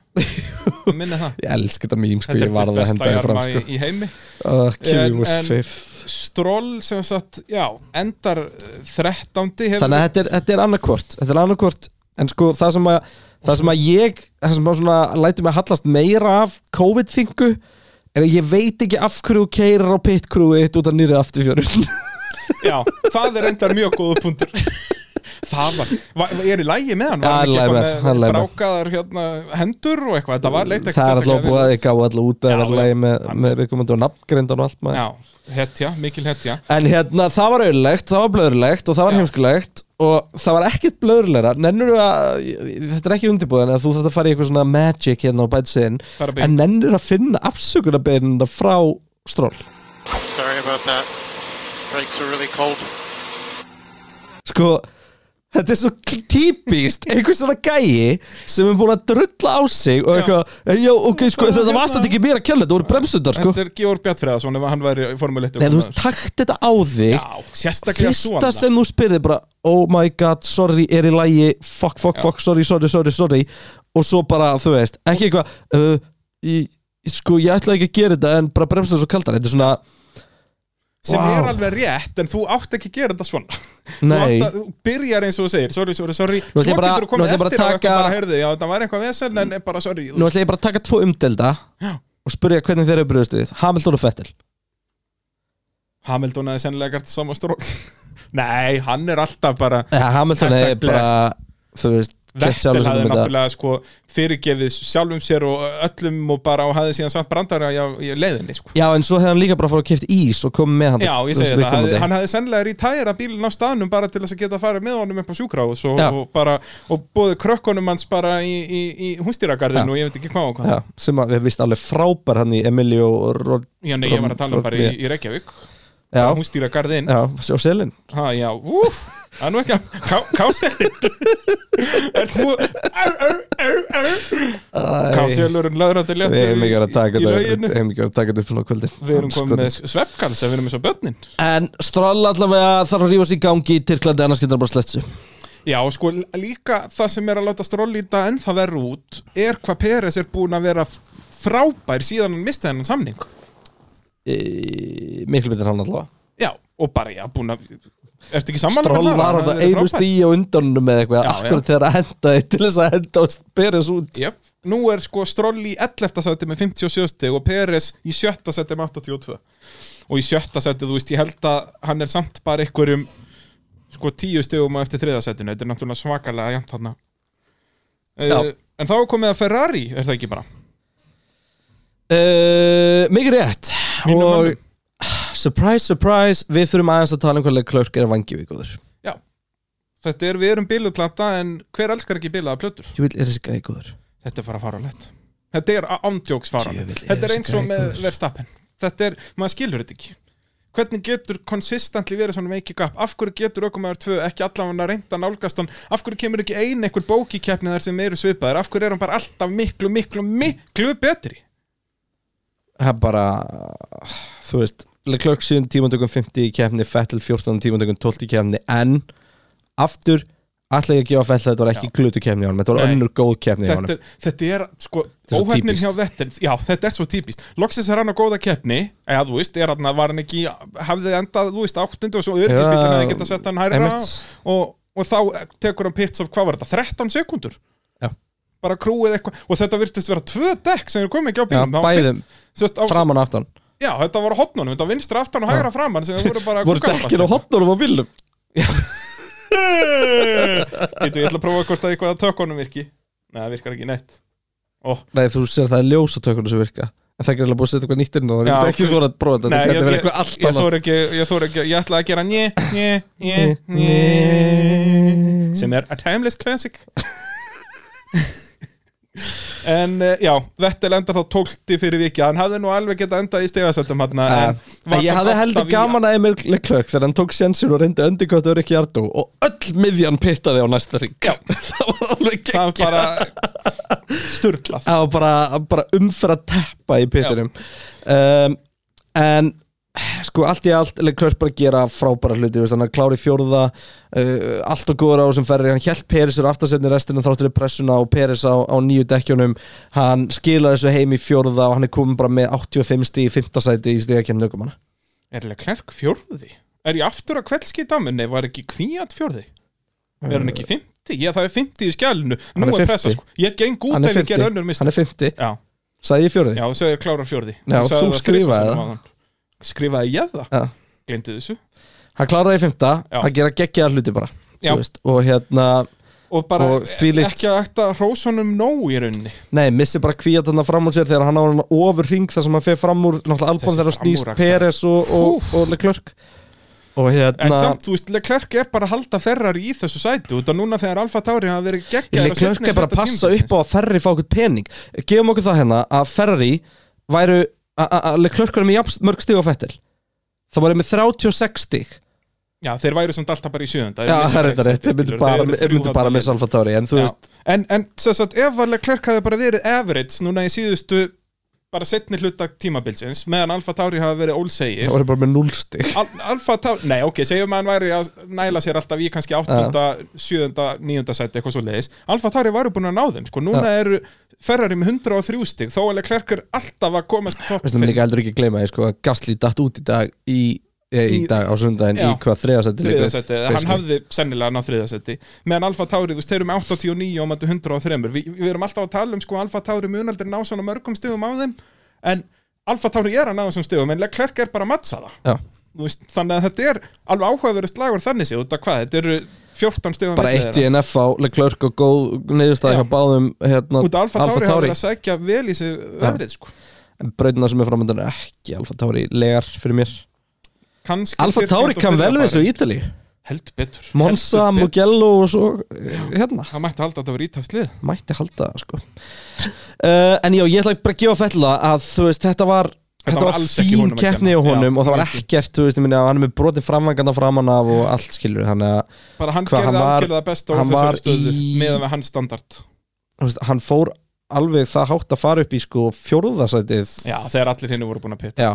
B: Minni það
A: ég elska þetta mím sko, ég
B: Þetta er
A: varð að henda
B: besta
A: þér fram
B: jarma í,
A: sko.
B: í heimi
A: uh,
B: En-
A: en,
B: en- Stról sem sagt, já, endar eh, 13. Hefur,
A: þannig að þetta er, þetta er annarkvort þetta er annarkvort en sko það sem að það sem að ég það sem að svona læti mig að hallast meira af COVID-þingu er að ég veit ekki af hverju þú keirir á pit-krúið út af nýrið afturfjörun
B: Já, það er endar mjög góða punktur Það var, var, er í lægi með hann? Var
A: Það er í
B: hann
A: lagi
B: ekki
A: með- það er í
B: með
A: lagi með.
B: brákaðar hérna, hendur og eitthvað? Þetta var leitt ekkert
A: það er
B: sérstaklega
A: alltaf búið að
B: vel
A: þið gáðu alltaf út
B: Já,
A: að vera
B: já.
A: lægi með, með viðkomandi og nafngrindan og allt
B: út.
A: maður
B: Já, hetja, mikil hetja
A: en hérna það var auðlegt, það var blöðurlegt og það var heimskulegt og það var ekkert blöðurlegra nennur þú að, þetta er ekki undirbúðan að þú þetta fara í eitthvað svona magic hérna á bætsinn
B: Bara
A: en
B: bein.
A: nennur að finna afsökunarbeginna frá stról
J: Sorry about that. Brakes are really cold.
A: sko Þetta er svo típist, einhvers svona gæi sem er búin að drulla á sig og eitthvað, já, ok, sko, þetta var satt ekki mér að kjalla, þetta voru bremsundar, sko
B: hérna- Þetta er Georg Bjartfreðarsson ef hann væri í formuleitt
A: Nei, þú veist, takt þetta á þig
B: Já, sérstaklega
A: Fyrsta
B: svona
A: sem þú spyrði bara Oh my god, sorry, er í lægi Fuck, fuck, fuck, sorry, sorry, sorry, sorry Og svo bara, þú veist, ekki eitthvað uh, í- Sko, ég ætla ekki að gera þetta En bara bremsa svo kaldar Þetta er svona,
B: sem
A: Vá.
B: er alveg rétt en þú átt ekki að gera þetta svona Þú
A: nei
B: átt að- þú byrjar eins og þú segir sorry, sorry, sorry
A: Nú
B: svo
A: ætla ég bara-
B: getur þú
A: nú
B: komið
A: ætla ég bara
B: eftir
A: að
B: og
A: taka-
B: eitthvað bara herði já, það var eitthvað vesen en bara sorry
A: Nú ætla ég bara að taka tvo umdelda
B: Já.
A: Og spyrja hvernig þeir eru bröðustu þið Hamilton og Fettel
B: Hamilton hefði sennilega gert saman stról nei, hann er alltaf bara
A: ja, Hamilton
B: Hashtag
A: er bara, þú veist gett
B: Vettel
A: sjálfur sér
B: hafði
A: um þetta.
B: náttúrulega sko fyrirgefið sjálfum sér og öllum og bara og hafði síðan samt brandara í, í leiðinni sko.
A: Já, en svo hefði hann líka bara fór að kipta ís og komið með hann
B: Já, ég
A: þú veist,
B: segi það,
A: viðkomandi.
B: hafði, hann hafði sennilega rítæra bílinn á staðnum bara til þess að geta farið með honum upp á sjúkrahús og,
A: Já.
B: og, bara, og bóði krökkunum hans bara í, í, í hústýragarðinu og ég veit ekki hvað og hvað
A: Já, sem að við vist alveg frábær hann í Emilio og Rod
B: Já, nei, ég var að tala um bara í, í Reykjavík
A: Já.
B: hún stýra garðinn
A: Já, og selin
B: Ha, já, úf, það er nú ekki að ká, Káselin Er þú er, er, er, er. Káselurinn löðrandi léttur
A: Við hefum ekki verið að taka
B: í- í
A: þetta Við
B: lauginu.
A: hefum ekki verið að taka þetta upp svona á kvöldin
B: Við erum komið með sveppkals ef við erum eins og börnin
A: En Stroll allavega þarf að rífa sig í gangi í Tyrklandi annars getur það bara sletsu
B: Já, og sko, líka það sem er að láta strólíta ennþá verra út er hvað Peres er búin að vera f- frábær síðan hann misti hennan samning
A: e, Miklu betur en hann allavega
B: Já, og bara, já, búin að Ertu ekki sammála
A: Stroll
B: með það?
A: var
B: Hann
A: þetta
B: er
A: einu
B: frábær.
A: stíi á undanum með eitthvað
B: Já,
A: Akkurat þegar að henda þið til þess að henda og bera þessu út
B: Jöp, nú er sko Stroll í 11. seti með 57 stig og Peres í 7. seti með 82 og í 7. seti, þú veist, ég held að hann er samt bara einhverjum sko 10 stigum á eftir 3. setinu þetta er náttúrulega svakalega jæmt hann
A: Já.
B: En þá er komið að Ferrari, er það ekki bara?
A: Uh, mikið rétt
B: Mínum
A: og
B: mönnum.
A: surprise, surprise við þurfum aðeins að tala um hvernig klörk er að vangi við góður
B: Já Þetta er, við erum biluð plata en hver elskar ekki bilaða plötur?
A: ég vil er þessi gæði góður
B: Þetta er bara faralegt Þetta er ándjóks faralegt
A: Djöfull, er
B: Þetta er
A: þessi
B: eins og
A: gæi
B: með
A: góður.
B: verðstappen Þetta er, maður skilur þetta ekki Hvernig getur konsistentli verið svona veiki gap? Af hverju getur ökumæður tvö ekki allavega reynda nálgast hann? Af hverju kemur ekki ein einhver bók í keppni þar sem eru svipaðir? Af hverju er hann bara alltaf miklu, miklu, miklu betri?
A: það er bara, þú veist klörk 7 tímantökum 50 í kemni Fettel 14 tímantökum 12 í kemni en aftur ætla ég að gefa Fettel þetta var ekki glutu kemni á honum þetta var
B: Nei.
A: önnur góð kemni á honum
B: þetta, er, þetta er sko
A: er svo
B: óhefnin
A: típist.
B: hjá Vettel já, þetta er svo típist loksins er hann á góða keppni eða þú veist, er hann, var hann ekki hafði endað, þú veist, áttundu og svo örgisbílun hefði geta sett hann hærra
A: einmitt.
B: og, og þá tekur hann pits of, hvað var þetta, 13 sekundur
A: Já.
B: bara krúið eitthvað, og þetta virtist vera tvö dekk sem eru komið ekki á
A: Já,
B: bílum Það var
A: bæðum.
B: fyrst- sérst, á,
A: framan og aftan
B: já, þetta var á hotnunum, þetta var vinstra aftan og hægra framan sem voru bara
A: voru dekkin á hotnunum á bílum
B: Getu, ég ætla að prófa hvort að eitthvað að tökunum virki Nei, það virkar ekki neitt
A: nei þú sér það er ljósatökunum sem virka en það er greinlega búið að setja eitthvað nýtt inn og það er
B: Já,
A: ekki
B: þú-
A: þú að prófa þetta
B: Nei,
A: þetta
B: ég,
A: getur verið
B: ég,
A: eitthvað allt
B: ég
A: annað.
B: þór ekki, ég þór ekki, ég ætla að gera njö, njö, njö, njö sem er a timeless classic en eh, já, Vettel endar þá 12 fyrir viki, hann hafði nú alveg getað endað í stegasættum hann en
A: En Eh, ég hafði heldur gaman að Emil Leclerc þegar hann tók sénsir og reyndi öndikvætt Öryggi Ardó og öll miðjan pittaði á næsta ring Já Það var alveg gegn
B: það var bara sturglað
A: Það var bara, bara umfyrir að teppa í pittunum um, En sko allt í allt Leclerc bara að gera frábæra hluti þú veist, hann að klári fjórða uh, allt og góður á þessum ferri, hann hjælt Peris úr aftarsetni restina þráttur í pressuna og Peris á, á nýju dekkjunum, hann skilaði þessu heim í fjórða og hann er komin bara með 85 stig í fimmta sæti í stigakemni aukumanna
B: er leik klærk fjórði? er ég aftur að kveldskita með, nei, var ekki kvíat fjórði? er hann ekki 50? já, það er 50 í skjælinu,
A: Eh. Hann
B: nú
A: er
B: er pressa
A: 50.
B: sko. ég geng út
A: hann er
B: ef ég gerði
A: 50,
B: önnur
A: hann
B: mistök
A: er 50
B: já
A: sagði ég fjórði?
B: Já, þú segir klárar fjórði
A: Já,
B: sagðir
A: þú
B: það
A: skrifaði
B: þrisvar
A: það.
B: sinnum áðan. Skrifaði ég það?
A: Já.
B: Gleymdi þessu
A: hann kláraði í fymta,
B: Já.
A: hann gera geggjaða hluti bara
B: Já.
A: þú veist, og hérna
B: Og bara
A: Og þvílíkt-
B: ekki að ekta hrósunum nóg í rauninni
A: nei, missi bara kvíat hann fram úr sér þegar hann á hann ofur ring þar sem hann fer fram úr náttúrulega
B: Þessi
A: albán þegar hann snýst
B: framúrakstur.
A: Peres og, og, og Leclerc og
B: En
A: hérna
B: samt, þú veist, Leclerc er bara að halda ferrar í þessu sæti Út að núna þegar Alfa Tauri hafa verið geggjaður á
A: Leclerc
B: seinni
A: er bara
B: hluta
A: að passa upp á
B: tímabilsins.
A: að Ferri fá okkur pening gefum okkur það hérna að Ferri væru, að- að að Leclerc væri með jafn mörg stig á Fettel það væri með 36 stig
B: Já, þeir væru samt alltaf bara í sjöðunda
A: já, það er þetta rétt, þeir myndu bara, þeir myndu bara með Salfa Tauri en þú
B: Já.
A: veist,
B: En, en sem sagt, ef að Leclerc hafi bara verið average núna í síðustu bara setni hluta tímabilsins meðan Alfa Tauri hafi verið ólsegir
A: það væri bara með 0 stig
B: Al Alfa Tauri, nei ok, segjum að hann væri að næla sér alltaf í kannski 8, 7, 9 seti eitthvað svo leiðis Alfa Tauri væri búin að ná þeim, sko, núna eru Ferrari með 103 stig, þó alveg klærkur alltaf að komast í topp
A: Veistum við
B: 5
A: líka heldur ekki að gleyma því sko að Gasly datt út í dag í, e, í
B: Í-
A: dag á sundaginn
B: Já.
A: í hvað þriðasætti
B: þriðja seti, hann hafði sennilega náð þriðja seti meðan Alfa Tauri, þú veist, þeir eru með 89 og mættu 103, Vi, við erum alltaf að tala um sko Alfa Tauri munaldir ná svona mörgum stigum á þeim, en Alfa Tauri er að ná þessum stigum, en Leclerc er bara að matsa það
A: Já.
B: Þú veist, þannig að þetta er alveg áhugaverið slagur þannig séð, út af hvað, þetta eru 14 stigum
A: bara
B: milli
A: eitt
B: þeirra.
A: í NF á Leclerc og góð niðurstaði
B: Já.
A: hjá báðum hérna,
B: út af Alfa Tauri hafa
A: Tauri
B: verið að sækja vel í sig veðrið sko.
A: en brautina sem er framöndan er ekki Alfa Tauri legar fyrir mér
B: Kannski
A: Alfa
B: 14
A: Tauri
B: og
A: kann vel við
B: þriðja
A: þessu
B: bara.
A: í Ítali
B: heldur betur
A: Monza,
B: Heldur betur.
A: Mugello og svo eh, hérna,
B: það mætti halda að þetta var ítafslið
A: Eh, mætti halda það, sko. uh, en já, ég ætla bara að gefa fælla að þú veist, þetta var
B: Þetta
A: þetta
B: var
A: var
B: alls ekki
A: fín
B: honum að
A: keppni á
B: kenna.
A: honum
B: Já,
A: og það var
B: mjög fín.
A: ekkert, þú veist, ég minna, hann er með brotið framvanganda framan af og allt skilur þannig að
B: bara hann
A: Hvað,
B: gerði
A: hann var-
B: algjörlega það besta á
A: hann var
B: þessari stöðu
A: í-
B: meðan við hans standard
A: þú veist, hann fór alveg það hátt að fara upp í sko fjórðasætið
B: Já, þegar allir henni voru búin að pitta
A: Já,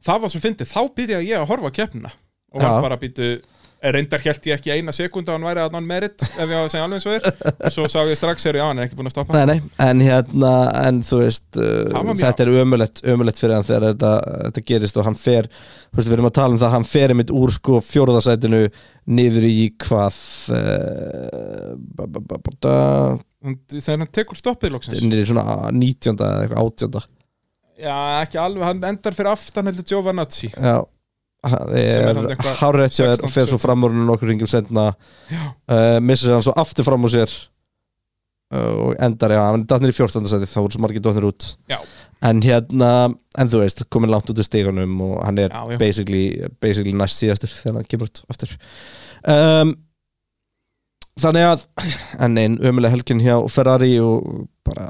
B: Það var svo fyndið, þá byrjaði ég að horfa á keppnina og
A: Já.
B: var bara að býtu reyndar held ég ekki eina sekund að hann væri að hann merit ef ég á að segja alveg svo er svo sá ég strax er ég að hann er ekki búin að stoppa
A: nei, nei, en hérna en þú veist,
B: Það
A: uh,
B: var mjög-
A: þetta er ömulegt ömulegt fyrir hann þegar þetta, þetta gerist og hann fer, þú veist, við erum að tala um það hann fer einmitt úr sko fjórðasætinu niður í hvað uh, ba- ba- ba- ba- da-
B: Hún- Þegar hann tekur stoppið loksins
A: niður í svona 19. eða eitthvað 18.
B: Já, ekki alveg, hann endar fyrir aftan heldur Giovanazzi
A: Já Það
B: er
A: er
B: hann eitthvað
A: hárétt hjá þér
B: 16,
A: fer svo
B: 17.
A: fram úr henni nokkur ringum sendna uh, missir hann svo aftur fram úr sér uh, og endar, já, hann er datt niður í 14. seti þá voru svo margir dotnir út
B: Já.
A: en hérna, en þú veist, komin langt út í stegunum og hann er
B: Já, já.
A: basically, basically næst síðastur þegar hann kemur út aftur um, Þannig að en einn ömulega helgin hjá Ferrari og bara,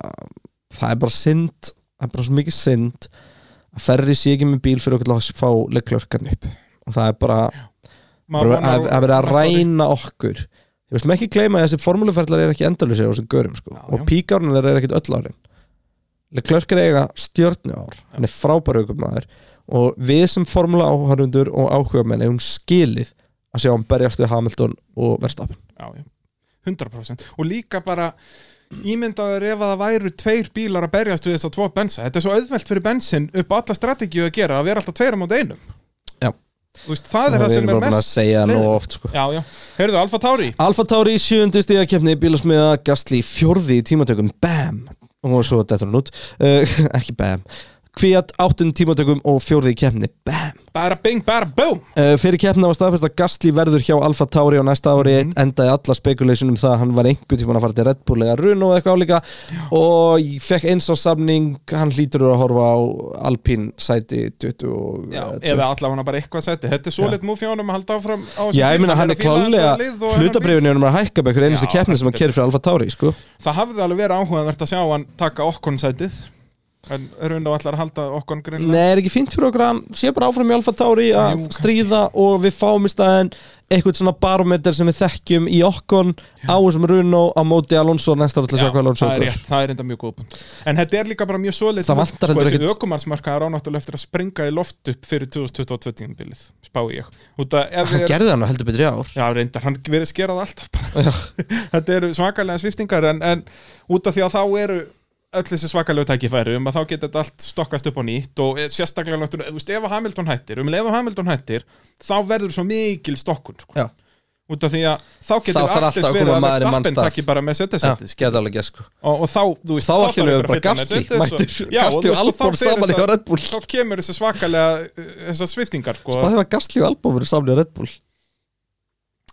A: það er bara synd, það er bara svo mikið synd að Ferrari sé ekki með bíl fyrir okkur til að fá leiklarkan upp og það er bara,
B: Maður
A: bara
B: vonar
A: að, að vera að
B: næsta ári.
A: ræna okkur ég veist ekki gleyma að þessi formúluferðlar er ekki endalusir á þessum görum sko
B: Já,
A: og
B: já.
A: píkárnir þeirra er ekkit öll árin Leclerc er eiga stjörnu ár hann er frábæru ykkur maður og við sem formúla áhörundur og áhugamenn erum skilið að sjá hann berjast við Hamilton og Verstappen
B: já, já. 100% og líka bara ímyndaður ef að það væru tveir bílar að berjast við þess að tvo bensa þetta er svo auðvelt fyrir bensin upp á alla strategíu að gera að vera alltaf tveir á mót einum
A: Já.
B: Þú veist, það er það
A: við
B: sem er
A: bara búin að
B: mest
A: segja nú
B: leiðin.
A: oft sko
B: já, já, heyrðu Alfa Tauri
A: Alfa Tauri í sjöundu stiga keppni bílasmiða Gastli í fjórði í tímatökum BAM og svo dettur hann út uh, ekki BAM Kvíat áttun tímatökum og fjórði í keppni BAM
B: bara bing, bara boom
A: Uh, fyrir keppna var staðfest að Gastli verður hjá Alfa Tauri á næsta ári
B: Mhm.
A: endaði alla spekulation um það að hann var einhver tíma að fara til Red Bull eða Runo eða eitthvað álíka og ég fekk eins á samning hann hlýtur að horfa á Alpine sæti 20 og
B: já,
A: eh,
B: eða allavega hann bara eitthvað seti þetta er svo lit múfi á hann að halda áfram á þessum
A: Já, ég
B: bíl.
A: meina hann er
B: að fíla
A: klálega
B: þetta lið og hennar bíl.
A: hlutabriðunni er að hækka með einhver einustu
B: Já,
A: keppni sem hann
B: heldur.
A: kerir fyrir Alfa Tauri sko.
B: það hafði alveg verið áhugavert að sjá hann taka okkon sætið en Rund á allar að halda okkon grinn
A: Nei, er ekki fínt fyrir okkur að hann sé bara áfram í Alfa Tauri
B: Jú,
A: að
B: kannski.
A: stríða og við fáum í staðinn eitthvað svona barometer sem við þekkjum í okkon á þessum Runo á móti Alonso næsta ári til að sjá hvað Alonso
B: það er
A: okkur
B: rétt, það er enda mjög góð punktur. En þetta er líka bara mjög svoleitt
A: Það vantar heldur
B: Þessi
A: ekkert-
B: ökumannsmarkaðar ánáttúrulega eftir að springa í loft upp fyrir 2022 tímabilið, spái ég Út að ef
A: hann
B: við
A: gerði hann heldur betur í ár
B: Já, reyndar, hann verið skerað alltaf bara. Þetta eru svakalega sviftingar en, en út af því að þá eru öll þessi svakalegu tækifæri um að þá geta þetta allt stokkast upp á nýtt og sérstaklega náttúrulega, þú veist, ef að Hamilton hættir um leið og Hamilton hættir, þá verður svo mikil stokkun, sko.
A: Já.
B: Út af því að þá
A: Þá
B: getur
A: þarf alltaf að
B: allt eins verið
A: koma
B: að
A: maður í manns
B: Verstappen
A: stað.
B: takki bara með setjasæti, sko
A: geta alveg gæst sko
B: og, og þá, þú veist,
A: Þá
B: þá
A: allt í einu bara
B: þarf að fylla
A: Gasly,
B: með þetta,
A: mættur.
B: svo- Já, og
A: Gasly og
B: þú veist,
A: Albon
B: þá fer
A: saman
B: þetta-
A: í Red Bull.
B: þá kemur þessi svakalega, uh, þessar sviftingar sko.
A: Bæði var Gasly og Albon verið saman í Red Bull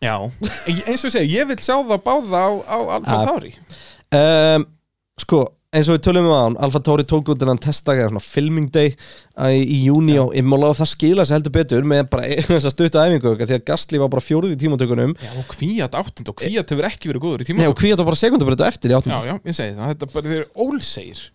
B: já, Ég- eins og ég segi, ég vil sjá það báða á, á Alfa
A: Ja.
B: Tauri
A: um, Sko, eins og við tölum um á hann Alfa Tauri tók út þennan testdag eða svona filming day æ, í júni og immála og það skila sér heldur betur með bara þess að stutta æfingu okkar, því að Gasly var bara fjórið í tímatökunum
B: já, og kvíat áttund og kvíat hefur ekki verið góður í
A: Nei
B: tíma
A: og Kvíat var bara sekundabrið eftir í
B: já,
A: áttunda
B: já, ég segi það, þetta bara þeir eru ólsegir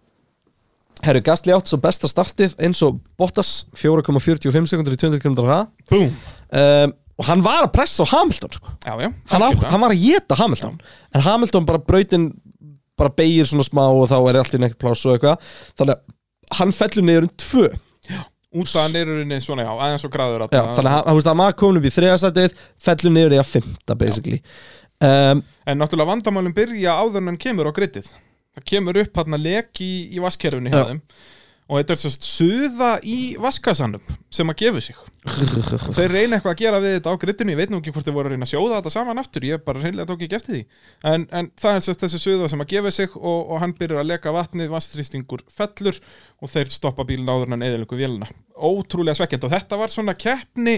A: Herru, Gasly átt svo besta startið eins og Bottas 4,45 sekundur í 200 km um,
B: búm,
A: Ehm, og hann var að pressa á Hamilton sko
B: já, já,
A: hann, á,
B: algjörlega.
A: hann var að geta Hamilton en Hamilton bara brautin bara beigir svona smá og þá er allt í neitt pláss og eitthvað þannig að hann fellur niður um tvö já,
B: út að hann eru inni svona, já, aðeins og græður
A: þannig að hann- hann, þú veist, hann var komin upp í þriðasætið fellur niður í að fymta basically um,
B: en náttúrulega vandamálum byrja áður en hann kemur á gritið það kemur upp hann að lek í, í vaskerfinu hjá
A: Já.
B: þeim og þetta er sérst suða í vaskasannum sem að gefa sig og þeir reyna eitthvað að gera við þetta á grittinu ég veit nú ekki hvort þeir voru að reyna að sjóða þetta saman aftur ég bara reynlega tók ekki eftir því en, en það er sérst þessi suða sem að gefa sig og, og hann byrjar að leka vatni, vastþrýstingur fellur og þeir stoppa bílinn áður en hann eðalengu vélina ótrúlega svekkjandi og þetta var svona keppni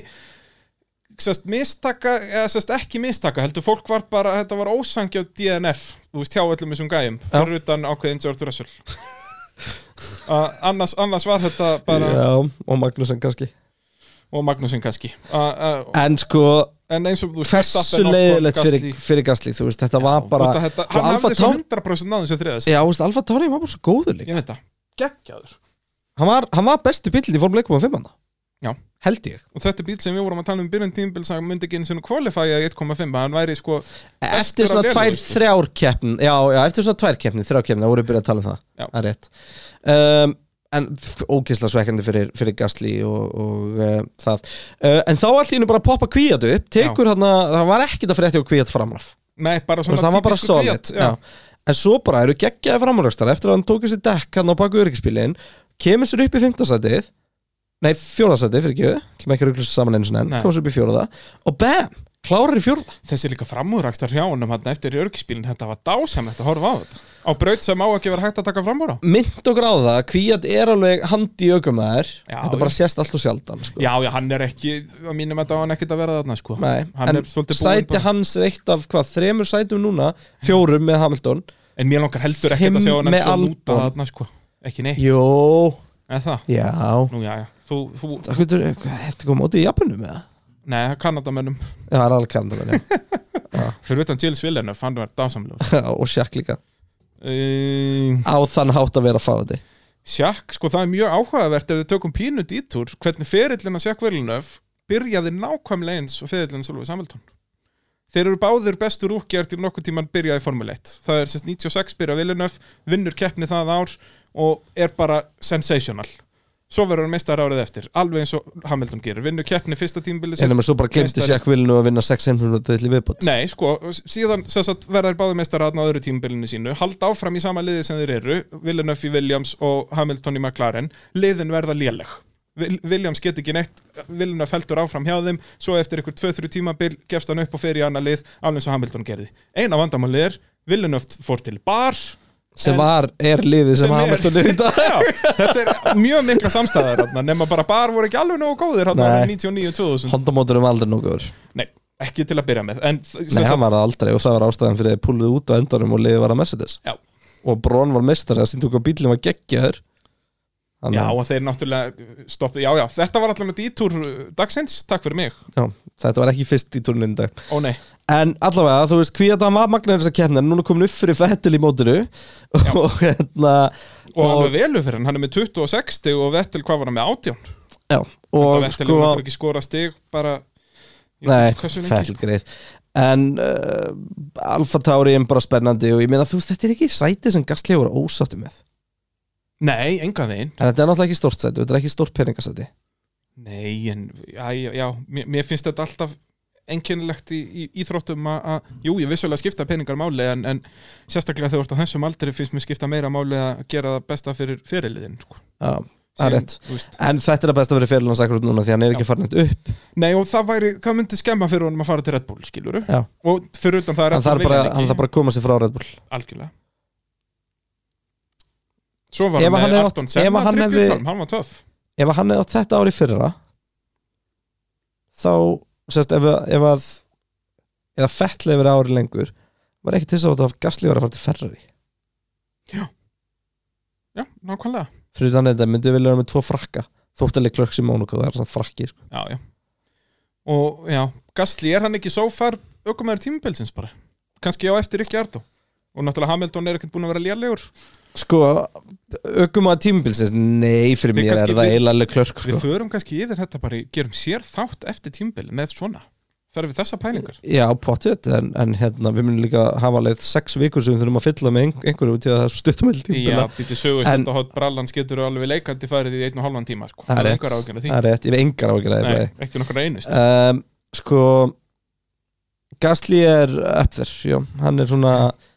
B: sérst mistaka eða sérst ekki mistaka heldur fólk var bara, þetta var ósangjöf DNF, þú veist hjá öllum þessum gæjum fyrir utan ákveðin George Russell uh, annars, annars var þetta bara,
A: já, og Magnussen kannski
B: og Magnúsin kannski uh, uh,
A: en sko
B: en eins og þú
A: hversu
B: Verstappen, Ocon,
A: leiðilegt fyrir,
B: Gasly.
A: fyrir Gasly þú veist, þetta var bara
B: Út af þetta,
A: og
B: hann
A: Alfa
B: hafði svo
A: Tauri
B: 100% náðum sem þriðast
A: já, þú veist, Alfa Tauri var bara svo góður líka
B: ég veit það, geggjaður
A: Hann var, hann var besti bíllinn í Formule 1.5 hann.
B: Já.
A: Held ég.
B: og þetta er bíl sem við vorum að tala um byrjun tímbil sem myndi ekki eins og kvalifæja í 1,5 hann væri sko
A: Eftir
B: Bestur
A: svona
B: af
A: tvær,
B: lélegustu.
A: þrjár keppn Já, já, eftir svona tvær keppni, þrjár keppni Það voru byrjað að tala um það,
B: Já.
A: það er rétt um, En f- ógeðslega svekkandi fyrir, fyrir Gasly og, og uh, það uh, En þá allir henni bara að poppa kvíat upp Tekur hann að, það var ekkit að frétti og kvíat framraf
B: nei, bara
A: Þú
B: svona
A: veist, hann var bara
B: típiskur Fiat,
A: solid já. En svo bara eru geggjaði framrökstar eftir að hann tók þessi dekk hann á baku öryggispílin kemur sér upp í fimmtasætið nei, fjóðasætið fyrir ekki hlum ekki rugglust saman eins og enn,
B: Nei.
A: komur sér upp í fjóða og bam, klárar í fjórða
B: þessi líka framúrakstar hjá honum hann eftir örgispílinn, þetta var dásamlegt að horfa á þetta á braut sem á ekki vera hægt að taka framúra
A: mynd og gráða, kvíat er alveg hand í ögum með þær
B: Já,
A: þetta bara
B: já.
A: sést allt og sjaldan sko.
B: já, já, hann er ekki, að mínum að það hann ekkert að vera þarna sko.
A: Nei,
B: hann
A: en
B: er svolítið búinn
A: sæti
B: bara-
A: hans er eitt af hvað, þremur sætum núna fjórum með Hamilton
B: en mér langar heldur ekkert að sjá
A: Fimm
B: hann eins og
A: með
B: núta
A: Albon.
B: þarna sko. ekki neitt,
A: Jó,
B: eða það
A: já
B: nú, já, já, þú, þú,
A: Það getur, hefði komið út í Japanum eða?
B: nei, kannadamönnum
A: Já, það er alveg kannan
B: fyrir utan Jill Villeneuve, hann var dásamlegur
A: og sjakk líka
B: uh,
A: á þann hátt að vera að fá þetta
B: Sjakk, sko það er mjög áhugavert ef við tökum pínu dítúr, hvernig ferillina Sjakk Villeneuve byrjaði nákvæmlega eins og ferillina Solveig Samhildón Þeir eru báðir bestu rúkjart í nokkuð tíman byrjaði í Formule 1 Það er sérst 96 byrja Villeneuve, vinnur keppni það ár og er bara sensational Svo verður hann meistar árið eftir, alveg eins og Hamilton gerir Vinnur keppni fyrsta tímbili
A: En maður svo bara glemti
B: Meistari.
A: Sjakk Vilnu að vinna 6 heimhjónur til viðbútt
B: Nei, sko, síðan sem sagt, verða þeir báði meistar aðna á öðru tímabilinu sínu halda áfram í sama liði sem þeir eru Villeneuve í Williams og Hamilton í McLaren liðin verða léleg Vil- Williams get ekki neitt, Villeneuve feltur áfram hjá þeim, svo eftir ykkur 2-3 tímabil gefst hann upp og fer í annað lið alveg eins og Hamilton gerði. Eina vandamáli er Villeneuve fór til bar
A: Sem
B: en-
A: var, er liðið sem,
B: Sem er.
A: Hamilton er í dag
B: Já, þetta er mjög mikla samstæðar þarna, nema bara bar voru ekki alveg nógu góðir hann
A: Nei.
B: árið 99-2000
A: Hondamóturum aldrei nógur
B: Nei, ekki til að byrja með en, sem
A: Nei,
B: sagt-
A: hann var það aldrei og það var ástæðan fyrir að þeir púluðu út á endanum og liðið var að Mercedes
B: Já.
A: Og Brón var mestari að síndu hvað bílum var geggjaður Þannig
B: Já
A: að-
B: og þeir náttúrulega stoppi, já já, þetta var allavega dítúr uh, dagsins, takk fyrir mig
A: já, þetta var ekki fyrst í túruninu dag
B: Ó nei,
A: En allavega, þú veist, hví að það var magnaður þess að kemna Núna er komin upp fyrir Fettil í mótinu Og hérna
B: og, alveg velu fyrir hann, hann er með 26 stig og Vettel hvað var hann með 18
A: Já, og
B: og Vettel sko...
A: sko
B: ekki skora stig bara ég veit
A: Nei,
B: ekki hversu lengi.
A: fæll greið En uh, Alfa Tauri er bara spennandi og ég meina þú veist, þetta er ekki sæti sem Gasly voru ósáttu með
B: Nei, enga veginn
A: En þetta er náttúrulega ekki stórt sæti, þetta er ekki stórt peningasæti
B: Nei, en já, já, já mér, mér finnst þetta alltaf einkennilegt í, í íþróttum að, að, jú, ég vissulega skipta peningar máli en, en sérstaklega þegar þú ert á þessum aldri finnst mér skipta meira máli að gera það besta fyrir fyrirliðin sko.
A: Já, það er
B: Sem,
A: rétt
B: þú veist,
A: En þetta er að besta verið fyrir hans akkurat núna því hann er ekki
B: Já.
A: farin eitt upp
B: Nei og það væri, hvað myndi skemma fyrir honum að fara til Red Bull, skilur
A: Já.
B: Og fyrir utan það er
A: Hann
B: Red
A: þarf
B: Bull
A: bara,
B: vilja
A: hann þarf bara að koma sér frá Red Bull
B: Algjörlega Svo var
A: Ef hann
B: hann með
A: hefði átt-
B: Arton
A: ef
B: Senna
A: hann hefði-
B: trippjútálm, hann var töff
A: Ef að hann hefði átt þetta ári fyrra Þá, sérst, ef, að- ef að Eða fettlega verið ári lengur Var ekki til þess að Gasly var að fara til Ferrari
B: Já, nákvæmlega
A: fyrir þannig að þetta myndi vilja vera með tvo frakka þóttalega klöks í Mónukó, það er svona frakki sko.
B: Já, já Og já, Gastli, er hann ekki svo far aukumæður tímabilsins bara? Kanski á eftir ekki Arto Og náttúrulega Hamilton er ekkert búin að vera lélegur
A: sko, ökum að tímabilsins nei, fyrir
B: Við
A: mér er
B: kannski-
A: það
B: við-
A: eilalega klörk sko.
B: Við förum kannski yfir þetta bara, í- gerum sér þátt eftir tímabil með svona Ferum við þessa pælingar
A: já, potið, en, en hérna við munum líka hafa leið sex vikur sem við þurfum að fylla með ein- einhverju út í að það er svo stuttumæl
B: Já,
A: tímabila
B: býttu sögust
A: En-
B: þetta hot brallans getur alveg leikandi farið í einn og halvan tíma sko.
A: það er rétt,
B: engar ágjörna því
A: það er rétt, ég hef engar ágjörði
B: Nei, ekki nokkur einust
A: um, sko Gasly er upp þér, já, hann er svona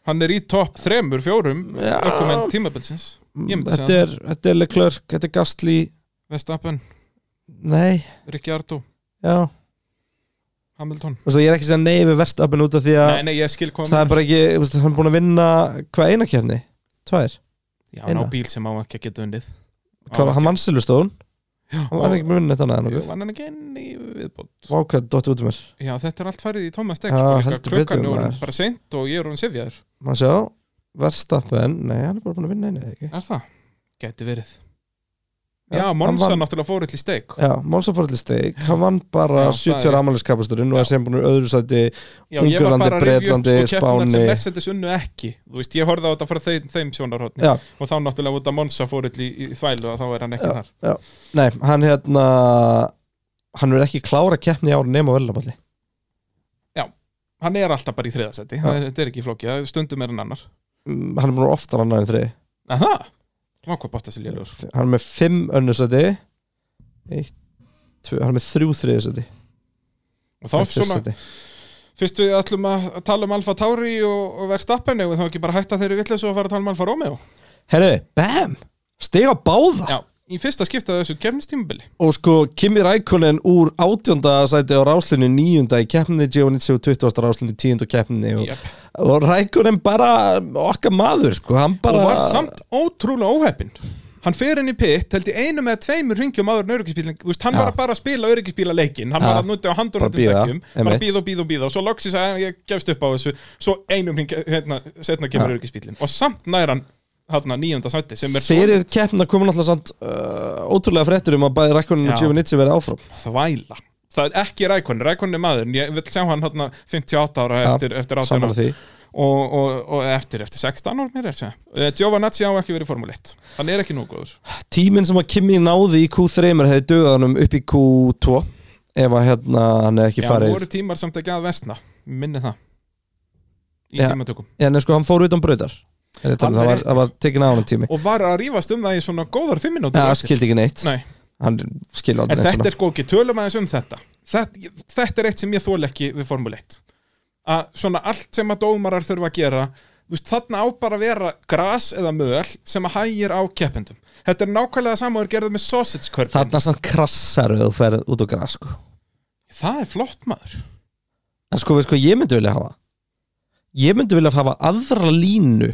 B: Hann er í topp þremur, fjórum
A: Já.
B: ökumenn tímabilsins Ég myndi segja
A: þetta er, þetta er Leclerc, þetta er Gasly
B: Vestapen,
A: nei,
B: Ricciardo,
A: já,
B: Hamilton
A: og svo ég er ekki að segja nei við verstafin út af því að
B: Nei, nei, ég skil
A: það er
B: komið
A: bara ekki, þú veist, hann er búin að vinna hvað eina kefni, tvær
B: Já, hann á
A: eina.
B: bíl sem á ekki að geta unnið
A: hvað, hann vann Silveston,
B: Já,
A: hann var
B: og-
A: ekki búin að vinna þetta annað
B: Jú,
A: en
B: Vann hann ekki enn í viðbót
A: okkur vákvæð, dottir út um mér,
B: Já, þetta er allt farið í Thomas
A: Já,
B: Deck sko, líka
A: heldur betur,
B: Klukkan er orðin
A: maður.
B: bara seint og ég er orðin sefjaður
A: maður sjá verstafin, nei, hann er bara búin að vinna eina ekki,
B: Er það? Gæti verið Já, Monsa
A: hann vann-
B: náttúrulega fór allir steik
A: Já, Monsa fór allir steig, hann vann bara 70
B: Já, það er
A: ára
B: rétt.
A: amaliskapasturinn og er sem búin úr öðru sæti
B: Já, ég var
A: Ungurlandi,
B: bara að rifja upp
A: Bretlandi,
B: sko keppnirnar sem
A: Spáni
B: Mercedes unnu ekki Þú veist, ég horfði á þetta frá þeim, þeim sjónarhóttni
A: Já.
B: Og þá náttúrulega út að Monsa fór allir í, í þvælu og þá er hann ekki þar
A: Já, nei, hann hérna hann verður ekki klára keppni í ár nema velnaballi
B: Hann er alltaf bara í þriðasetti, þetta er ekki flókið, það er stundum er hann annar
A: Mm, hann er múin oftar annar en þri
B: Aha, má hvað bótt þessi lélur
A: hann er með 5 önnur sæti Eitt, tvö, hann er með 3 þriði sæti
B: Og þá svona, fyrst við ætlum að að tala um Alfa Tauri og, og Verstappen og þá ekki bara hætta þeirri vitleysu og fara að tala um Alfa Romeo
A: Herru, bam, stiga báða
B: Já, í fyrsta skipta af þessu kemnistímubili
A: og sko Kimi Rækonen úr átjónda sæti á ráslinu nýjunda í keppni Giovanici og 20. ráslinu í tíundu keppni og,
B: Jep.
A: og Rækonen bara okkar maður sko, hann bara
B: og var samt ótrúlega óheppin hann fer inn í pitt, held ég einu með tveimur ringjum áður en öryggisbílinn, þú veist, hann
A: Já.
B: var að bara spila öryggisbíla leikinn, hann
A: Já.
B: var að nuta á handunum
A: Bara bíða,
B: bara
A: einmitt.
B: býða og býða og býða og svo loksins að ég gefst upp á þessu svo einum hring, hérna, setna kemur öryggisbílinn og samt nær hann hérna nýjönda sæti sem er
A: fyrir keppna komur náttúrulega samt uh, ótrúlega fréttur um að bæði Rækonen og
B: Já.
A: Giovanici verið áfram
B: þvæla það er ekki rækon, rækon er maður ég vil sjá hann hérna 58 ára
A: Já,
B: eftir, eftir 18
A: saman
B: ára
A: að því
B: og, og, og eftir, eftir 16 ára mér er þessi Eh, Giovanazzi á ekki verið Formule 1 hann er ekki nú góður
A: tíminn sem að Kimi náði í Q3 hefði dugað hann um upp í Q2 ef að hérna hann hefði ekki
B: Já,
A: farið
B: voru tímar samt ekki að vestna minni það í
A: Já.
B: tímatökum
A: en sko hann fór utan brautar Þetta er talað,
B: Alveg
A: það var,
B: rétt.
A: það var tekin á hann tími
B: og var að rífast um það í svona góðar fimm minútur
A: það
B: eftir.
A: skildi ekki neitt
B: Nei,
A: hann skildi aldrei
B: en
A: neitt svona.
B: þetta er sko ekki, tölum aðeins um þetta þetta, þetta er eitt sem ég þól ekki við Formule 1 að svona allt sem að dómarar þurfa að gera þú veist, þarna á bara að vera gras eða möl sem að hægir á keppendum þetta er nákvæmlega samanur gerðið með sausage curve
A: Þarna samt krassar ef þú ferð út á græs sko.
B: það er flott maður
A: En sko, veist hvað ég myndi vilja hafa? Ég myndi vilja hafa aðra línu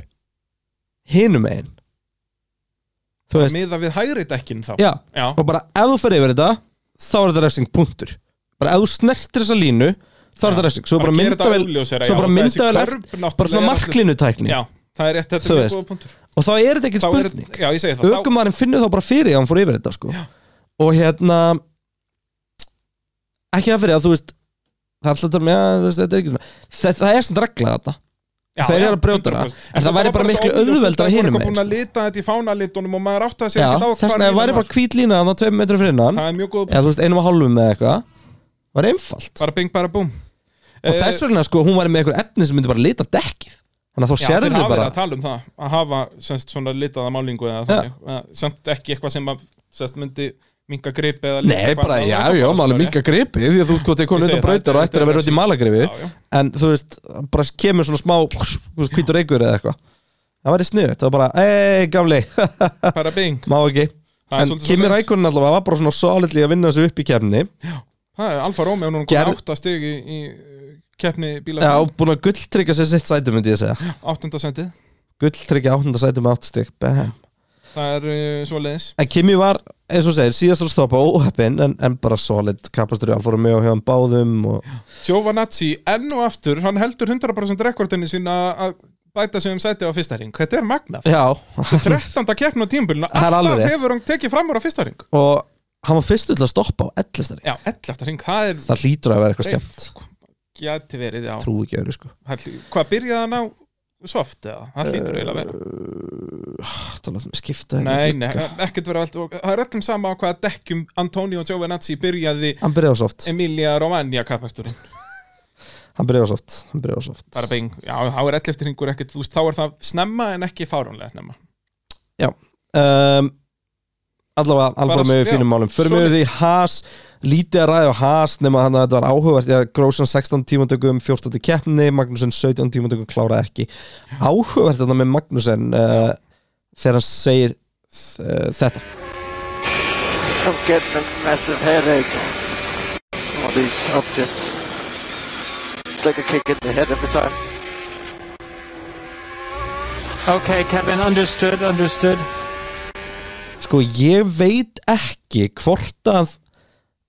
A: hinum einn Þú veist,
B: miða við hægri dekkin þá
A: já
B: Já.
A: Og bara ef þú ferð yfir þetta þá er þetta refsing punktur Bara ef þú snertir þessa línu þá er þetta refsing Svo
B: Bara
A: bara
B: gera
A: mynda
B: þetta
A: vel
B: augljósara,
A: Svo
B: já,
A: bara
B: þessi
A: mynda vel
B: körf
A: eftir
B: náttúrulega
A: Bara svona
B: er allir-
A: marklínutækni
B: já, það er rétt,
A: Þú
B: þetta er mjög
A: veist.
B: góða punktur
A: Og þá er þetta ekkert
B: Þá er-
A: spurning
B: já, ég segi það, þá-
A: Ökumarinn finnur þá bara fyrir að hann fór yfir þetta sko. og hérna ekki það fyrir að þú veist það er alltaf þetta með að þetta er ekki svona það, það er sem regla þetta
B: Já,
A: Þeir
B: já,
A: eru að brjóta hana.
B: 100%.
A: En það
B: þetta
A: væri
B: var
A: bara miklu
B: svo óljós,
A: auðveldara
B: þetta voru
A: hinum
B: eitthvað
A: megin, sko.
B: búin að lita þetta í fánalitunum og maður átti að
A: Já,
B: segja ekki á
A: þess vegna ef
B: línan
A: væri
B: var.
A: bara hvít lína þannig að tveim metri fyrir innan
B: það er mjög góð,
A: eða þú veist einum og hálfum með eitthvað var einfalt
B: bara bing bara búm Eh,
A: og þess vegna sko hún var með eitthvað efni sem myndi bara lita dekkið þannig að þá
B: Já, þeir
A: sérðu
B: hafa verið
A: bara
B: að tala um það að hafa semst, svona litaða málingu eða þannig, Eh, samt ekki eitthvað sem að semst, myndi minga gripi eða lita
A: Nei,
B: eitthvað
A: bara,
B: annað.
A: já,
B: Það er
A: já,
B: bara
A: maður
B: svona
A: minga gripi því að þú sko til
B: Ég
A: konið
B: segi
A: undan
B: það,
A: brautar og
B: þetta-
A: ættir að vera út í malagrifi
B: Já, já.
A: en þú veist, bara kemur svona smá hvítur eigur eða eitthvað það væri sniðut, það var bara, ei, gamli
B: rétt, bara bing,
A: má ekki
B: Það er
A: en
B: svolítið
A: Kimi
B: svoleiðis.
A: Rækonin allavega var bara svona solidly að vinna þessu upp í kefni
B: það er Alfa Romeo núna
A: Gerð-
B: komið átta stig í, í keppni bíla
A: já, og búin að gulltryggja sér sitt sæti myndi ég segja
B: áttunda sendið,
A: gulltryggja áttunda sæti með átt stygg en
B: það er uh, svo leiðis
A: Kimi var, eins og segir, síðast að stoppa óheppin en, en bara solid kapastur í alfórum með og hefum báðum og
B: Giovanazzi enn og aftur, hann heldur 100% rekordinu sína að bæta sig um sæti á fyrsta ring, þetta er magnað
A: já,
B: 13. keppn á tímbilinu,
A: Það er
B: alltaf
A: alveg rétt.
B: hefur hann tekið fram úr á fyrsta ring
A: og hann var fyrstu til að stoppa á 11.
B: Já, 11. ring, það er
A: það hlýtur að vera eitthvað skemmt
B: gæti verið já.
A: trú ekki öðru sko
B: Hann hlý- Hvað byrjaði hann á soft eða? Hann hlýtur eiginlega að vera
A: Eh, Þannig að skipta henni
B: Nei, nei,
A: glugga.
B: ekkert verið allt og- Það er öllum sama á hvaða dekkjum Antonio Giovinazzi byrjaði
A: Hann byrjaði á soft
B: Emilia Romagna kappasturinn
A: Hann byrjaði á soft Hann byrjaði á soft
B: Bara bein, já, þá er 11. ringur ekkert þú veist, Þá er það snemma en ekki fáránlega snemma
A: Já um, Allavega alfa
B: Bara-
A: með
B: já,
A: fínum málum Förum
B: solid.
A: við í Haas Lítið að ræða á Haas Nefn að þetta var áhugavert Þegar Grósson 16 tímantökum 14. keppni Magnúsen 17 tímantökum kláraði ekki Áhugavert þetta með Magnúsen uh, Þegar hann segir uh, þetta
J: I'm getting a massive headache. All these subjects. It's like a kick in the head every time.
E: Okay, Kevin, understood, understood.
A: Sko ég veit ekki hvort að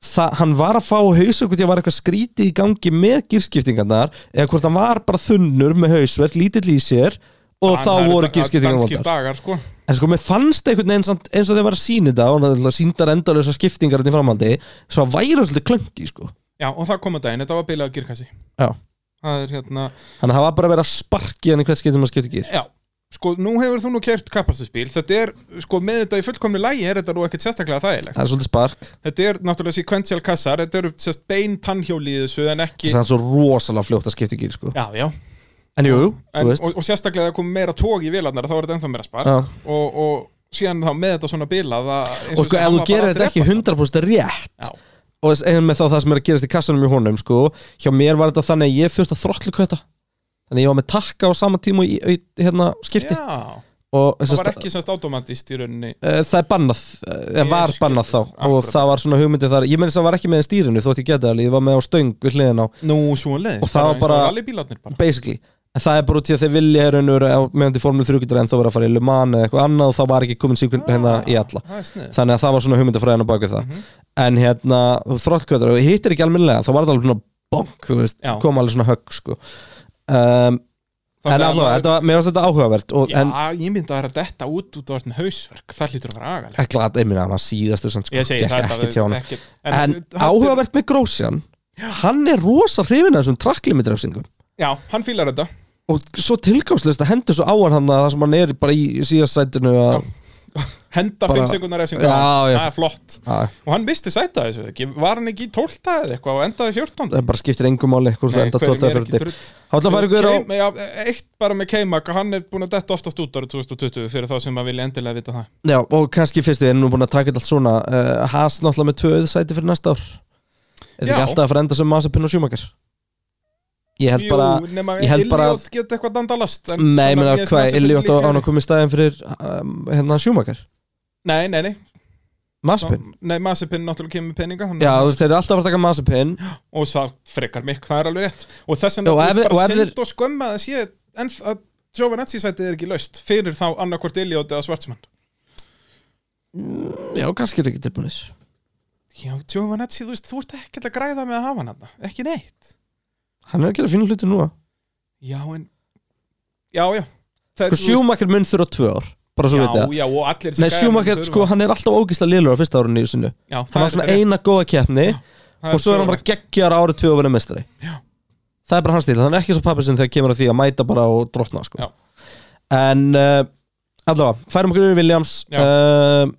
A: það, hann var að fá haus og hvort ég var eitthvað skrítið í gangi með gírskiptingarnar eða hvort hann var bara þunnur með hausverk, lítill í sér og þá
B: Hann-
A: voru
B: það- það-
A: gírskiptingar
B: danskir
A: vondar
B: dagar, sko
A: En sko, mér fannst einhvern veginn samt eins og þeir var að sína þetta og náttúrulega síndar endalösa skiptingar þarna í framhaldi, svo að væri það svolítið klöngi, sko.
B: Já, og það kom að daginn, þetta var bilað girkassi
A: Já.
B: Það er hérna,
A: Þannig að það var bara að vera að sparki hann í hvert skipti maður skipti gýr.
B: já Sko, nú hefur þú nú kert kapastusbíl Þetta er, sko, með þetta í fullkomni lægi er þetta nú ekkert sérstaklega þægilegt
A: Það er svolítið spark.
B: Þetta er náttúrulega sequential kassar Þetta eru sérst bein tannhjóli í þessu en ekki
A: Það er svo rosalega fljótt að skipti gýr, sko.
B: Já, já
A: En jú, jú,
B: en,
A: þú veist.
B: og, og sérstaklega það kom meira tóg í vélarnar þá er þetta ennþá meira spar
A: Já.
B: og, og síðan þá með þetta svona bilað að- eins
A: og sko,
B: hann
A: ef þú
B: var bara
A: gerir
B: að
A: þetta ekki
B: drepast
A: 100% rétt
B: Já.
A: og þess- eða með þá það sem er að gerast í kassanum í honum sko, hjá mér var þetta þannig að ég þurfti að þrottlu kvöta þannig að ég var með takka á sama tíma í, í hérna, skipti
B: Já,
A: og
B: það
A: þess,
B: var ekki semst automatist í rauninni
A: eh, það er bannað, eða
B: Ég
A: var
B: skil,
A: bannað þá og
B: akkurat.
A: það var svona hugmyndið þar, ég meina þess að það var ekki með í stýrinu þótt ég geta alveg, ég var með á stöng við hliðin á,
B: Nú, svona leiðis
A: Og það var bara-
B: Allir bílarnir bara
A: basically en það er bara út í að þeir vilja herunur meðan til formule 3 getur en þá vera að fara í Le Mans eða eitthvað annað og það var ekki komin síkvinn hérna í alla
B: Það er snið
A: þannig að það var svona hugmyndafræðin á baku það
B: Mhm.
A: en hérna þróttkvötar og hittir ekki almennilega þá var það alveg svona bonk þú veist,
B: Já.
A: kom alveg svona högg sko. um, en allavega, þetta var, mér varst þetta áhugavert og,
B: Já,
A: en
B: ég myndi að vera detta út út á þessum hausverk Það hlýtur að vera agalegt
A: ekki að einmina að maður síðastu sem sko,
B: Ég segi
A: gekk
B: það
A: ekki tjá hann
B: ekki
A: en
B: hann-
A: áhugavert með Grósjan hann er rosa hrifin af þessum trakklimitræfsingum
B: Já, hann fílar þetta
A: og svo tilgangslust að hendur svo á hann hann það sem hann er bara í síðastætinu að,
B: Henda
A: Bara-
B: 5 sekundar refsingu
A: Já,
B: á hann.
A: já.
B: Það er flott
A: að,
B: Og hann misti sæta þessu ekki Var hann ekki í 12 eða eitthvað og endaði 14
A: það bara skiptir engum máli hvort það
B: Nei,
A: enda
B: hver-
A: 12.
B: ég er ekki
A: fyrir
B: drull.
A: hann ætla að fara ykkur á
B: Keim- já, Eitt bara með K-Mag Hann er búin að detta oftast út árið 2020 Fyrir þá sem að vilja endilega vita það
A: Já, og kannski fyrst við erum nú búin að taka þetta allt svona uh, Haas náttúrulega með tvö auðsæti fyrir næsta ár Er þetta ekki
B: Já.
A: alltaf að fara að enda sem Mazepin og Schumacher? Ég held bara
B: Jú, nema
A: ég held bara-
B: Elliot geta eitthvað dandalast en
A: Nei,
B: svona
A: ég meina
B: mér finnst það
A: hvað,
B: sem
A: Elliot á
B: líklegri.
A: hann að koma í staðin fyrir um, hérna Schumacher
B: Nei, nei, nei
A: Mazepin
B: Nei, Masipin náttúrulega kemur með peninga hann-
A: Já, þú veist, þeir eru alltaf að fara að taka Mazepin
B: og það frekar mikk, það er alveg rétt og þess
A: Já,
B: vegna
A: og
B: þú
A: ef-
B: veist,
A: og
B: bara
A: ef þeir-
B: synd og skömma að sé en að Giovanetti sætið er ekki laust fyrir þá annarkvort Elliot eða Svartsmann
A: Já, kannski er ekki tilbúinir
B: Já, Giovanetti, þú veist, þú ert ekkert að græða með að hafa hann hann ekki neitt
A: Hann er að gera fínu hluti núna
B: Já, en Já, já Það,
A: Sko, Schumacher mun þurfa tvö ár Bara svo
B: Já,
A: veit ég
B: já, og allir
A: Nei, Schumacher, sko, hann er alltaf ógislega lélur á fyrsta árunni í sinu
B: já, það
A: Hann var
B: er
A: svona
B: rétt.
A: eina góða keppni
B: Það
A: og svo er hann bara
B: Giovanetti.
A: geggjar árið tvö og vinna mestari
B: Já.
A: það er bara hans stíl, hann er ekki svo pappið sinn þegar kemur að því að mæta bara og drotna sko.
B: Já.
A: en uh, allavega, færum okkur yfir í Williams
B: Já.
A: uh,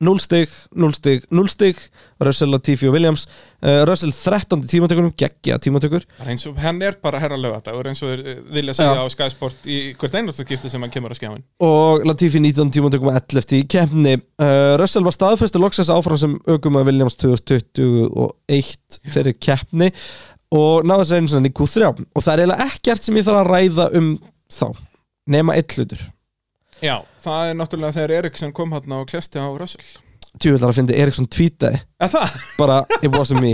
A: 0 stig 0 stig, 0 stig Russell, Latifi og Williams uh, Russell 13 í tímatökunum, geggja tímatökur
B: Það er eins og, hann er bara herra lögadagur eins og þeir eh, vilja
A: Já.
B: segja á Sky Sport í hvert einasta skipti sem hann kemur á skjáin
A: og Latifi 19 tímatökum og 11 í kemni uh, Russell var staðfestu loksins áfram sem aukum að Williams 2021 fyrir keppni og náðu þess einu sinni í Q3 og það er eiginlega ekkert sem ég þarf að ræða um þá nema eitt hlutur
B: Já, það er náttúrulega þegar Eriksson kom hann og klesti á Russell
A: tjúvillar að fyndi Eriksson tweetaði
B: Eða það?
A: bara it wasn't me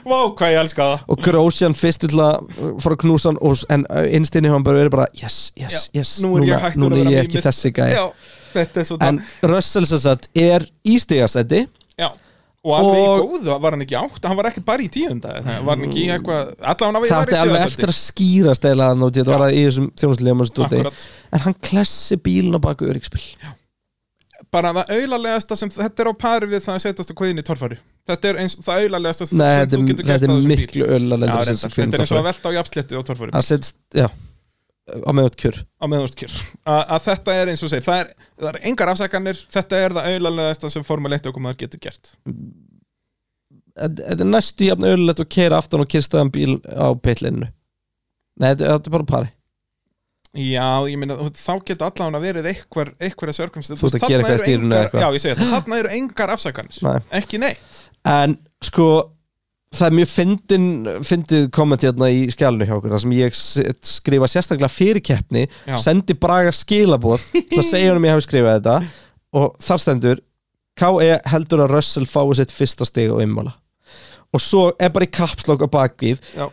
B: Vá, hvað ég elska það
A: og Grósjan fyrst til að fara að knúsa hann og, en eh, innstinni hann bara verið bara yes, yes,
B: Já,
A: yes,
B: nú er ég hættur
A: núna
B: að
A: er
B: vera
A: ég ekki
B: mýmið.
A: þessi gæði
B: Já, þetta er svo
A: en Russell sem sagt er í stigasæti
B: Já, og
A: Og-
B: alveg í góðu var hann ekki átt, hann var ekkert bara í tíunda eða var hann ekki í eitthvað, allan að
A: það átti alveg eftir að skýra stæla hann og þetta var að í þessum þjónuslega stúti
B: Akkurat.
A: en hann klessi bílinn á baku öryggspil
B: bara það auðarlegasta sem þetta er á pari við það að setjast að kveðin í torfari þetta er eins, það auðarlegasta sem,
A: Nei,
B: sem
A: þetta
B: þú
A: er,
B: getur
A: þetta
B: gert á
A: er
B: þessum
A: miklu
B: bíl Já,
A: öllalega
B: reyndar. þetta er eins og að velta á jafnslétti á torfari
A: hann setst, já á meðut kjör
B: á meðvörskjör að þetta er eins og segir, það er, það er engar afsækanir þetta er það auðarlegasta sem formuleitt okkur maður getur gert
A: þetta þetta er næstu jafn öllulegt að keira aftan og kyrstaðan bíl á pillinu nei, þetta, þetta er bara pari
B: Já, ég meina, og þá geta allan að verið eitthvað, eitthvað sörgumst
A: Þú veist að gera eitthvað í stýrinu eða eitthvað.
B: Já, ég segi það, þarna eru engar afsakanir
A: Nei.
B: Ekki neitt
A: en sko það er mjög fyndin, fyndið komment hérna í skjálinu hjá okkur, það sem ég set- skrifa sérstaklega fyrir keppni
B: Já.
A: sendi Braga skilaboð til að segja honum ég hafi skrifað þetta og þar stendur K.E. heldur að Russell fái sitt fyrsta stig á einmála og svo er bara í kapslokk á bakvið
B: Já.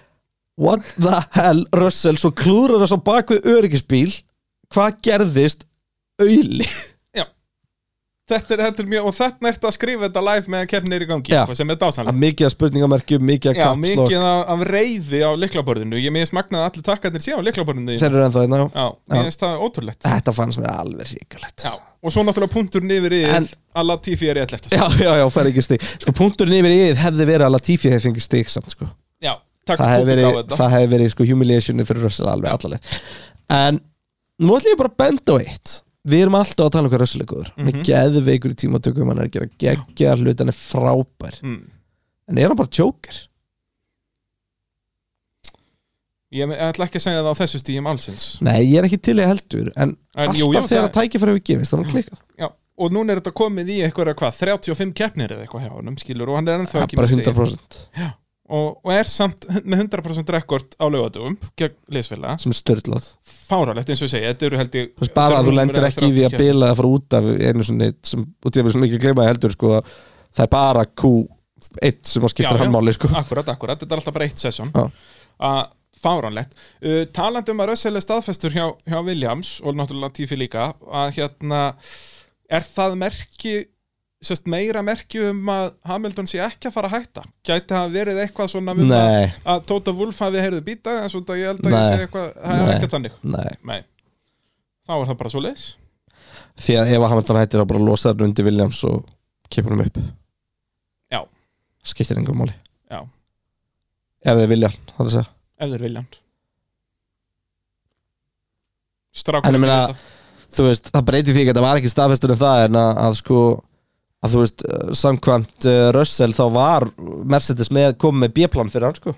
A: what the hell Russell svo klúrar þess á bakvið öryggisbíl hvað gerðist auðli
B: Já. þetta er, þetta er mjög, og þetta er að skrifa þetta live meðan keppni er í gangi,
A: Já.
B: sko, sem er
A: að
B: dásanlega
A: mikið af spurningamerkjum, mikið af
B: Já,
A: kapslokk
B: mikið af, af reyði á lyklaborðinu ég minnst magnaði að allir takkarnir séu á lyklaborðinu
A: þeir eru ennþá hérna já.
B: Já, minnst það ótrúlegt
A: þetta fannst mér alveg ríkulegt
B: Já, og svo náttúrulega punktur niður í
A: En-
B: alla tífi er rétt lefta
A: já, já, já, fær ekki stig sko punkturinn yfir yfir hefði verið að Latifi hefði fengið stig samt sko
B: Já, takk
A: það hefði
B: punktur á
A: verið,
B: þetta
A: það hefði verið sko humiliationi fyrir Russell alveg allaleg en nú ætlum ég bara að benda á eitt við erum alltaf að tala um hvað Russell er góður
B: Mhm.
A: hann er geðveikur í tímatökum, hann er að gera geggjar hlut, hann er frábær
B: Mm.
A: en er hann bara tjókir?
B: Ég ætla ekki að segja það á þessu stíum allsins
A: Nei, ég er ekki til í heldur en,
B: En
A: alltaf
B: jú, jú,
A: þegar
B: það- Mhm.
A: að tækifæri hefur gefist, þannig klikkað
B: Já, og núna er þetta komið í eitthvað, hvað, 35 keppnir eða eitthvað hjá honum, skilur, og hann er ennþá
A: Ja,
B: ekki
A: bara
B: með stig.
A: 100%
B: og, og er samt með 100% rekord á laugadugum gegn liðsfélaga
A: sem er störtlað
B: fáralegt eins og ég segi, þetta eru held ég
A: Þú veist bara að þú
B: þetta eru
A: lendir
B: rúmlega
A: ekki í því að
B: 30
A: bila að fara út af einu svona sem, og því að við sem ekki gleyma því heldur sko, að það er bara Q1 sem að skipta
B: Já, já.
A: hann máli sko.
B: Akkurat, akkurat, þetta er alltaf bara eitt sesjón
A: Já.
B: að fáránlegt uh, talandi um að Russell er staðfestur hjá, hjá Williams og náttúrulega Tífi líka að hérna, er það merki sest, meira merki um að Hamilton sé ekki að fara að hætta gæti hafa verið eitthvað svona um að,
A: Nei,
B: að Tóta Wolf hafi heyrðu býta en svona ég held að
A: Nei.
B: ég segi eitthvað það er
A: Nei.
B: ekki þannig
A: nei
B: Nei. þá er það bara svo leis
A: Því að ef að Hamilton hættir að bara losa þarna undir Williams og kipur hann upp
B: Já.
A: Skiptir engum máli
B: Já.
A: Ef þið vilja, það er að segja
B: ef þeir vilja hann Strákur
A: En ég meina- Þú veist, það breyti því ekki að það var ekki staðfestur en það en að, að sko að þú veist, eh, samkvæmt uh, Russell þá var Mercedes með komið með B-plan fyrir hann sko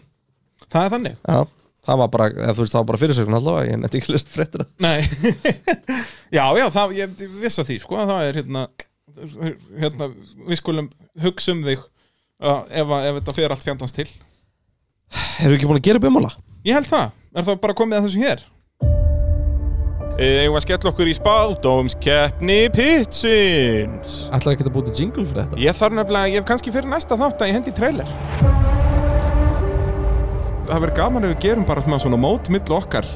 B: Það er þannig
A: Já, það var bara, eða, þú veist, það var bara fyrirsökun allavega, ég nefndi ekki að lesa fréttina
B: Nei Já, já, það, ég ég vissi að því sko að það er hérna, hérna við skulum hugsa um þig uh, ef, að- ef þetta fer allt fjandans til
A: Erum við ekki búin að gera upp ummála?
B: Ég held það, er það bara komið að þessu hér Ég var að skella okkur í spáldómskeppni Pitsins
A: Ætlar ekki að búti jingle fyrir þetta?
B: Ég þarf nefnilega, ég hef kannski fyrir næsta þátt að ég hendi í trailer Það verður gaman ef við gerum bara svona- svona mót millu okkar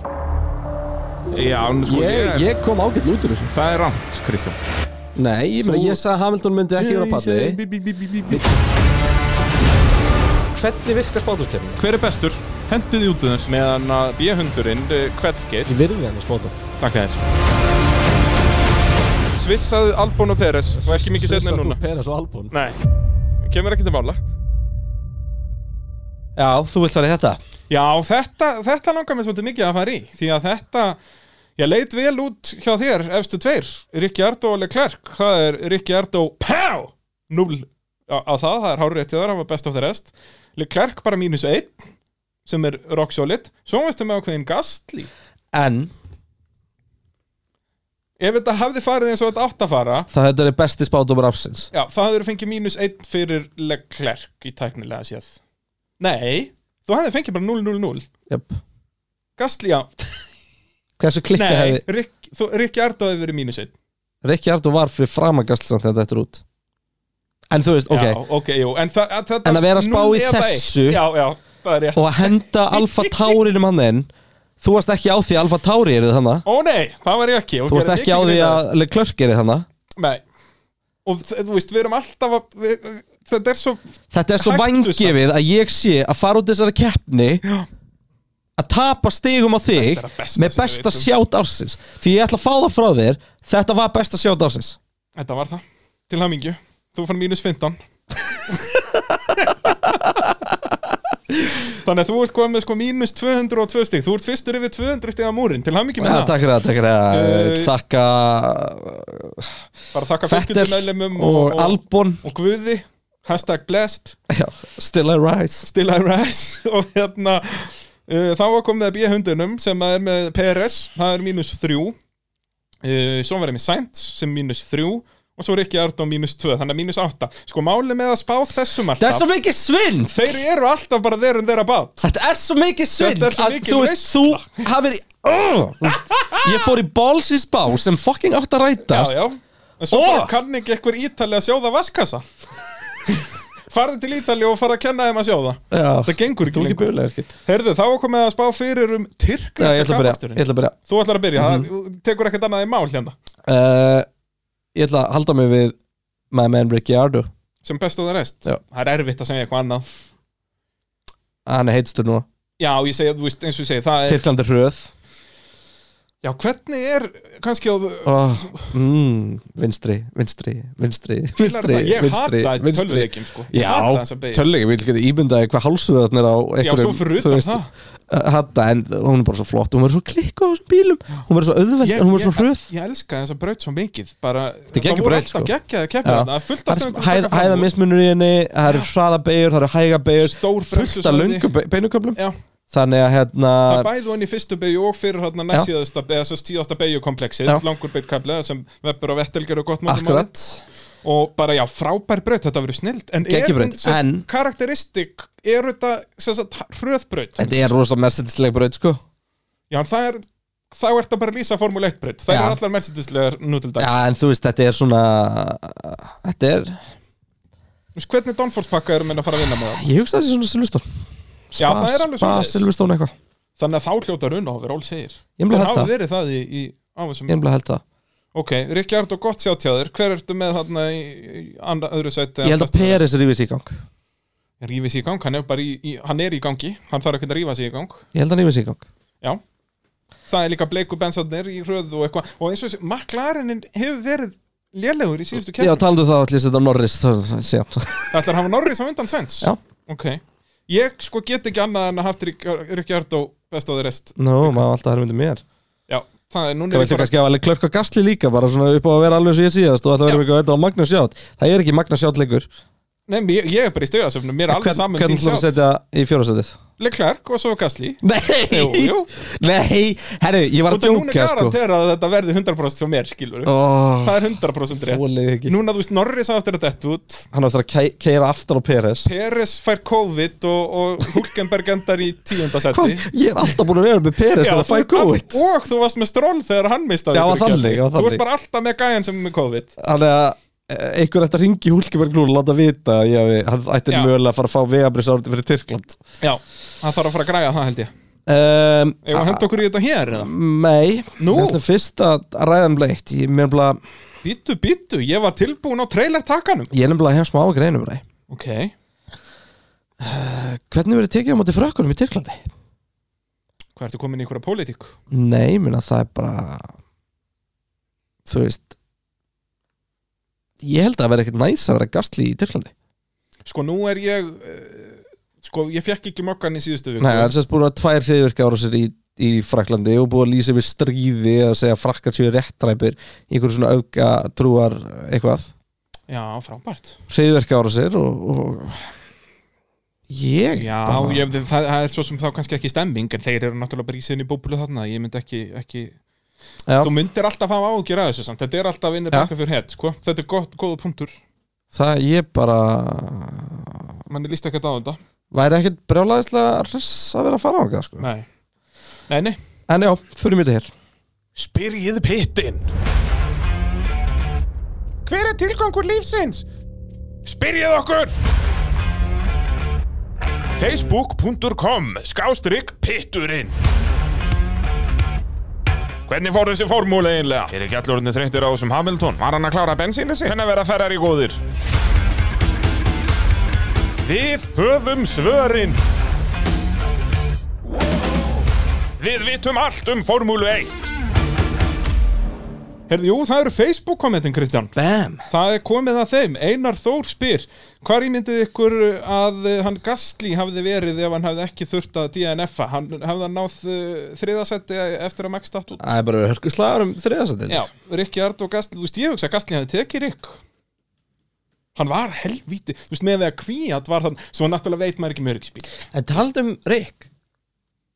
B: Já, nú sko
A: Ég,
B: er-
A: ég kom ágætt út úr þessu
B: Það er rámt, Kristján
A: Nei, ég, meina, ég sagði að Hamilton myndi ekki vera á palli Hvernig virkar spátumskefni?
B: Hver er bestur? Hentu því út um þér Meðan að B-hundurinn, eh, Kveldgeir
A: Ég virði hennar spátum
B: Takk þér Svissaðu Albon og Peres Og ekki mikið setna núna
A: Peres og Albon
B: Nei Kemur ekki til mála
A: Já, þú vilt fara í þetta
B: Já, þetta, þetta langar mér svolítið mikið að fara í Því að þetta Ég leit vel út hjá þér, efstu tveir Rikki Ardó og Leclerc Það er Rikki Ardó, pá, 0 á, á það, það er hárið til þar, hann var best of the rest Leclerc bara mínus 1 Sem er rock solid Svo veistu með ákveðin Gastli
A: En
B: Ef þetta hafði farið eins og þetta átt að fara
A: það þetta er besti spátumar afsins
B: Já, það hefur fengið mínus 1 fyrir Leclerc í tæknilega séð Nei, þú hefði fengið bara 0-0-0
A: Jöp
B: Gastli, já,
A: Hversu klikka
B: nei,
A: hefði
B: Rick, þú, Rick Jardo hefði verið mínus 1
A: Rikki Ardó var fyrir framagast samt þegar þetta er út En þú veist, ok
B: Já, ok, jú, en, þa að, það,
A: En að vera að spá í þessu-
B: Já, já, það er ég
A: og að henda Alfa Taurinum hann inn þú varst ekki á því að Alfa Tauri er þið þannig
B: Ó nei, það var ég ekki og
A: þú varst
B: gerði
A: ekki á því
B: grein
A: að Leclerc er þið þannig
B: fyrir það. Nei, og þ- þú veist, við erum alltaf að við, Þetta er svo
A: þetta er svo
B: Hættu
A: vangefið að ég sé að fara út þessari keppni að tapa stigum á þig
B: Þetta er að besta
A: með
B: sem við
A: besta
B: vitum.
A: sjátt ársins því ég ætla að fá það frá þér þetta var besta sjátt ársins
B: Þetta var það, til hamingju Þú fann mínus 15 Þannig að þú ert komið með sko mínus 202 stig Þú ert fyrstur yfir 200 stig á múrin Til hamingju með
A: ja,
B: það
A: takk fyrir það, takk fyrir það
B: Eh,
A: þakka
B: Bara þakka
A: Fetter
B: fylgjundunælimum
A: og, Albon
B: og Guði Hashtag blessed
A: já, Still I Rise
B: Still I Rise og hérna uh, þá var komið að bíja hundunum sem að er með PRS, það er mínus 3 uh, svo var ég með Sainz sem mínus 3 og svo er ekki Ardó mínus 2, þannig að mínus 8 sko máli með að spá
A: það
B: þessum
A: er
B: alltaf
A: svo mikið svind
B: þeir eru alltaf bara þeir en þeirra bát
A: Þetta er svo mikið svindl
B: Þetta er svo
A: að
B: mikil
A: þú veist, þú hafið í oh, þú veist, Ég fór í bálsins bá sem fucking átt að
B: já,
A: rætast
B: já, en svo
A: Ó!
B: bara kann ekki einhver ítali að sjóða vaskassa farði til Ítali og fara að kenna þeim að sjóða
A: Já.
B: það gengur
A: Ah, Þú er
B: ekki
A: ekki
B: lengur
A: bjöðlega ekki Já,
B: Herðu, þá var komið að spá fyrir um
A: ég ætla
B: tyrkneska
A: að byrja, ég
B: kapaksturinn
A: ætla Mhm. að byrja
B: Þú ætlar að byrja, það tekur ekkert annað í mál hérna
A: uh, Ég Eh, ætla að halda mig við my man Ricciardo
B: sem best of the rest
A: Já.
B: það er erfitt að segja eitthvað annað
A: hann er heitstur núna,
B: já, ég segi, þú veist, eins og ég segi, það er
A: Tyrkland er hröð
B: já, hvernig er, kannski á
A: oh, mm, vinstri, vinstri, vinstri
B: Fílar
A: vinstri,
B: það, ég hata þetta í tölvuleikjum sko Ég hata
A: Já,
B: þessa beygju.
A: tölvuleikjum, ég vil ekki ímyndaði hvað hálsöðan er á
B: Já, svo fyrir
A: þú
B: utan
A: veist,
B: það
A: Hatta, en hún er bara svo flott Hún verður svo klikku á þessum bílum Hún verður svo auðveld, en hún verður svo hröð
B: ég, ég elska þessa braut svo mikið bara,
A: Þetta er geggjuð braut,
B: Það voru alltaf
A: sko.
B: geggjaði
A: Já.
B: keppið Það er fullt af
A: Það
B: stöðum
A: er
B: til að
A: hæð-
B: taka fram
A: Hæða
B: úr.
A: mismunur í henni, það eru hraðabegjur, það eru hægabegjur
B: Stór
A: Fullt af
B: bremsusvæði.
A: löngu be- beinuköflum
B: Já,
A: Þannig að hérna
B: það er bæði hann í fyrstu beigju og fyrir hann
A: Já.
B: næst síðasta eða sem síðasta beigjukompleksið,
A: Já.
B: langur beigkaflega sem Weber og Vettel gerðu gott málum
A: Akkurat
B: og bara já, frábær braut, þetta verður snild en
A: Geggjubraut,
B: er, sem sagt,
A: en-
B: karakteristik er þetta sem sagt, hröðbraut
A: Þetta er rosa mersedislega braut sko
B: já, en það er, þá er þetta bara að lýsa Formule 1 braut, það
A: Já.
B: er allar mersidislegar nú til dags,
A: Já, en þú veist, þetta er svona Þetta er,
B: Þú veist, hvernig Danforce pakka erum við að fara að vinna með það
A: ég hugsa þessi svona Silveston
B: Já, það er alveg svoleiðis.
A: Silveston eitthvað
B: Þannig að þá hljótar unna ofir all segir
A: Ég vil
B: Það
A: held
B: hafi
A: það,
B: verið það í, í á þessum
A: ég vil held það
B: Ok, Ríkjard og gott sjátjáður Hver ertu með þarna í, í anda, öðru sæti
A: Ég held að Peres rífis í gang
B: Rífi sig í gang, hann er bara í, í Hann er í gangi, hann þarf ekki að rífa sig í gang
A: Ég held að hann rífis í gang
B: Já Það er líka bleiku bensarnir í hröðu og eitthvað Og eins og þessi, McLarenin hefur verið lélegur í síðustu
A: Já,
B: kemur
A: taldu það allir þetta Norris það- síðan.
B: Það ætlar að hafa Norris á undan sæns
A: Já.
B: Ok Ég sko get ekki annað en að haft Ríkjard og best á því rest
A: Nú, maður alltaf hermyndi um mér
B: Já, það er
A: Ég
B: núna
A: Mm.
B: er
A: viltu
B: bara-
A: kannski hafa alveg klörk og gasli líka bara svona upp á að vera alveg svo ég síðast og þetta verður ekki að þetta á Magnus Ját Það er ekki Magnus Ját leikur
B: Nei, ég, ég er bara í stöðasöfnum, mér er alveg saman
A: Hvernig ætlar að setja Mm, í fjórasætið?
B: Leclerc og svo Gasly
A: Nei,
B: Jú, jú.
A: nei, herri, ég var
B: Og
A: að
B: það núna
A: djóka sko
B: garantera að þetta verði 100% hjá mér, skilur
A: Ó,
B: Það er 100% rétt
A: Þólið ekki
B: Núna, þú veist, Norris á eftir að dett út
A: Hann á eftir að keira aftur á Peres
B: Peres fær COVID og, og Hulkenberg endar í tíundasetti
A: Hvað, ég er alltaf búin að vera með Peres þegar það fær góðitt
B: Og þú varst með stról þegar hann mistaði
A: Já,
B: einhverju
A: þannig,
B: keppni.
A: já,
B: Þú
A: þannig.
B: ert bara alltaf með gæjan sem er með COVID
A: Þannig að eh, einhver ætti að ringi Hulkeberg núna og láta vita að ég, hafi- hann ætti
B: Já.
A: mögulega að fara að fá vegabris árið fyrir Tyrkland
B: Já, hann þarf að fara að græja það, held ég
A: um,
B: Ég var að henda okkur í þetta hér eða?
A: Nei,
B: Nú?
A: við ætlum fyrst að ræða um leitt Ég er nefnilega,
B: Bítu, bítu, ég var tilbúin á trailertakkanum
A: ég er nefnilega hef smá um að greinum ræði
B: Ok,
A: Hvernig verður tekið á móti frökkunum í Tyrklandi?
B: hvað ertu komin í einhverja pólitík?
A: Nei, minna það er bara Þú veist Ég held að það verði ekkert næs að vera gastli í Tyrklandi
B: Sko nú er ég eh, Sko ég fekk ekki mokkan í síðustu viku
A: Nei, það er sérst búin að tvær hriðvirka ára sér í, í Fraklandi og búið að lýsa við stríði að segja að frakkar séu réttræpir í einhverju svona auka trúar eitthvað
B: Já, frábært
A: hriðvirka ára sér og, og ég
B: Já,
A: bara,
B: ég, það, það er svo sem þá kannski ekki stemming En þeir eru náttúrulega bara í sinni búblu þarna Ég myndi ekki, ekki...
A: Já.
B: Þú myndir alltaf hafa ágjur að þessu samt Þetta er alltaf inni
A: Já.
B: baka fyrir hett sko. Þetta er gott, góða punktur
A: það ég bara
B: Manni líst ekkert á þetta
A: væri ekkert brjálæðislega hress að vera að fara á okkar sko.
B: Nei, nei, nei.
A: en já, fyrir mjög til hér
B: Spyrjið pittin Hver er tilgangur lífsins? Spyrjið okkur Facebook.com Skástrygg pitturinn Hvernig fór þessi formúli einlega? Er ekki allur orðinu þreyttir á þessum Hamilton? Var hann að klára bensínu sig? Hvernig verða ferrar í góðir? Við höfum svörin Við vitum allt um Formúlu 1 Herðu, jú, það eru Facebook kommentin, Kristján
A: Bam!
B: Það er komið að þeim, Einar Þór spyr Hvar ímyndið ykkur að uh, hann Gastli hafði verið ef hann hafði ekki þurft að DNF-a Hann hafði hann náð uh, þriðasetti eftir að Max datt út
A: Það er bara hörkuslagur um þriðasættin
B: Já, Rikki Ard og Gastli, þú veist, ég hugsa að Gastli hafði tekið Rikk Hann var helvíti, þú veist, með að kvíat var þann Svo náttúrulega veit maður ekki um mjög ekki spil
A: En taldum Rick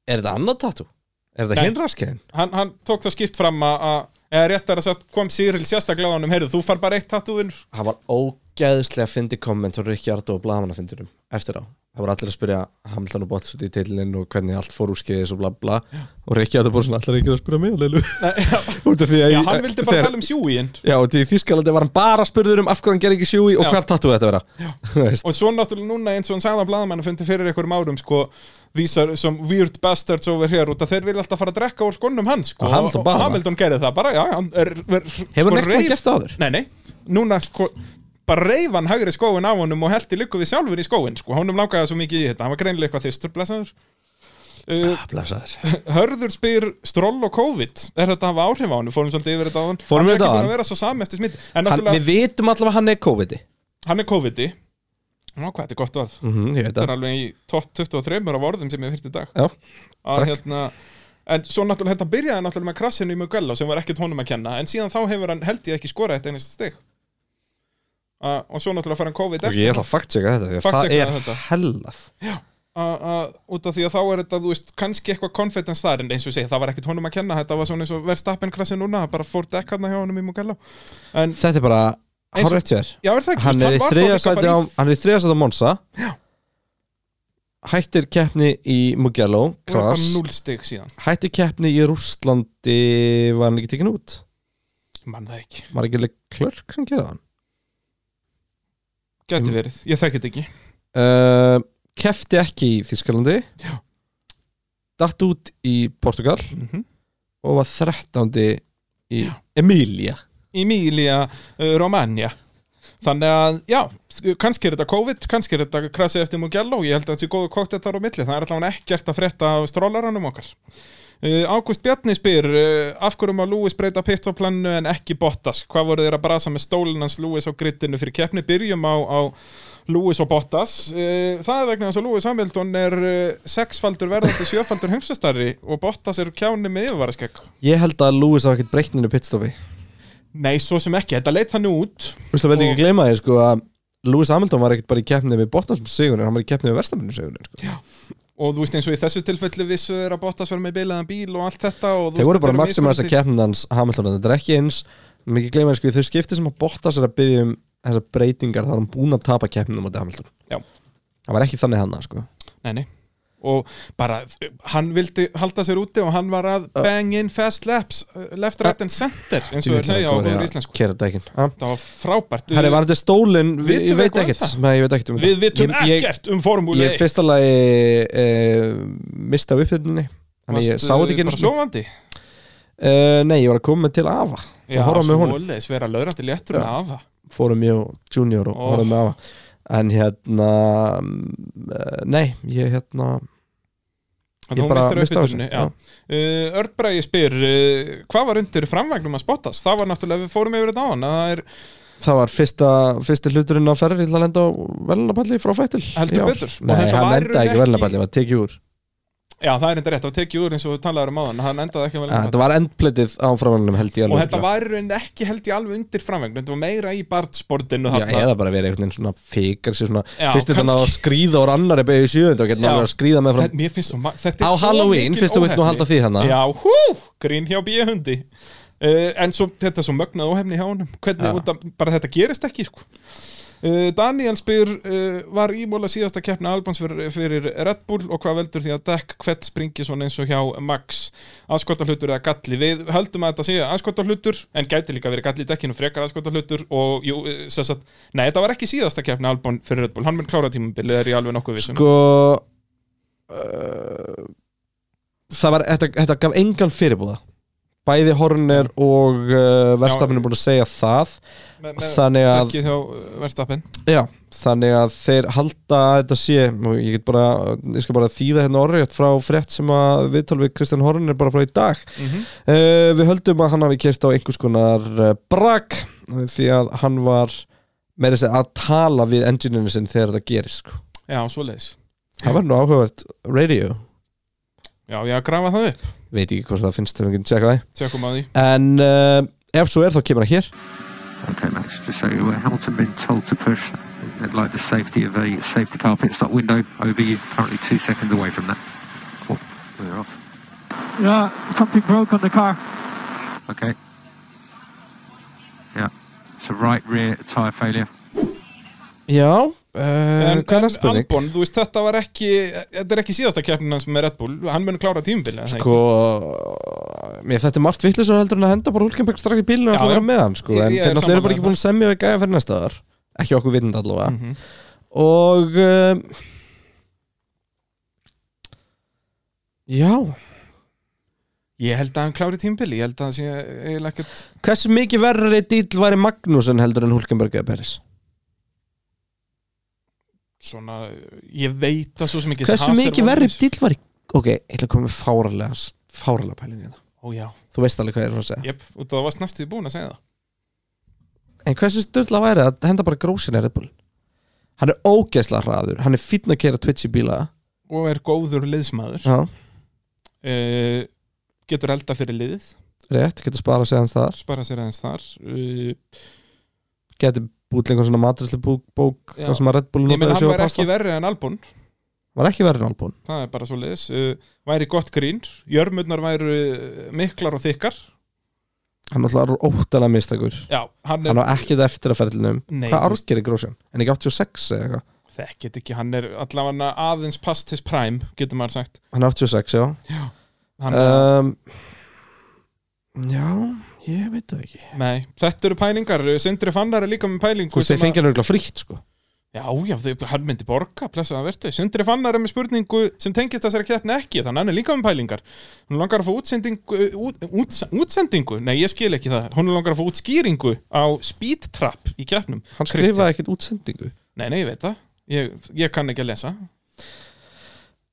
A: Er þetta annað tattoo? Er þetta
B: Nei.
A: hinn raskæðin?
B: hann, hann tók það skipt fram að að- eða réttar að sagt, kom Cyril sérstaklega á hann um heyrðu, þú far bara eitt tattúin
A: Það var ógæðislega fyndi komment frá Ricky Ardó og blagamannafyndinum eftir á Það voru allir að spyrja Hamilton og Bottas út í teilin og hvernig allt fór úr skeiðis og bla bla og Ricky Ardó bara svona allir ekki að spyrja mig leilu Út af því að
B: Já,
A: ég-
B: hann vildi bara
A: þegar-
B: tala um sjúin
A: Já, og því Þískalandi var hann bara spurður um af hvað hann gerði ekki sjúi og
B: Já.
A: hvar tattoo þetta vera Þú veist.
B: og svo náttúrulega núna eins og hann sagði að blaðamenn fundi fyrir einhverjum árum sko, these are some weird bastards over here út að þeir vilja alltaf fara að drekka úr skonnum hans sko,
A: Og Ah, Hamilton bara.
B: Hamilton gerði það bara já, hann er, sko, er,
A: Hefur hann ekkert gert það áður?
B: Nei, nei, núna sko bara reif hann hægri skóin á honum og heldi lykku við sjálfur í skóin sko. honum langaði svo mikið í þetta, hann var greinilega eitthvað þistur blessaður uh,
A: Ah, Blessaður.
B: Hörður spyr stról og COVID, er þetta að hafa áhrif á hann fórum svolítið yfir þetta á hann
A: Fórum
B: hann
A: yfir
B: er
A: þetta á
B: ekki
A: hann.
B: búin að vera svo sami eftir smitt en
A: Hann,
B: náttúrulega,
A: við vitum allavega að hann er COVID-i
B: hann er COVID-i Ná, hvað, þetta er gott orð
A: mm, Ég veit
B: Þetta er
A: það
B: alveg í topp 23 af orðum sem ég hef hýrt í dag
A: Já,
B: að
A: Takk.
B: hérna En svo náttúrulega þetta byrjaði náttúrulega með krassinu í Mugello sem var ekkert honum að kenna En síðan þá hefur hann held ég ekki skorað eitt einasta stig uh, Og svo náttúrulega fær hann COVID
A: og
B: eftir
A: ég ætla að faktjeka þetta því að
B: Fact
A: Það
B: checka
A: er
B: þetta.
A: hellað
B: að- að- Út af því að þá er þetta, þú veist, kannski eitthvað confidence þar En eins og ég segi, það var ekkert honum að kenna Þetta var svona eins og verðstappen krassin núna það Bara fór dekk hann hjá honum í Mugello En,
A: Þetta er bara
B: Eins og-
A: Hárætt hjá þér
B: já, er það ekki,
A: Hann
B: þú
A: er í
B: veist, var þá
A: þriðja
B: líka
A: sæti
B: bara
A: á
B: í-
A: Hann er í þriðja sæti á Monza
B: Já.
A: Hættir keppni í Mugello
B: og er bara
A: Krass
B: núll stig síðan
A: Hættir keppni í Rússlandi Var hann ekki tekin út?
B: Mann það ekki,
A: Var ekki klörk sem gerði hann? Mm.
B: geti verið, ég þekki þetta ekki
A: Uh, kefti ekki í Þískalandi
B: Já.
A: Datt út í Portugal
B: Mhm.
A: og var 13. í Emília
B: Emilia uh, Romagna Þannig að, já, kannski er þetta COVID, kannski er þetta krasið eftir Mugello, ég held að þetta sé góðu kókt þetta á milli, það er allavega ekkert að frétta af strólaranum okkar. Uh, Ágúst Bjarni spyr, uh, af hverju maður Lewis breyta pitstoplannu en ekki Bottas? Hvað voru þeir að brasa með stólinn hans Lewis á grittinu fyrir keppni? Byrjum á, á Lewis og Bottas. Uh, það er vegna þess að Lewis Hamilton er uh, sexfaldur verðandi sjöfaldur heimsastari og Bottas er kjáni með yfirvaraskegg.
A: Ég held að Lewis hafa ekkert breytt nýju pitstopi
B: Nei, svo sem ekki, þetta leit þannig út.
A: Þú veist það veldi
B: Og-
A: ekki gleyma því sko að Lewis Hamilton var ekkert bara í keppni við Bottas um sigurinn, hann var í keppni við Verstafinu sigurinn sko.
B: og þú veist eins og í þessu tilfelli vissu þeir að Bottas var með bilaðan bíl og allt þetta og
A: Þeir
B: þú veist,
A: voru
B: þetta
A: bara
B: eru
A: maksima þess að
B: mismunandi-
A: keppni hans Hamilton þetta er ekki eins, mér ekki gleyma því sko í þau skipti sem að Bottas er að byggja um þessar breytingar þá er hann búin að tapa keppninu á móti Hamilton
B: Já.
A: Það var ekki þannig hann sko.
B: nei, nei. og bara hann vildi halda sér úti og hann var að bang in fast laps uh, left right and center eins og þeir segja á góður íslensku
A: Kera dækin ah.
B: það var frábært
A: Herri, var þetta stólinn? Vi-
B: Vitum
A: Ég
B: við
A: veit
B: eitthvað um
A: ekkert,
B: það?
A: nei, ég veit ekkert um
B: við vitum
A: það. Ég-
B: ekkert um formúli
A: Ég, ég fyrsta lagi e, mista af upphyrninni Þannig ég sá þetta ekki einu
B: bara
A: sinni.
B: sofandi
A: Eh, Nei, ég var að koma til afa
B: já,
A: Það horfum með honum
B: svoleiðis vera laurandi léttur
A: Já.
B: með afa
A: Fórum ég og junior og
B: Ó.
A: horfum með afa En hérna eh, Nei, ég hérna Ég
B: Þannig hún
A: bara
B: mistar
A: missti af
B: uppbytunni,
A: þessu,
B: já. Uh, Örn Bræði spyr uh, hvað var undir framvagnum að spottast? Það var náttúrulega, við fórum yfir þetta á hann að það er
A: Það var fyrsta, fyrsti hluturinn á ferri til að lenda á velunapalli frá fættil
B: Heldur betur. Og
A: Nei,
B: þetta
A: hann
B: var í
A: lenda
B: raun
A: ekki
B: ekki-
A: velunapalli, var tekið úr
B: Já, það er enda rétt, það var tekið úr eins og við talaðum um áðan, hann endaði ekki vel
A: Ja, Ah, Þetta var endplitið á framannum held ég
B: og
A: Ah, alveg
B: þetta var í rauninni ekki held ég alveg undir framvegn, þetta var meira í bartsportinu
A: Já,
B: þarna.
A: eða bara verið einhvern veginn svona fikar sér svona,
B: Já,
A: fyrst er þannig að
B: kannski.
A: skríða úr annari beigju sjöund og getur
B: Já.
A: alveg að skríða með
B: Þetta,
A: frá
B: mér finnst svo, ma- þetta er
A: Á
B: svo
A: Halloween,
B: mikil
A: fyrst þú vilt nú
B: óheppni.
A: halda því þarna.
B: Já, hú, grín hjá bíuhundi uh, En svo þetta er svo mögnað óhefni hjá honum Hvernig, út af, bara þetta gerist ekki sko. uh, Daniel spyr uh, Var ímóla síðasta keppna Albans fyrir, fyrir Red Bull og hvað veldur því að dekk hvert springi svona eins og hjá Max aðskotahlutur eða galli Við höldum að þetta sé aðskotahlutur en gæti líka verið galli í dekkinu frekar aðskotahlutur og jú, eh, sem sagt, nei, þetta var ekki síðasta keppna Alban fyrir Red Bull, hann mun klára tímabilið er ég alveg nokkuð um. vissum
A: sko uh, það var, þetta, þetta gaf engan fyrirbúða bæði Horner og uh, verstafinn er búin að segja það
B: Me- me-
A: þannig að
B: dekkið hjá eh, Verstappen
A: já, þannig að þeir halda að þetta sé, og ég get bara ég skal bara þýða hérna orðið frá frétt sem að viðtal við Kristján Horner bara frá í dag uh, við höldum að hann hafi kert á einhvers konar uh, brak því að hann var með þess að tala við engineerinu sinn þegar þetta gerist sko.
B: Já, svoleiðis
A: það var nú áhugavert radio
B: Já, ég að grafa það upp
A: veit ekki hvort það finnst ef við getum tjekka það
B: Tjökkum að því
A: en uh, ef svo er þá kemur hann hér
K: Okay, Max, just so you aware, Hamilton been told to push. They'd like the safety of a safety car pit stop window over you, currently two seconds away from that. Cool. We're off.
E: Yeah, something broke on the car.
K: Okay. Yeah. It's a right rear tyre failure.
A: já, uh,
B: En,
A: hvað er
B: en
A: það spurning?
B: Albon, þú veist, þetta var ekki Þetta er ekki síðasta keppnin hans með Red Bull Hann mun klára tímabilið
A: sko mér þetta er margt vittlisur heldur en að henda bara Hulkenberg strax í bílinu
B: Já,
A: og það
B: já.
A: vera með hann sko,
B: Ég-
A: en
B: ég
A: þeir
B: er
A: náttúrulega eru bara ekki
B: sammála Mhm. um
A: búin að semja við gæja fyrir næsta þar ekki okkur vitund allavega og uh, já
B: Ég held að hann klári tímabilið Ég held að það sé eiginlega ekkert
A: hversu mikið verri dýl væri Magnúsin heldur en Hulkenberg eða Peris
B: svona, ég veit að svo sem ekki
A: Hversu mikið verri dill var í Ok, ég ætla að koma með fáralega Fáralega pælingu hérna. í það
B: Ó já,
A: Þú veist alveg hvað ég er að segja
B: jep, út af það varst næstu því búin að segja það
A: En hversu styrla væri það að henda bara grósina í Red Bull Hann er ógeðslega hraður Hann er fínn að kera Twitch í bíla
B: og er góður liðsmaður
A: Já,
B: uh, getur elda fyrir liðið
A: rétt, getur sparað sig hans þar
B: spara sér aðeins þar uh,
A: Getur búið lengur svona matrisli bók, bók
B: Já.
A: Það sem að Red Bull
B: ég menn
A: notaði
B: hann
A: sig á
B: var
A: pasta.
B: ekki verri en Albon
A: Var ekki verið nálbúin
B: það er bara svo liðis uh, væri gott grín, jörmurnar væru eh, miklar og þykkar
A: Hann er alltaf óttalega mistakur
B: já, hann
A: Hann
B: er,
A: á ekkert eftir að ferðlinum
B: Nei,
A: Hvað
B: þú
A: árst gerir grósin? En ekki 86 eða eitthvað
B: þekkit ekki, hann er allavega aðeins past his prime, getur maður sagt
A: Hann er 86, já
B: hann, uh,
A: um, Já, ég veit það ekki
B: nei, þetta eru pælingar Eh, Sindri Fannar er líka með
A: Þú
B: pælingu
A: veist, þeir
B: sem að-
A: fengið hann örgulega frítt, sko
B: Já, já, þau, hann myndi borga, blessaða verðu. Sindri Fannar er með spurningu sem tengist þessari keppni ekki, þannig að hann er líka með pælingar. Hún langar að fá útsendingu, eh, út, út, útsendingu, nei ég skil ekki það, hún langar að fá útskýringu á speed trap í keppnum.
A: Hann
B: Kristján.
A: skrifaði ekkert útsendingu
B: Nei, nei, ég veit það, ég, ég kann ekki að lesa.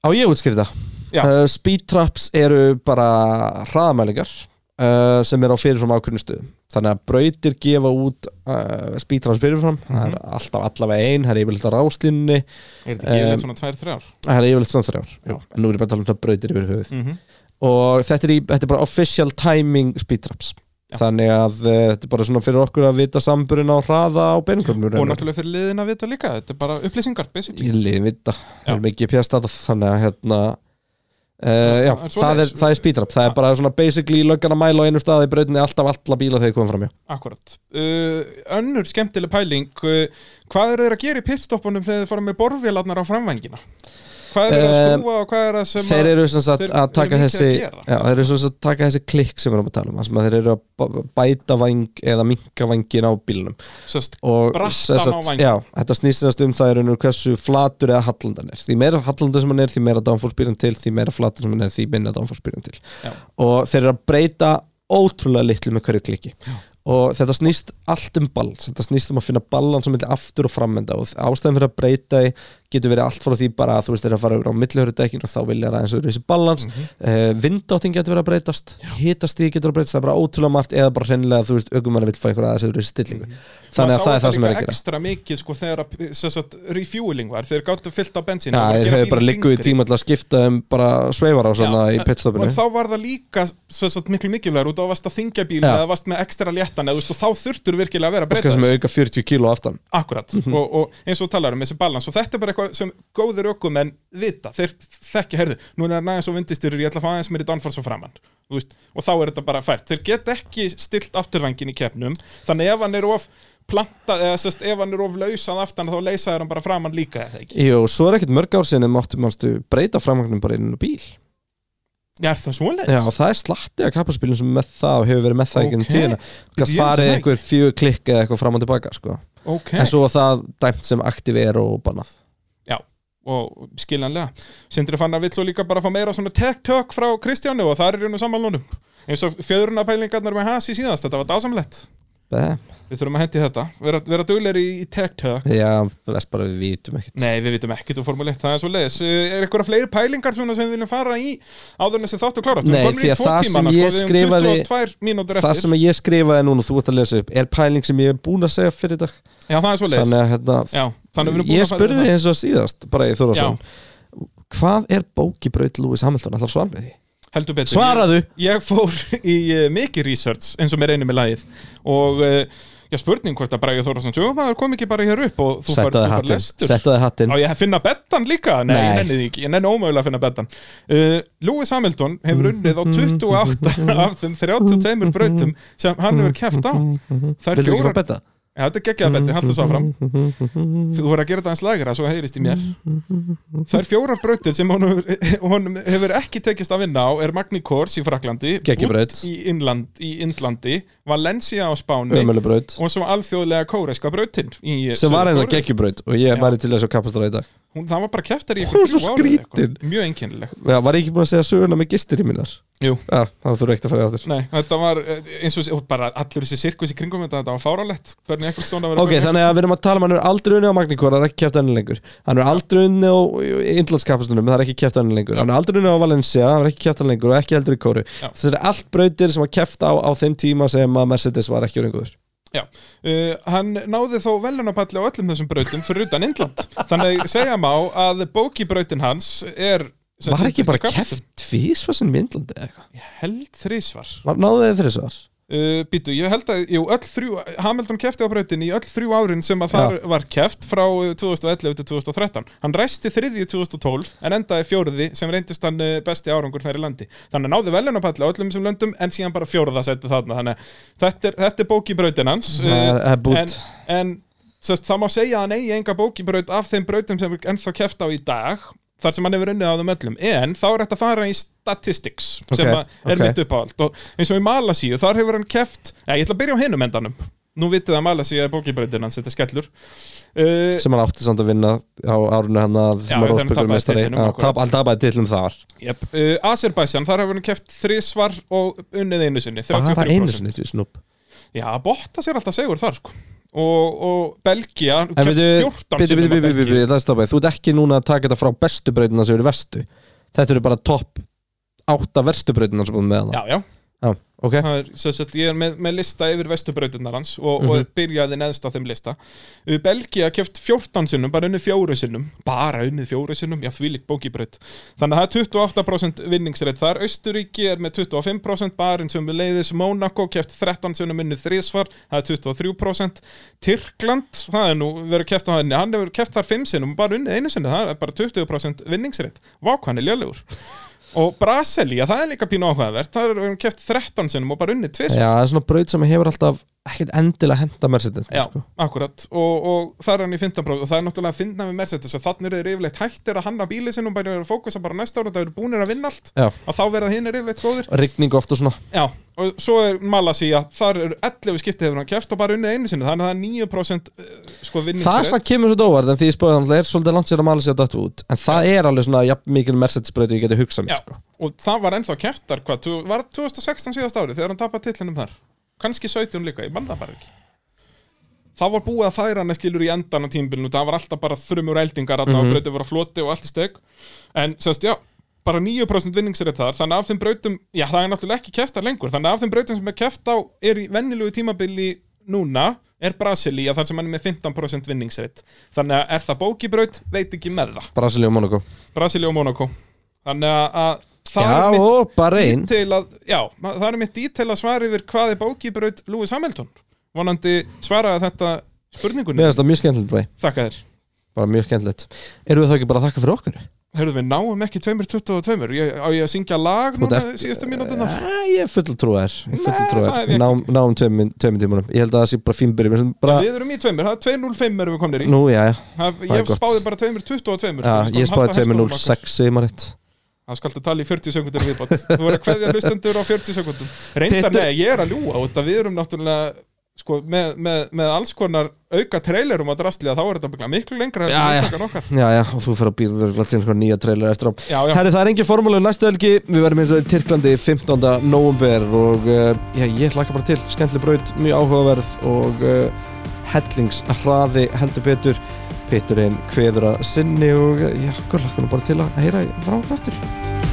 A: Á ég útskýrði það
B: Já.
A: uh, Speed traps eru bara hraðamælingar uh, sem eru á fyrirfram ákveðnum stöðum Þannig að brautir gefa út uh, speed traps fyrirfram
B: Mhm.
A: Það er alltaf allavega ein, það er yfirleitt á ráslínni
B: Er þetta ekki
A: Um,
B: um, svona tvær, þrjár?
A: Það er yfirleitt svona þrjár
B: Já.
A: Jú, En nú er ég bara að tala um það brautir yfir höfuð
B: Mm -hmm.
A: og þetta er, í, þetta er bara official timing speed traps
B: Já.
A: þannig að uh, þetta er bara svona fyrir okkur að vita samburinn á hraða á beinumkvömmur
B: Og náttúrulega fyrir liðin að vita líka, þetta er bara upplýsingar, basically.
A: ég liði vita, það
B: Já.
A: er mikið pjastata þannig að hérna Uh, já,
B: en
A: það er,
B: svoleiðis-
A: það er speedrap það er bara svona basically löggan að mæla á einu staði í brautinni alltaf alla bíla þegar komum fram já.
B: Akkurat. Uh, önnur skemmtileg pæling, uh, hvað eru þeir að gera í pitstoppunum þegar þeir fara með borfélarnar á framvængina? Hvað eru þeir að
A: Um,
B: skrúa og hvað eru sem
A: þeir eru sem sagt
B: þeir
A: að
B: eru
A: taka
B: mikið að
A: þessi
B: gera.
A: já, þeir eru sem sagt að taka þessi klikk sem við erum að tala um þar sem að þeir eru að b- bæta vang eða minka vangin á bílunum
B: Sest,
A: og
B: Brattan
A: sem
B: á
A: sagt,
B: væng.
A: já, þetta snýstinast um það er raunur hversu flatur eða hallandan er því meira hallandan sem hann er, því meira downforspyrjan til því meira flatur sem hann er, því minna downforspyrjan til
B: Já.
A: og þeir eru að breyta ótrúlega litlu með hverju kliki og þetta snýst allt um balans þetta snýst um að finna balans sem milli aftur og framenda og ástæðan fyrir að breyta í getur verið allt frá því bara að þú veist þeir eru að fara yfir á millihörudekkin og þá vilja það eins og þessi balans mm vindáttin getur verið að breytast hitastíð getur að breytast, það er bara ótrúlega margt eða bara hreinlega þú veist aukumann vill fá eitthvað aðeins þessi stillingu þannig að það er það sem er að gera
B: ekstra mikið sko þegar að sem sagt, refueling var, þeir gáttu fyllt á bensín
A: Já,
B: þeir voru að
A: þeir
B: gera
A: hefur bara
B: bílinn
A: ligguð í
B: þyngri.
A: tíma til að skipta um bara sveifar á svona
B: Já,
A: í pitstopinu
B: og þá var það líka sem sagt, miklu mikilvægur út á að varst að þingja bíl
A: Já.
B: eða varst með ekstra léttan eða, þú veist, og þá þurftur virkilega að vera að
A: Ska
B: breyta
A: sem Mhm.
B: þessu.
A: auka 40 kíló aftan
B: Akkurat, og, og eins og talar um þessi balans og þetta er bara eitthvað sem góðir ökum en vita, þeir þekki, heyrðu nú er næðan svo vindistyrur, ég ætla að fá aðeins mér í danfars og framann, þú veist, og þá er þetta bara fært þeir get ekki stilt afturvængin í keppnum þannig ef hann er of planta, eða sérst, ef hann er of lausað aftan þá leysaður hann bara framann líka, eða ekki
A: Jú, svo er ekkert mörg ár sinni máttu mannstu breyta framvagnum bara inn á bíl
B: Já, er það svoleiðis?
A: Já, og það er slatti af kappaspilum sem er með það og hefur verið með það okay.
B: Ok.
A: ekki tíðina
B: Ég
A: Gast
B: vissi
A: farið
B: það
A: einhver fjögur klikk eða eitthvað fram og tilbaka sko.
B: Ok,
A: En svo var það dæmt sem aktiv er og bannað
B: já, og skiljanlega Sindri fann að vill svo líka bara fá meira svona tech-tök frá Kristjánu og það er hérna sammálunum eins og fjöðrunapælingarnar með Hasi síðast, þetta var dásamlegt
A: Bæm.
B: Við þurfum að hendi þetta, vera, vera dugleir í í tech-tök
A: Já, þess bara við vitum ekkert
B: Nei, við vitum ekkert um Formule 1, það er svo leiðis Er einhverja fleiri pælingar svona sem við viljum fara í áður en þessi þáttu klárast? Við
A: Nei,
B: erum komin
A: því
B: í
A: að
B: tvo
A: það sem
B: tímana,
A: ég
B: sko,
A: skrifaði-
B: Við erum 22 mínútur
A: Það
B: eftir
A: sem ég skrifaði núna og þú ert að lesa upp er pæling sem ég hef búin að segja fyrir í dag
B: Já, það er svo leiðis
A: Þannig að hérna,
B: Já, þannig að við erum búin
A: ég
B: að fara
A: spurði
B: yfir
A: eins og síðast bara í Þóraðsson hvað er bókibraut Lewis Hamilton allar svar með því?
B: Heldur betur
A: Svaraðu!
B: Ég fór í uh, mikið research eins og mér einu með lagið og uh, já, spurning hvort að Bræði Þórðarsson sjöfumæður kom ekki bara hér upp og þú fær,
A: Settaði
B: þú fær
A: hattinn
B: lestur
A: Settaði hattinn
B: Á ég að finna bettan líka? Nei, ég
A: Nei.
B: nenni því ekki, ég nenni ómögulega að finna bettan uh, Lewis Hamilton hefur unnið
A: Mm-hmm.
B: á 28 af þeim 32 brautum sem hann hefur keft á Það er
A: Viltu ekki fá
B: fjórar,
A: betta?
B: ja, þetta er geggjaða betti, haldur sá fram Þú voru að gera þetta hans lagra, svo heyrist í mér Það er fjórar brautir sem honum, honum hefur ekki tekist að vinna á er Magni Kors í Fraklandi
A: Geggjubraut.
B: í, Inland, í Indlandi Valencia á Spáni
A: Ömjölu braut
B: og svo alþjóðlega kóreska brautin í eh,
A: sem var
B: Suður-Kóreu.
A: einhver geggjubraut og ég
B: Já.
A: væri til þess að kappast það í dag
B: hún, það var bara keftar í
A: Hún er
B: ykkur
A: svo
B: þrjú ár eða
A: skrítin.
B: eitthvað. mjög einkennileg
A: Já, var ég ekki búin að segja söguna með gistir í minnar?
B: Jú.
A: Já, þá þurfum ekki að fara í þáttur
B: Nei, þetta var eh, eins og og bara allur þessi sirkus í kringum þetta, þetta var fáralegt Bernie Ecclestone að vera
A: Ok, þannig að við erum að tala um að hann er aldrei unni á Magníkor, hann er ekki kæft önni lengur Hann er aldrei unni á Indlandskapastunum, það er ekki kæft önni lengur Hann er aldrei unni á Valencia, það er ekki kæft önni lengur og ekki heldur í kóru
B: Já.
A: Þetta er allt brautir sem að kæft á á þeim tíma sem að Mercedes var ekki öringuður
B: Já, uh, hann náði þó velunapalli á öllum þessum brautum fyrir utan Indland Þannig að segja má að bókibrautin hans er sem
A: Var ekki bara
B: Captain.
A: kæft tvísvarsin í Indlandi eða eitthvað?
B: Ég held þrísvar
A: Var- Náðu þið þrjusvar?
B: uh, Býtu, ég held að, jú, öll þrjú Hamilton kefti á brautin í öll þrjú árin sem að þar var keft frá uh, 2011 til 2013 Hann ræsti þriðju 2012 en endaði fjóruði sem reyndist hann uh, besti árangur þær í landi Þannig að náði velunapalli á öllum þessum löndum en síðan bara fjóruða setti þarna Þannig að þetta er, þetta er bókibrautin hans uh,
A: Það er
B: en,
A: bútt
B: en sest, það má segja að hann eigi enga bókibraut af þeim brautum sem er ennþá keft á í dag þar sem hann hefur unnið á þeim öllum en þá er þetta að fara í statistics
A: Ok,
B: sem að er
A: ok.
B: mitt uppáhald og eins og í Malasíu þar hefur hann keft ja, ég ætla að byrja á hinum endanum nú vitið að Malasíu er bókibrautin hans, þetta er skellur uh,
A: sem hann átti samt að vinna á árunni hann að
B: Já,
A: með
B: þegar hann
A: Rósbergur
B: tapaði
A: meistari
B: titlinum,
A: Já,
B: akkurat.
A: tap- hann tapaði tillum þar
B: yep. uh, Azerbaijan, þar hefur hann keft þrísvar og unnið einu sinni
A: bara
B: 33%.
A: einu sinni því snupp
B: Já, Bottas er alltaf segur þar sko og, og Belgia
A: en
B: keft
A: við byrju,
B: 14
A: byrju,
B: sinnum af
A: byrju,
B: Belgíu.
A: byrju, það er stoppað þú ert ekki núna að taka þetta frá bestu breytina sem eru vestu þetta eru bara topp átta verstu breytina sem búin með hana
B: Já, já,
A: Já, ok,
B: Það er, sem sagt, ég er með, með lista yfir vestubrautinnar hans og, og byrjaði neðst á þeim lista Uh, Belgia keft 14 sinnum, bara unnið fjóru sinnum bara unnið fjóru sinnum, já þvílík bókibraut þannig að það er 28% vinningsreitt þar, Austuríki er með 25% barinn sem við leiðis Mónako keft 13 sinnum unnið þrísvar það er 23% Tyrkland, það er nú verið keft á henni hann hefur keft þar 5 sinnum, og bara unnið einu sinni það er bara 20% vinningsreitt vákvæðan er ljölegur Og Brasilía, það er líka pínu áhugavert Það er um keft 13 sinnum og bara unnið tvist
A: já, það er svona braut sem hefur alltaf ekkert endilega henda Mercedes
B: Já,
A: sko.
B: akkurat og, og það er hann í 15 og það er náttúrulega að finna með Mercedes að þannig eru þeir yfirleitt hættir að hanna bílið sinn og bara eru að fókusa bara á næsta ára það eru búinir að vinna allt
A: Já.
B: að þá verða hinn er yfirleitt góðir
A: rigning ofta svona
B: Já, og svo er Malasía þar eru 11 skiptið hefur hann keft og bara unnið einu sinni þannig að það er 9% eh, sko
A: það
B: vinningsreit
A: sem kemur svo dóvart en því ég spöði þannig er svolítið langt sér að Malaysia datt út en það er alveg svona jafn mikil Mercedes breytu ég geti hugsað mér
B: Já,
A: sko.
B: og það var ennþá keftar hvað, tu- var 2016 síðast árið þegar hann tapaði titlinum þar kannski 17 líka, ég mann það bara ekki það var búið að færa hann skilur í endan á tímbilinu, það var alltaf bara þrumur eldingar mm -hmm. og brautið voru að floti og allt í steg en semst, já, bara 9% vinningsrið þar, þannig að af þeim brautum já, það er náttúrulega ekki keftar lengur, þannig að af þeim brautum sem er keft á, er í venjulegu tímabili núna, er Brasilia þar sem hann er með 15% vinningsrið þannig að er það bókibraut, veit ekki með það
A: Brasilíu og Monaco
B: Brasilia og Monaco þannig að- að það
A: Já,
B: er mitt
A: og Bahrain.
B: detail að, já, ma- það er mitt dítil að svara yfir hvað er bókibraut Lewis Hamilton vonandi svaraði þetta spurningunni
A: mér finnst það mjög skemmtilegt brei
B: þakka þér
A: bara mjög skemmtilegt erum við þá ekki bara að þakka fyrir okkur?
B: Hörðu við náum ekki 2.22 ég, á ég að syngja lag
A: Þú
B: núna
A: ert-
B: síðustu mínútinar
A: Æ, ég er full trúar Ég er full
B: Nei, það
A: trúar
B: hef ég ekki.
A: Náum náum tveim tveim tímunum Ég held að það sé bara fín byrjum bara,
B: Við erum í tveimur, það er 2.05 erum við komnir í
A: Eh, Nú, já, já,
B: það,
A: er
B: Ég
A: gott.
B: spáði bara 2.22
A: já Ég spáði tveimur 06 Segir maður eitt
B: Það skaltu tala í 40 sekundir viðbátt Þú verður að kveðja hlustendur á 40 sekundum Reyndar,
A: Þetta-
B: nei, ég er að ljúa út að við erum náttúrulega sko, með, með, með alls konar auka trailerum að drastli að þá er þetta byggla miklu lengra
A: Já, já.
B: já. okkar
A: Já, já, og þú fyrir að býða Þú fyrir að nýja trailer eftir á
B: Já, já.
A: Herri, það er engin formúlu næstu helgi Við verðum eins og í Tyrklandi 15. november Og uh, já, ég hlaka bara til Skemmtileg braut, mjög áhugaverð Og uh, hellingshraði heldur betur eh, Pitturinn kveður að sinni Og uh, já, hvað hlaka nú bara til að heyra frá okkur aftur